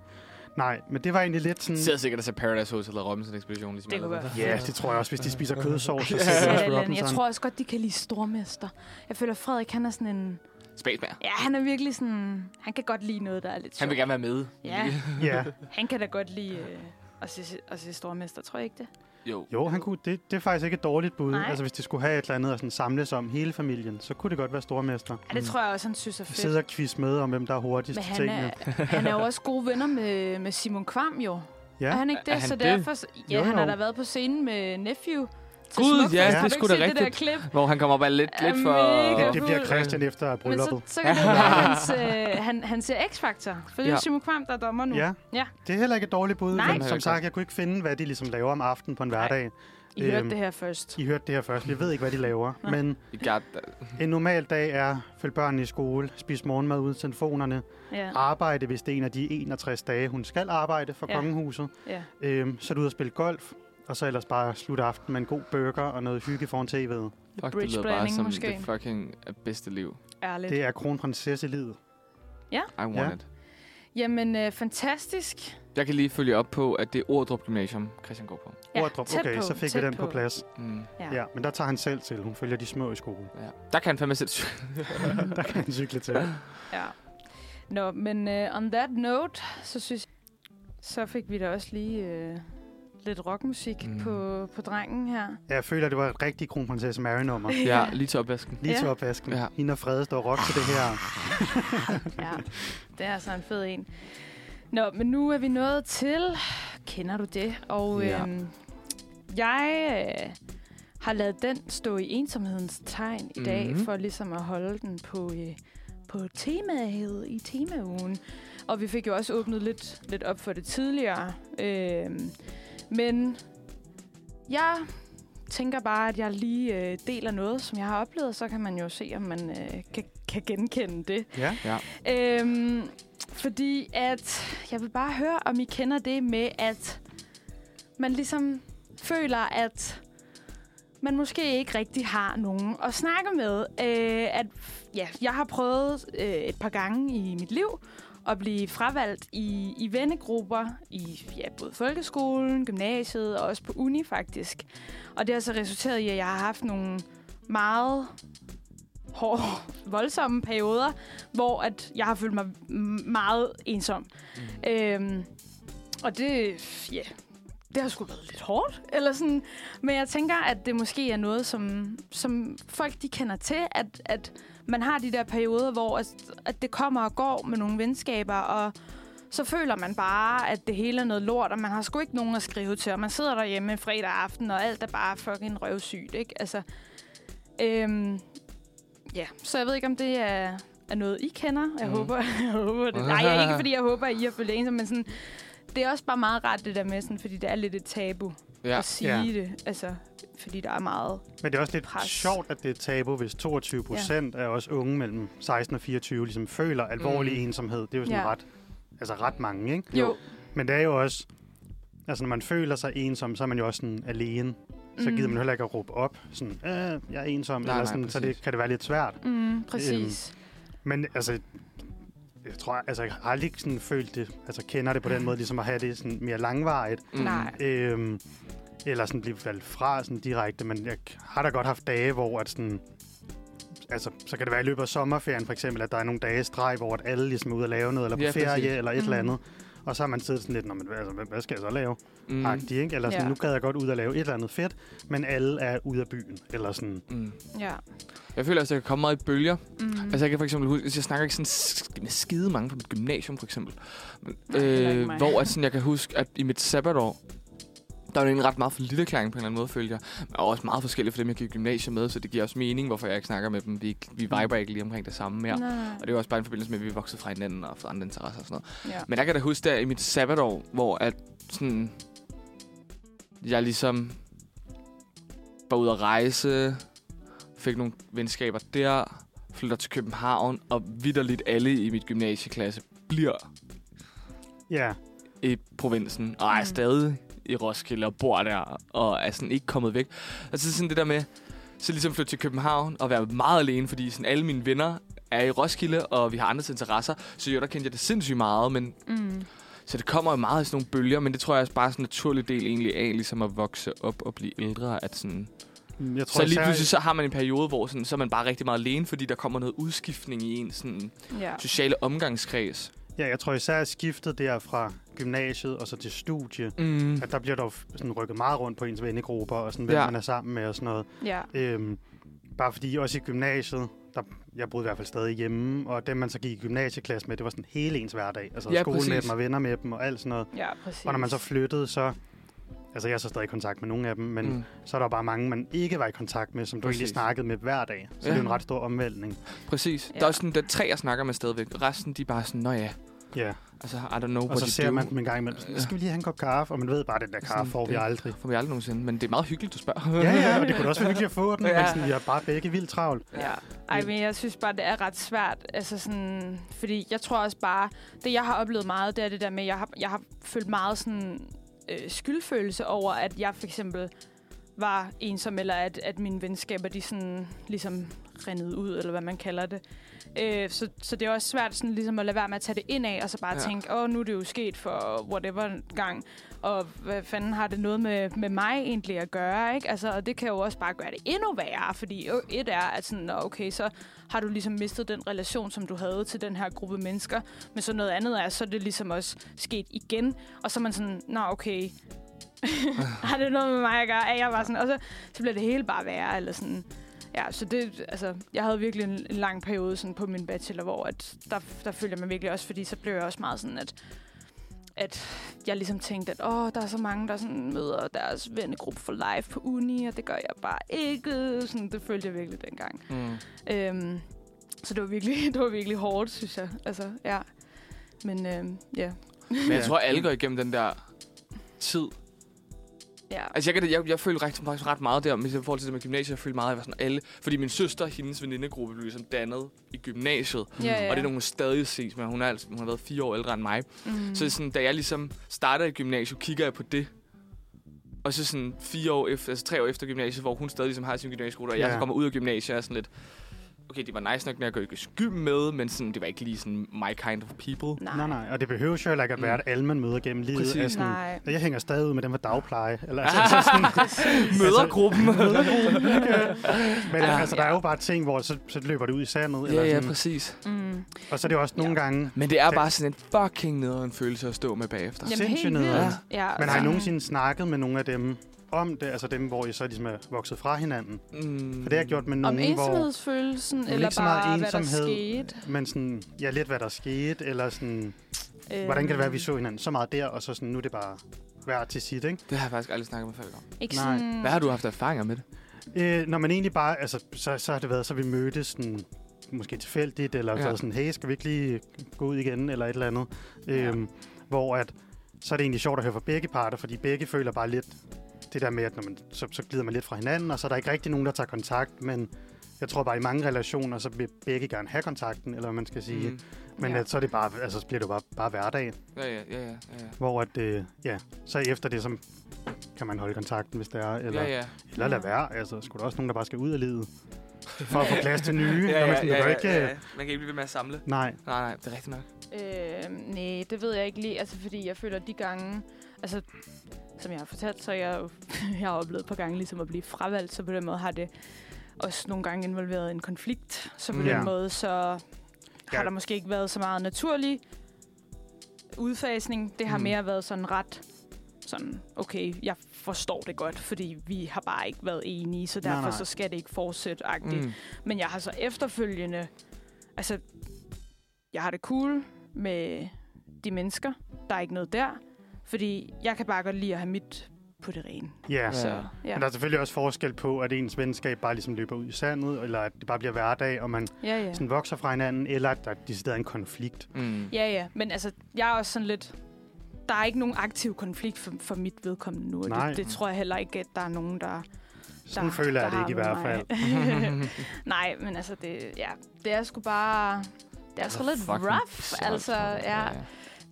Nej, men det var egentlig lidt sådan...
Sidder sikkert og ser Paradise Hotel og Robinson Expedition. Ligesom
Det kunne
alle
være
Ja, det tror jeg også, hvis de spiser kødsovs. Så
ja,
sidder de også på
jeg
Robinson.
tror også godt, de kan lide stormester. Jeg føler, Frederik, han er sådan en...
andre. Spacebær.
Ja, han er virkelig sådan... Han kan godt lide noget, der er lidt
Han vil
sjovt.
gerne være med.
Ja,
Ja.
han kan da godt lide øh, at, se, at se stormester, tror jeg ikke det?
Jo.
Jo, han kunne, det, det er faktisk ikke et dårligt bud.
Nej.
Altså, hvis de skulle have et eller andet at sådan samles om hele familien, så kunne det godt være stormester.
Ja, det tror Mm. jeg også, han synes er
Vi
fedt.
sidder og quiz med om, hvem der er hurtigst
Men
til
han
tingene.
er, han er jo også gode venner med, med Simon Kvam, jo. Ja. Er
Ja,
han ikke det?
Er han
så
det?
derfor... Ja,
Jo,
han har
jo.
da været på scenen med Nephew. til
Gud,
Smukfest.
det
ja,
Har du
er
ikke
sgu da
set det der
rigtigt.
klip?
Hvor han kommer bare lidt,
Er
lidt for...
mega
det, det bliver Christian efter
Men så,
brylluppet.
så kan det være, hans, øh, han, han ser X-Factor. For det er
Ja.
jo Simon Kvam, der er dommer nu.
Ja.
Ja.
Det er heller ikke et dårligt bud,
Nej.
men som sagt, jeg kunne ikke finde, hvad de ligesom laver om aftenen på en
Nej.
hverdag.
I hørte
Øhm,
det her først.
I hørte det her først. Vi ved ikke, hvad de laver.
Nej.
Men
I got that.
en normal dag er, følge børnene i skole, spise morgenmad uden telefonerne,
Ja.
Ah.
arbejde, hvis det er en af de 61 dage, hun skal arbejde for
Ja.
ja. kongehuset.
ja.
Øhm, så er du ud og spille golf, og så ellers bare slutte aften med en god burger og noget hygge foran tv'et.
Fuck, det
bridge
lyder bare
blanding
som
måske.
det fucking bedste liv.
Ærligt.
Det er kronprinsesselivet.
I want
Ja.
it.
Jamen, øh, fantastisk.
Jeg kan lige følge op på, at det er Ordrup Gymnasium, Christian går på.
Ja,
Ordrup.
tæt
okay,
på,
så fik vi
tæt
den på,
på.
plads.
Mm.
Ja.
Ja. ja, men der tager han selv til. Hun følger de små i skole.
Ja. Der kan han fandme selv sy-
Der kan han cykle til.
ja. Nå, men øh, on that note, så synes så fik vi da også lige øh, lidt rockmusik
Mm.
mm. på, på drengen her.
Ja, jeg føler, det var et rigtigt kronprinsesse Mary-nummer.
Ja, lige til opvasken.
Lige til
Ja.
opvasken.
Ja.
Ja. Hende og Frede står og rock til det her.
Ja, det er altså en fed en. Nå, men nu er vi nået til... Kender du det? Og
Ja.
ja. øhm, jeg øh, har lavet den stå i ensomhedens tegn i dag,
Mhm.
for ligesom at holde den på, øh, på temaet i temaugen. Og vi fik jo også åbnet lidt, lidt op for det tidligere. Øhm, men jeg tænker bare, at jeg lige øh, deler noget, som jeg har oplevet, og så kan man jo se, om man øh, kan, kan genkende det.
Ja.
Øhm, fordi at, jeg vil bare høre, om I kender det med, at man ligesom føler, at man måske ikke rigtig har nogen at snakke med. Øh, at, ja, jeg har prøvet øh, et par gange i mit liv at blive fravalgt i, i vennegrupper i ja, både folkeskolen, gymnasiet og også på uni faktisk. Og det har så resulteret i, at jeg har haft nogle meget hårde, voldsomme perioder, hvor at jeg har følt mig m- meget ensom. Mm. Øhm, og det, ja, det har sgu været lidt hårdt, eller sådan. Men jeg tænker, at det måske er noget, som, som folk de kender til, at, at man har de der perioder, hvor at, at det kommer og går med nogle venskaber, og så føler man bare, at det hele er noget lort, og man har sgu ikke nogen at skrive til, og man sidder derhjemme fredag aften, og alt er bare fucking røvsygt, ikke? Altså, øhm, ja, så jeg ved ikke, om det er, er noget, I kender. Jeg
Mhm.
mm. håber, jeg håber det. Nej, jeg er ikke fordi jeg håber, at I har følt ensom, men sådan, det er også bare meget rart det der med, sådan, fordi det er lidt et tabu ja.
Ja.
at sige
Ja.
ja. det. Altså, fordi der er meget.
Men det er også lidt
Pres.
Pres. sjovt, at det er et tabu, hvis 22 procent ja. af os unge mellem 16 og 24 ligesom føler alvorlig
Mm.
mm. ensomhed. Det er jo sådan
Ja.
ja. ret, altså ret mange, ikke?
Jo.
Men det er jo også, altså når man føler sig ensom, så er man jo også sådan alene. Så
Mm.
gider man heller ikke at råbe op, sådan, øh, jeg er ensom,
Nej,
nej, eller
nej,
sådan, nej, så
præcis.
det kan det være lidt svært.
Mm, præcis. Øhm.
Men altså, jeg tror, altså, jeg har aldrig ikke sådan følt det, altså kender det på den måde, ligesom at have det sådan mere langvarigt.
Mm.
Nej.
Øhm, eller sådan blive valgt fra sådan direkte, men jeg har da godt haft dage, hvor at sådan, altså, så kan det være i løbet af sommerferien for eksempel, at der er nogle dage i streg, hvor at alle ligesom er ude at lave noget, eller på
Ja,
ja, ferie,
præcis.
eller et mm. eller
Mhm.
andet. Og så har man siddet sådan lidt, "Nå, men, hvad- altså, hvad, hvad skal jeg så lave?
Mm.
Mm. Agtig, ikke? Eller sådan,
Ja.
ja. nu gad jeg godt ud og lave et eller andet fedt, men alle er ude af byen. Eller sådan,
Mm.
Ja.
Jeg føler også, at jeg kan komme meget i bølger.
Mm.
Altså, jeg kan for eksempel huske, jeg snakker ikke sådan sk- med skide mange på mit gymnasium, for eksempel. Men,
heller ikke
Øh,
mig.
hvor at sådan, jeg kan huske, at i mit sabbatår, Der er jo en ret meget for lille klang på en eller anden måde, følger jeg. Men også meget forskelligt for dem, jeg gik i gymnasiet med, så det giver også mening, hvorfor jeg ikke snakker med dem. Vi, ikke- vi viber ikke lige omkring det samme mere.
Mm. Nej.
Og det er jo også bare en forbindelse med, at vi er vokset fra hinanden og fra andre interesser og sådan noget.
Ja.
Men jeg kan da huske der i mit sabbatår, hvor at sådan, jeg ligesom var ude at rejse, fik nogle venskaber der, flytter til København, og vidderligt alle i mit gymnasieklasse bliver
Ja,
i provinsen, og er
Mm.
stadig i Roskilde og bor der, og er sådan ikke kommet væk. Altså sådan det der med, så ligesom flytte til København og være meget alene, fordi sådan alle mine venner er i Roskilde, og vi har andres interesser. Så jo, der kendte jeg det sindssygt meget, men
Mm.
så det kommer jo meget af sådan nogle bølger, men det tror jeg også bare er sådan en naturlig del egentlig af, ligesom at vokse op og blive ældre. At sådan.
jeg tror
Så Mm, lige
især-
pludselig så har man en periode, hvor sådan, så er man bare rigtig meget alene, fordi der kommer noget udskiftning i en sådan,
Ja.
sociale omgangskreds.
Ja, jeg tror især at skiftet der fra gymnasiet og så til studie,
Mm.
at der bliver dog sådan rykket meget rundt på ens vennegrupper og sådan, hvem
Ja.
man er sammen med og sådan noget.
ja.
Øhm, bare fordi også i gymnasiet, der, jeg boede i hvert fald stadig hjemme, og dem man så gik i gymnasieklasse med, det var sådan hele ens hverdag. Altså
Ja,
ja, skole med
præcis.
dem og venner med dem og alt sådan noget.
Ja, præcis.
Og når man så flyttede, så... Altså, jeg er så stadig i kontakt med nogle af dem, men mm.
Mm.
så er der jo bare mange, man ikke var i kontakt med, som du egentlig
Præcis.
snakkede med hver dag. Så ja.
Ja.
det er jo en ret stor omvæltning.
Præcis. Ja.
Ja.
Der er sådan der er tre, jeg snakker med stadigvæk. Resten, de er bare sådan, nå ja,
Ja,
altså, I don't know
og
what
så
you
ser
do.
man dem en gang imellem. Sådan, Skal vi lige have en kop kaffe? Og man ved bare, at den der
Sådan,
kaffe får vi
det-
aldrig.
Får vi aldrig nogensinde, men det er meget hyggeligt, du spørger.
Ja, ja, og det kunne da også være hyggeligt at få den,
Ja.
men sådan, vi har bare begge vildt travlt.
Ja. Ej, men jeg synes bare, det er ret svært. Altså sådan, fordi jeg tror også bare, det jeg har oplevet meget, det er det der med, jeg har, jeg har følt meget sådan, øh, skyldfølelse over, at jeg for eksempel var ensom, eller at, at mine venskaber, de sådan ligesom rendede ud, eller hvad man kalder det. Øh, så, så det er også svært sådan ligesom at lade være med at tage det ind af, og så bare
Ja.
ja. tænke, åh, nu er det jo sket for whatever gang, og hvad fanden har det noget med, med mig egentlig at gøre, ikke? Altså, og det kan jo også bare gøre det endnu værre, fordi jo, et er, at sådan, nå, okay, så har du ligesom mistet den relation, som du havde til den her gruppe mennesker, men så noget andet er, så er det ligesom også sket igen, og så er man sådan, nå, okay, har det noget med mig at gøre? Er jeg bare sådan, og så, så bliver det hele bare værre, eller sådan. Ja, så det, altså, jeg havde virkelig en, en lang periode sådan på min bachelor, hvor at der, der følte jeg mig virkelig også, fordi så blev jeg også meget sådan, at, at jeg ligesom tænkte, at åh, der er så mange, der sådan møder deres vennegruppe for live på uni, og det gør jeg bare ikke. Sådan, det følte jeg virkelig dengang.
Mm.
Øhm, så det var, virkelig, det var virkelig hårdt, synes jeg. Altså, ja. Men øhm, ja,
Men jeg
Ja.
tror, alle går igennem den der tid.
ja.
Altså, jeg, kan, jeg, jeg følte rigtig, faktisk ret meget der, men i forhold til det med gymnasiet, jeg følte meget, at jeg var sådan alle. Fordi min søster, hendes venindegruppe, blev ligesom dannet i gymnasiet.
ja, ja.
Og det er nogen, hun stadig ses med. Hun, er, altså- hun har været fire år ældre end mig.
Mm.
Så sådan, da jeg ligesom starter i gymnasiet, kigger jeg på det. Og så sådan fire år efter, altså tre år efter gymnasiet, hvor hun stadig ligesom har sin gymnasieskole, og jeg
Ja.
så kommer ud af gymnasiet og er sådan lidt, okay, det var nice nok, når jeg går i gym med, men sådan, det var ikke lige sådan my kind of people.
Nej, nej, og det behøver jo heller ikke at være, at alle man møder gennem livet.
Mm. Præcis.
Er sådan,
Nej.
Jeg hænger stadig ud med dem fra dagpleje. Eller, altså, altså, sådan,
Mødergruppen.
men
Ja.
altså, der er jo bare ting, hvor så, så løber det ud i sandet. Eller
ja, ja,
sådan,
præcis.
Mm.
og så er det jo også nogle
Ja.
gange...
Men det er
Det-
bare sådan en fucking nederen følelse at stå med bagefter.
Ja.
Jamen, helt
sindssygt
vildt.
nederen.
Ja, altså-
Men har I
Altså-
sådan-
nogensinde snakket med nogle af dem om det? Altså dem, hvor I så ligesom er vokset fra hinanden?
Mm.
For det har jeg gjort med
Om
nogen, hvor...
ensomhedsfølelsen,
Men
eller
ikke så meget
bare, hvad der
ensomhed.
skete?
Men sådan, ja, lidt hvad der skete, eller sådan... Hvordan kan det være,
Øh.
at vi så hinanden så meget der, og så sådan, nu er det bare hver til sit, ikke?
Det har jeg faktisk aldrig snakket med folk om.
Øhm, Ikke
Nej.
sådan...
Hvad har du haft erfaringer med det?
Øh, når man egentlig bare, altså, så, så har det været, så vi mødtes sådan, måske tilfældigt, eller
Ja.
ja. sådan, hey, skal vi ikke lige gå ud igen, eller et eller andet.
Ja.
Øhm, Hvor at, så er det egentlig sjovt at høre fra begge parter, fordi begge føler bare lidt det der med, at når man, så, så glider man lidt fra hinanden, og så er der ikke rigtig nogen, der tager kontakt, men jeg tror bare, i mange relationer, så vil begge gerne have kontakten, eller hvad man skal sige. Mm. Men
Ja.
at, så, er det bare, altså, så bliver det jo bare, bare hverdag,
Mm. Ja, ja, ja, ja, ja, ja.
hvor at, øh, ja, så efter det, så kan man holde kontakten, hvis det er, eller
ja, ja.
eller lad
Ja.
være. Altså, skulle der også nogen, der bare skal ud af livet? For at få plads til nye?
ja,
Når man
ja,
sådan,
ja,
det var
ja,
ikke,
ja,
øh,
ja. Man kan ikke blive ved med at samle.
Nej,
Nej, nej, det er rigtigt nok.
Øh, nej, det ved jeg ikke lige. Altså, fordi jeg føler, de gange... Altså, som jeg har fortalt, så er jeg, jo- jeg har oplevet et par gange ligesom at blive fravalgt, så på den måde har det også nogle gange involveret en konflikt. Så på
Mm.
den
Ja.
måde, så
Ja.
har der måske ikke været så meget naturlig udfasning. Det har
Mm.
mere været sådan ret sådan, okay, jeg forstår det godt, fordi vi har bare ikke været enige, så
Nej,
derfor
nej.
så skal det ikke fortsætte-agtigt.
Mm.
Men jeg har så efterfølgende... Altså, jeg har det cool med de mennesker. Der er ikke noget der. Fordi jeg kan bare godt lide at have mit på det rene.
Ja,
Altså,
ja.
ja.
Ja,
Men der er selvfølgelig også forskel på, at ens venskab bare ligesom løber ud i sandet, eller at det bare bliver hverdag, og man
ja, ja.
sådan vokser fra hinanden, eller at der er decideret en konflikt.
Mm.
Ja, ja. Men altså, jeg er også sådan lidt... Der er ikke nogen aktiv konflikt for, for mit vedkommende nu. og
Nej.
Det, det tror jeg heller ikke, at der er nogen, der...
Sådan
der,
føler jeg
der
det ikke i hvert
har med
fald.
mig. Nej, men altså, det, ja, det er sgu bare... Det er
Altså,
sgu lidt
Fucking
rough,
sejt,
altså,
tror jeg.
ja,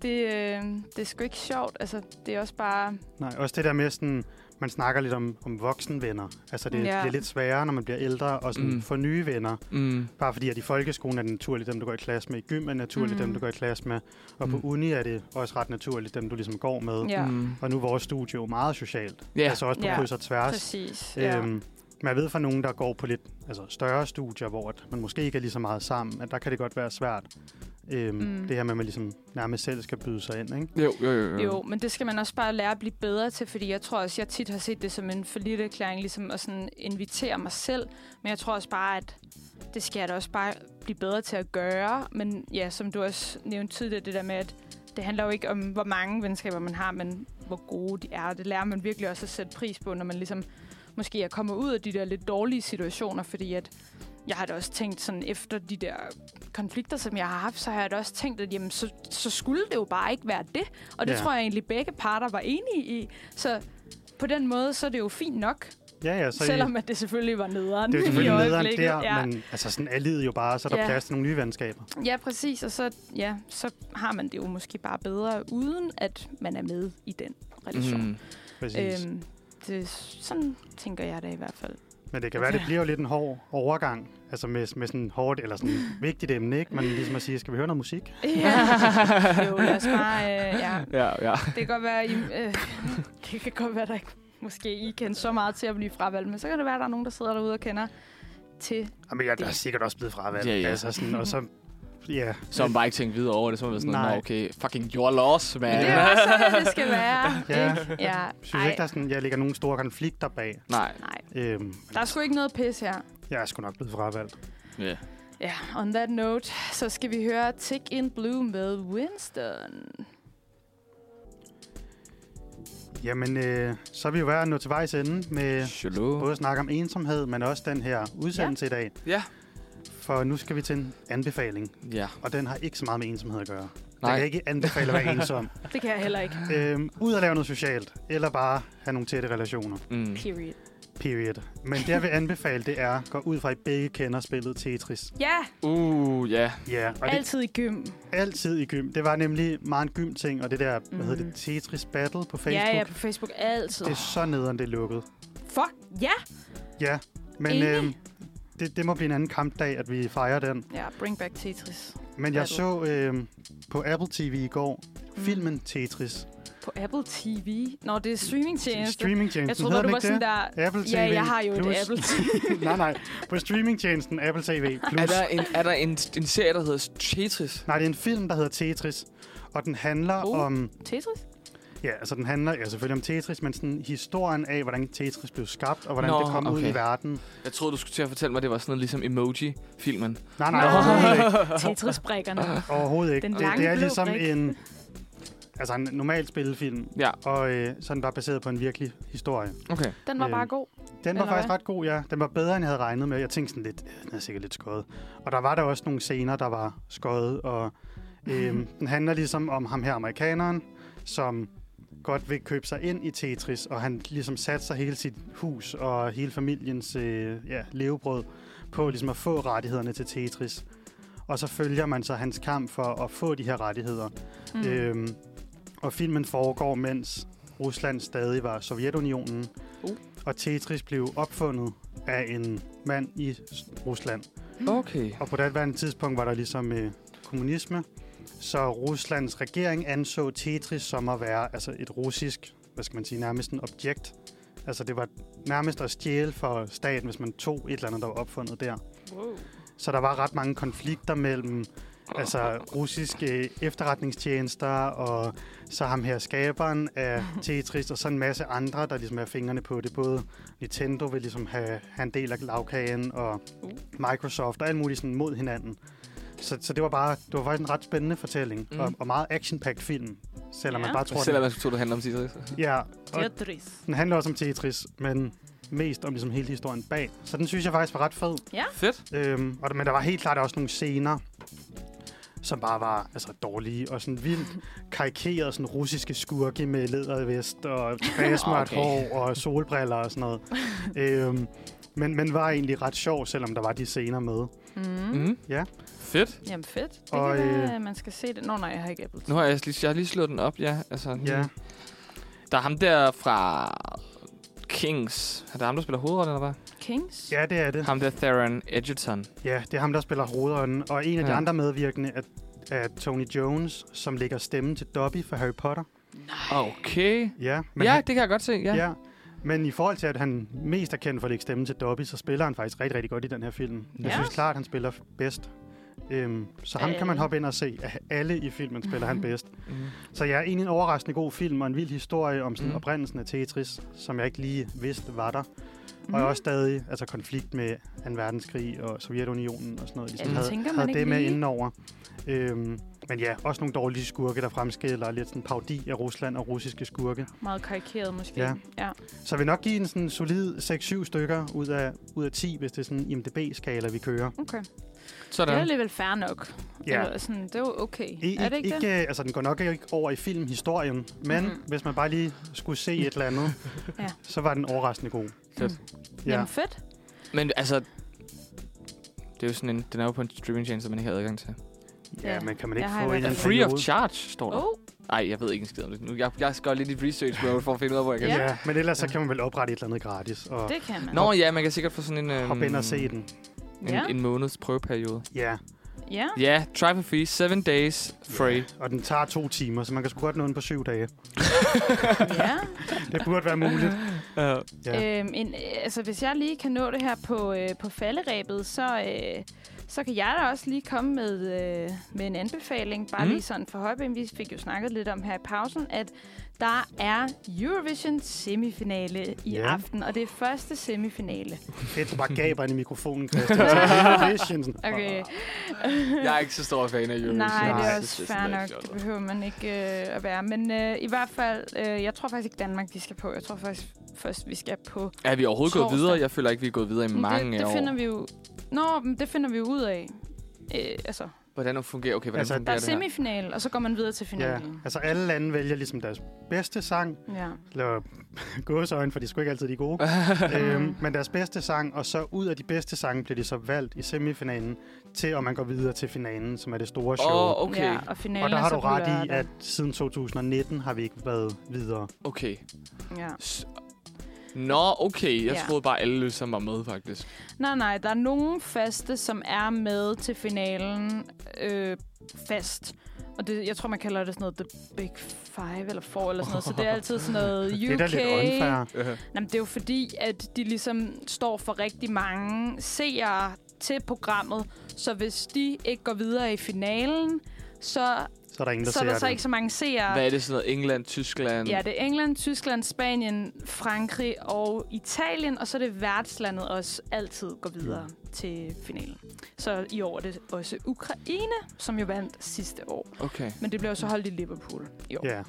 det, øh, det er sgu ikke sjovt, altså, det er også bare,
Nej, også det der med sådan, man snakker lidt om, om voksenvenner. Altså det
Ja.
ja. bliver lidt sværere, når man bliver ældre, og sådan
Mm.
mm. får nye venner.
Mm.
Bare fordi, at i folkeskolen er det naturligt dem, du går i klasse med. I gym er det naturligt
Mm.
mm. dem, du går i klasse med. Og mm.
Mm.
på uni er det også ret naturligt dem, du ligesom går med.
Ja.
Mm.
Og nu er vores studie jo meget socialt.
Ja.
Altså også på
Ja.
kryds og tværs.
præcis. Ja.
Øhm, men jeg ved fra nogen, der går på lidt altså større studier, hvor at man måske ikke er lige så meget sammen, at der kan det godt være svært. Øhm,
Mm.
mm. Det her med, at man ligesom nærmest selv skal byde sig ind, ikke?
Jo, jo, jo.
Jo, men det skal man også bare lære at blive bedre til, fordi jeg tror også, jeg tit har set det som en forlidt erklæring, ligesom at sådan invitere mig selv, men jeg tror også bare, at det skal jeg da også bare blive bedre til at gøre, men ja, som du også nævnte tidligere, det der med, at det handler jo ikke om, hvor mange venskaber man har, men hvor gode de er, det lærer man virkelig også at sætte pris på, når man ligesom måske er kommet ud af de der lidt dårlige situationer, fordi at jeg har da også tænkt sådan efter de der konflikter, som jeg har haft, så har jeg da også tænkt, at jamen, så, så skulle det jo bare ikke være det. Og det ja.
Ja.
tror jeg egentlig begge parter var enige i. Så på den måde, så er det jo fint nok,
Ja, ja, så
så
I-
selvom at det selvfølgelig var nederen
Det er jo
i
selvfølgelig nederen
øjeblikket.
der,
ja.
ja. men altså, sådan er livet jo bare, så er der
Ja.
ja. plads til nogle nye venskaber.
ja, præcis. Og så, ja, så har man det jo måske bare bedre, uden at man er med i den relation.
Mm.
Præcis. Øhm,
Øhm, det, sådan tænker jeg da i hvert fald.
Men det kan være, det bliver jo lidt en hård overgang, altså med, med sådan hårdt eller sådan vigtigt emne, ikke? Men ligesom at sige, skal vi høre noget musik?
Ja. jo, lad os bare... Øh, ja.
Ja, ja.
Det kan godt være, I, øh, det kan godt være, der ikke måske I kender så meget til at blive fravalgt, men så kan det være, at der er nogen, der sidder derude og kender til.
Jamen, jeg er sikkert også blevet fravalgt.
Ja, ja.
Altså sådan, og så, ja.
Så har man bare ikke tænkt videre over det, så har man været sådan,
Nej.
"Nå, okay, fucking your loss, man.
Ja. Det er også sådan, det skal være.
Ja.
ikke? ja.
Jeg synes
Ej,
ikke, der, er sådan, jeg ligger nogle store konflikter bag.
Nej.
nej.
Øhm,
Der er sgu ikke noget pis her.
jeg er sgu nok blevet fravalgt.
Ja.
Ja, on that note, så skal vi høre Tick in Blue med Winston.
Jamen, øh, så er vi jo værd at nå til vejs ende med
Shalom.
både at snakke om ensomhed, men også den her udsendelse ja. i dag.
Ja.
For nu skal vi til en anbefaling,
Ja.
og den har ikke så meget med ensomhed at gøre. Nej.
Nej.
Jeg kan ikke anbefale at være ensom.
Det kan jeg heller ikke.
øhm, ud at lave noget socialt, eller bare have nogle tætte relationer.
Mm.
Period.
Period. Men det, jeg vil anbefale, det er, gå ud fra, at I begge kender spillet Tetris.
Ja,
Uh, ja.
Ja, og det
altid i gym.
er altid i gym. Det var nemlig meget en gym-ting, og det der, mm. hvad hedder
Mhm.
det, Tetris Battle på Facebook.
Ja, ja, på Facebook altid.
Det er så nederen, det er lukket.
Fuck, ja.
Ja, men
Enig.
øhm, det, det må blive en anden kampdag, at vi fejrer den.
Ja, bring back Tetris.
Men jeg
Battle.
så øhm, på Apple TV i går,
Mm.
filmen Tetris.
På Apple TV. Nå, det er streamingtjeneste.
Streamingtjenesten,
Jeg troede,
hedder
du
den
var
ikke
sådan
det?
der...
Apple TV
Ja, jeg har jo
plus.
et Apple TV.
nej, nej. På streamingtjenesten Apple TV Plus.
Er der en, er der en, en serie, der hedder Tetris?
Nej, det er en film, der hedder Tetris, og den handler
Uh.
uh. om...
Tetris?
Ja, altså den handler ja, selvfølgelig om Tetris, men sådan historien af, hvordan Tetris blev skabt, og hvordan
Nå,
Nå, det kom okay. ud
okay.
i verden.
Jeg troede, du skulle til at fortælle mig, at det var sådan noget ligesom Emoji-filmen.
Nej, nej,
Nå.
overhovedet ikke.
Tetris-brækkerne.
Overhovedet ikke.
Den
Det,
lange
det er
blå
ligesom
brik.
en... Altså en normal spillefilm,
Ja,
og øh, sådan bare baseret på en virkelig historie.
okay.
Den var
Øhm,
bare god.
Den
Eller
var faktisk
hvad?
ret god, ja. Den var bedre, end jeg havde regnet med. Jeg tænkte sådan lidt, "Øh, den er sikkert lidt skøjet. Og der var der også nogle scener, der var skøjet, og øhm, den handler ligesom om ham her amerikaneren, som godt vil købe sig ind i Tetris, og han ligesom satser hele sit hus og hele familiens øh, ja, levebrød på ligesom at få rettighederne til Tetris. Og så følger man så hans kamp for at få de her rettigheder. Mm. Øhm, og filmen foregår, mens Rusland stadig var Sovjetunionen.
Uh.
Og Tetris blev opfundet af en mand i S- Rusland.
Okay.
Og på det andet tidspunkt var der ligesom øh, kommunisme. Så Ruslands regering anså Tetris som at være altså et russisk, hvad skal man sige, nærmest en objekt. Altså det var nærmest at stjæle for staten, hvis man tog et eller andet, der var opfundet der.
Wow.
Så der var ret mange konflikter mellem altså, russiske efterretningstjenester, og så ham her skaberen af Tetris, og så en masse andre, der ligesom har fingrene på det. Både Nintendo vil ligesom have, have en del af lavkagen, og
Uh.
Microsoft, og alt muligt sådan mod hinanden. Så, så det var bare, det var faktisk en ret spændende fortælling,
Mm.
mm. og, og meget action-packed film, selvom
Ja.
ja. man bare tror,
Selvom
den,
jeg skulle tro, det handler om Citrix.
ja, og
Tetris.
den handler også om Tetris, men mest om ligesom hele historien bag. Så den synes jeg faktisk var ret fed.
Fedt.
Øhm, og, der- men der var helt klart også nogle scener, som bare var altså, dårlige og sådan vildt karikerede sådan russiske skurke med lædervest og tilbagesmørt
Okay.
okay. hår og solbriller og sådan noget. øhm, men, men var egentlig ret sjov, selvom der var de scener med.
Mm.
Mm.
Mm-hmm. Ja.
Fedt.
Jamen fedt. Det
Og,
kan
øh,
være, at man skal se det. Nå nej, jeg har ikke Apple.
Nu har jeg lige, jeg har lige slået den op, ja. Altså,
Ja.
hmm. Der er ham der fra Kings. Er det ham, der spiller hovedrollen, eller hvad?
Kings?
ja, det er det.
Ham der Theron Edgerton.
Ja, det er ham, der spiller hovedånden. Og en af de
Ja.
andre medvirkende er, er Tony Jones, som lægger stemme til Dobby fra Harry Potter.
Okay.
Ja,
Men ja, det kan jeg godt se, ja.
ja.
ja.
ja. Men i forhold til, at han mest er kendt for at lægge stemme til Dobby, så spiller han faktisk rigtig, rigtig godt i den her film. Jeg
Ja.
synes klart, han spiller f- bedst. Øhm, så ham kan man
Alle.
hoppe ind og se. Af Alle i filmen spiller han bedst.
Mm.
Så jeg ja, er egentlig en overraskende god film og en vild historie om sådan
Mm.
mm. oprindelsen af Tetris, som jeg ikke lige vidste var der.
Mm.
Og også stadig altså konflikt med 2. verdenskrig og Sovjetunionen og sådan noget. De
Ja,
sådan
det
havde,
tænker man
havde
ikke
det med
lige.
indenover. Øhm, men ja, også nogle dårlige skurke, der fremskiller lidt sådan parodi af Rusland og russiske skurke.
Meget karikeret måske.
Ja.
ja.
Så jeg vil nok give en sådan solid 6-7 stykker ud af, ud af 10, hvis det er sådan IMDB-skala, vi kører.
Okay. Det er
Sådan.
alligevel fair nok.
Ja.
Eller sådan, det er jo okay.
I,
er det ikke,
ikke,
det?
Altså, den går nok ikke over i filmhistorien, men
Mhm.
mm-hmm. hvis man bare lige skulle se et eller andet,
Ja.
ja. så var den overraskende god.
Fedt.
Ja.
Jamen fedt.
Men altså... Det er jo sådan en, den er jo på en streamingtjeneste, man ikke har adgang til.
Ja,
Ja.
men kan man
Jeg
ikke
har i
få
hvert
en
fald-
Free of
periode?
charge, står der.
Oh,
Nej, jeg ved ikke en skid om det. Nu, jeg, jeg skal lidt i research mode for at finde ud af, hvor jeg kan
Ja.
Ja.
ja, men ellers så
Ja.
kan man vel oprette et eller andet gratis og
det kan man.
Nå ja, man kan sikkert få sådan en, øhm,
hoppe ind og se den.
en,
Ja.
en måneds prøveperiode.
Ja,
Ja.
Ja, try for free. 7 days free.
og den tager to timer, så man kan sgu godt nå den på syv dage.
ja.
Det burde være muligt.
Uh,
Ja.
Øhm, en, øh, altså, hvis jeg lige kan nå det her på, øh, på falderæbet, så, øh, så kan jeg da også lige komme med, øh, med en anbefaling. Bare
Mm.
mm. lige sådan for højben. Vi fik jo snakket lidt om her i pausen, at der er Eurovision semifinale i
Ja.
aften, og det er første semifinale.
Fedt, du bare gaber ind i mikrofonen, Christian. Så er det Eurovision, sådan.
Okay.
jeg er ikke så stor fan af Eurovision.
Nej, det
Nej,
er også fair nok.
altså.
Det behøver man ikke øh, at være. Men øh, i hvert fald, øh, jeg tror faktisk ikke Danmark, vi skal på. Jeg tror faktisk først, vi skal på...
Er vi overhovedet gået
Torsdag.
videre? Jeg føler ikke, vi er gået videre i
Men
mange
det, det
år.
finder vi jo... Nå, men det finder vi jo ud af. Øh, altså,
Hvordan fungerer, okay, hvordan
Altså,
fungerer
der er
det her?
semifinal, og så går man videre til
Ja,
finalen.
altså alle lande vælger ligesom deres bedste sang,
Ja.
eller gåseøjne, for de er sgu ikke altid de gode. øhm, men deres bedste sang, og så ud af de bedste sange bliver de så valgt i semifinalen, til om man går videre til finalen, som er det store show.
Åh,
Oh,
okay,
Ja, og finalen
og der
er
har
så
du
på
ret i,
lørdag.
at siden 2019 har vi ikke været videre.
okay.
Ja.
S- Nå, okay. Jeg
Ja.
troede bare, alle ligesom var med, faktisk.
Nej, nej, der er nogen faste, som er med til finalen øh, fast. Og det, jeg tror, man kalder det sådan noget The Big Five eller Four eller sådan noget. Så det er altid sådan noget UK.
Det er da lidt unfair.
Øh,
Jamen, det er jo fordi, at de ligesom står for rigtig mange seere til programmet. Så hvis de ikke går videre i finalen, så,
Så er der ingen, der
så er
ser
der så
det.
ikke så mange seere.
Hvad er det sådan noget? England, Tyskland?
Ja, det er England, Tyskland, Spanien, Frankrig og Italien, og så er det værtslandet også altid går videre mm. til finalen. Så i år er det også Ukraine, som jo vandt sidste år.
Okay.
Men det blev jo så holdt i Liverpool i år.
Ja,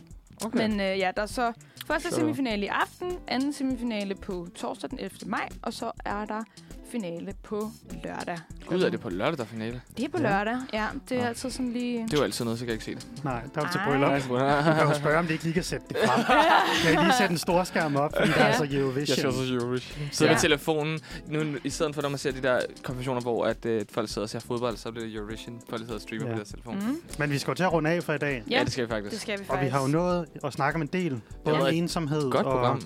okay.
Men øh, ja, der er så første
Så-
semifinale i aften, anden semifinale på torsdag den 11. maj, og så er der finale på lørdag.
Gud, er det på lørdag, der er finale?
Det er på
Ja.
lørdag, ja. Det er
Nå.
altid sådan lige...
Det var altid noget, så kan jeg ikke se det.
nej, der er til
Ej.
bryllup.
Nej,
Du kan jo spørge, om det ikke lige kan sætte det frem. Kan I lige sætte en stor skærm op, fordi der er så
Jeg skal
Eurovision?
også se Eurovision. Sidder ja.
Ja.
med telefonen. Nu, I stedet for, når man ser de der konfirmationer, hvor at, øh, folk sidder og ser fodbold, så bliver det Eurovision. Folk sidder og streamer ja.
Ja.
på deres telefon. Mm.
Mm.
Men vi skal jo til at runde af for i dag.
Ja,
Ja, det skal vi faktisk.
det skal vi faktisk.
Og vi har jo nået at snakke om en del. Både
var
om
et
ensomhed
Godt
og
program.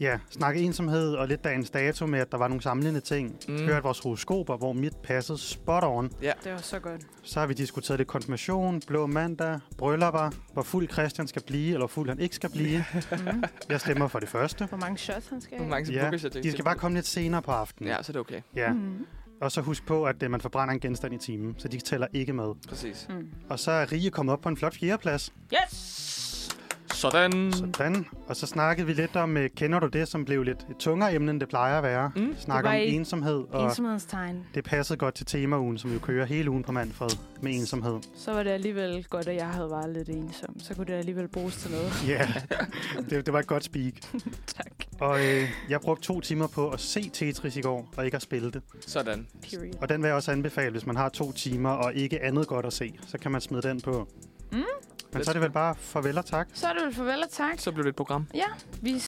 Ja, snakke ensomhed og lidt dagens dato med, at der var nogle samlende ting.
Mm.
Mm. Hørt vores horoskoper, hvor mit passede spot on.
Det var så godt.
Så har vi diskuteret lidt konfirmation, blå mandag, bryllupper, hvor fuld Christian skal blive, eller hvor fuld han ikke skal blive.
Mm.
Jeg stemmer for det første.
Hvor mange shots han skal
Hvor
have.
mange som
Ja,
booker sig til-
De skal bare komme lidt senere på aftenen.
Ja, så er det okay.
ja.
Mm.
Og så husk på, at øh, man forbrænder en genstand i timen, så de tæller ikke med.
Præcis.
Mm.
Og så er Rige kommet op på en flot fjerdeplads.
Yes!
Sådan.
Sådan. Og så snakkede vi lidt om, øh, kender du det, som blev lidt et tungere emne, end det plejer at være.
Mm.
Mm. Snakker
Det
om
var i-
ensomhed, og
Ensomhedens tegn.
det passede godt til temaugen, som jo kører hele ugen på Manfred med ensomhed.
Så var det alligevel godt, at jeg havde været lidt ensom. Så kunne det alligevel bruges til noget.
Ja, yeah. det, det var et godt speak.
tak.
Og øh, jeg brugte to timer på at se Tetris i går, og ikke at spille det.
Sådan.
Period.
Og den vil jeg også anbefale, hvis man har to timer og ikke andet godt at se. Så kan man smide den på.
Mm.
Men så er det vel bare farvel og tak.
Så er det vel farvel og tak.
Så blev det et program.
Vi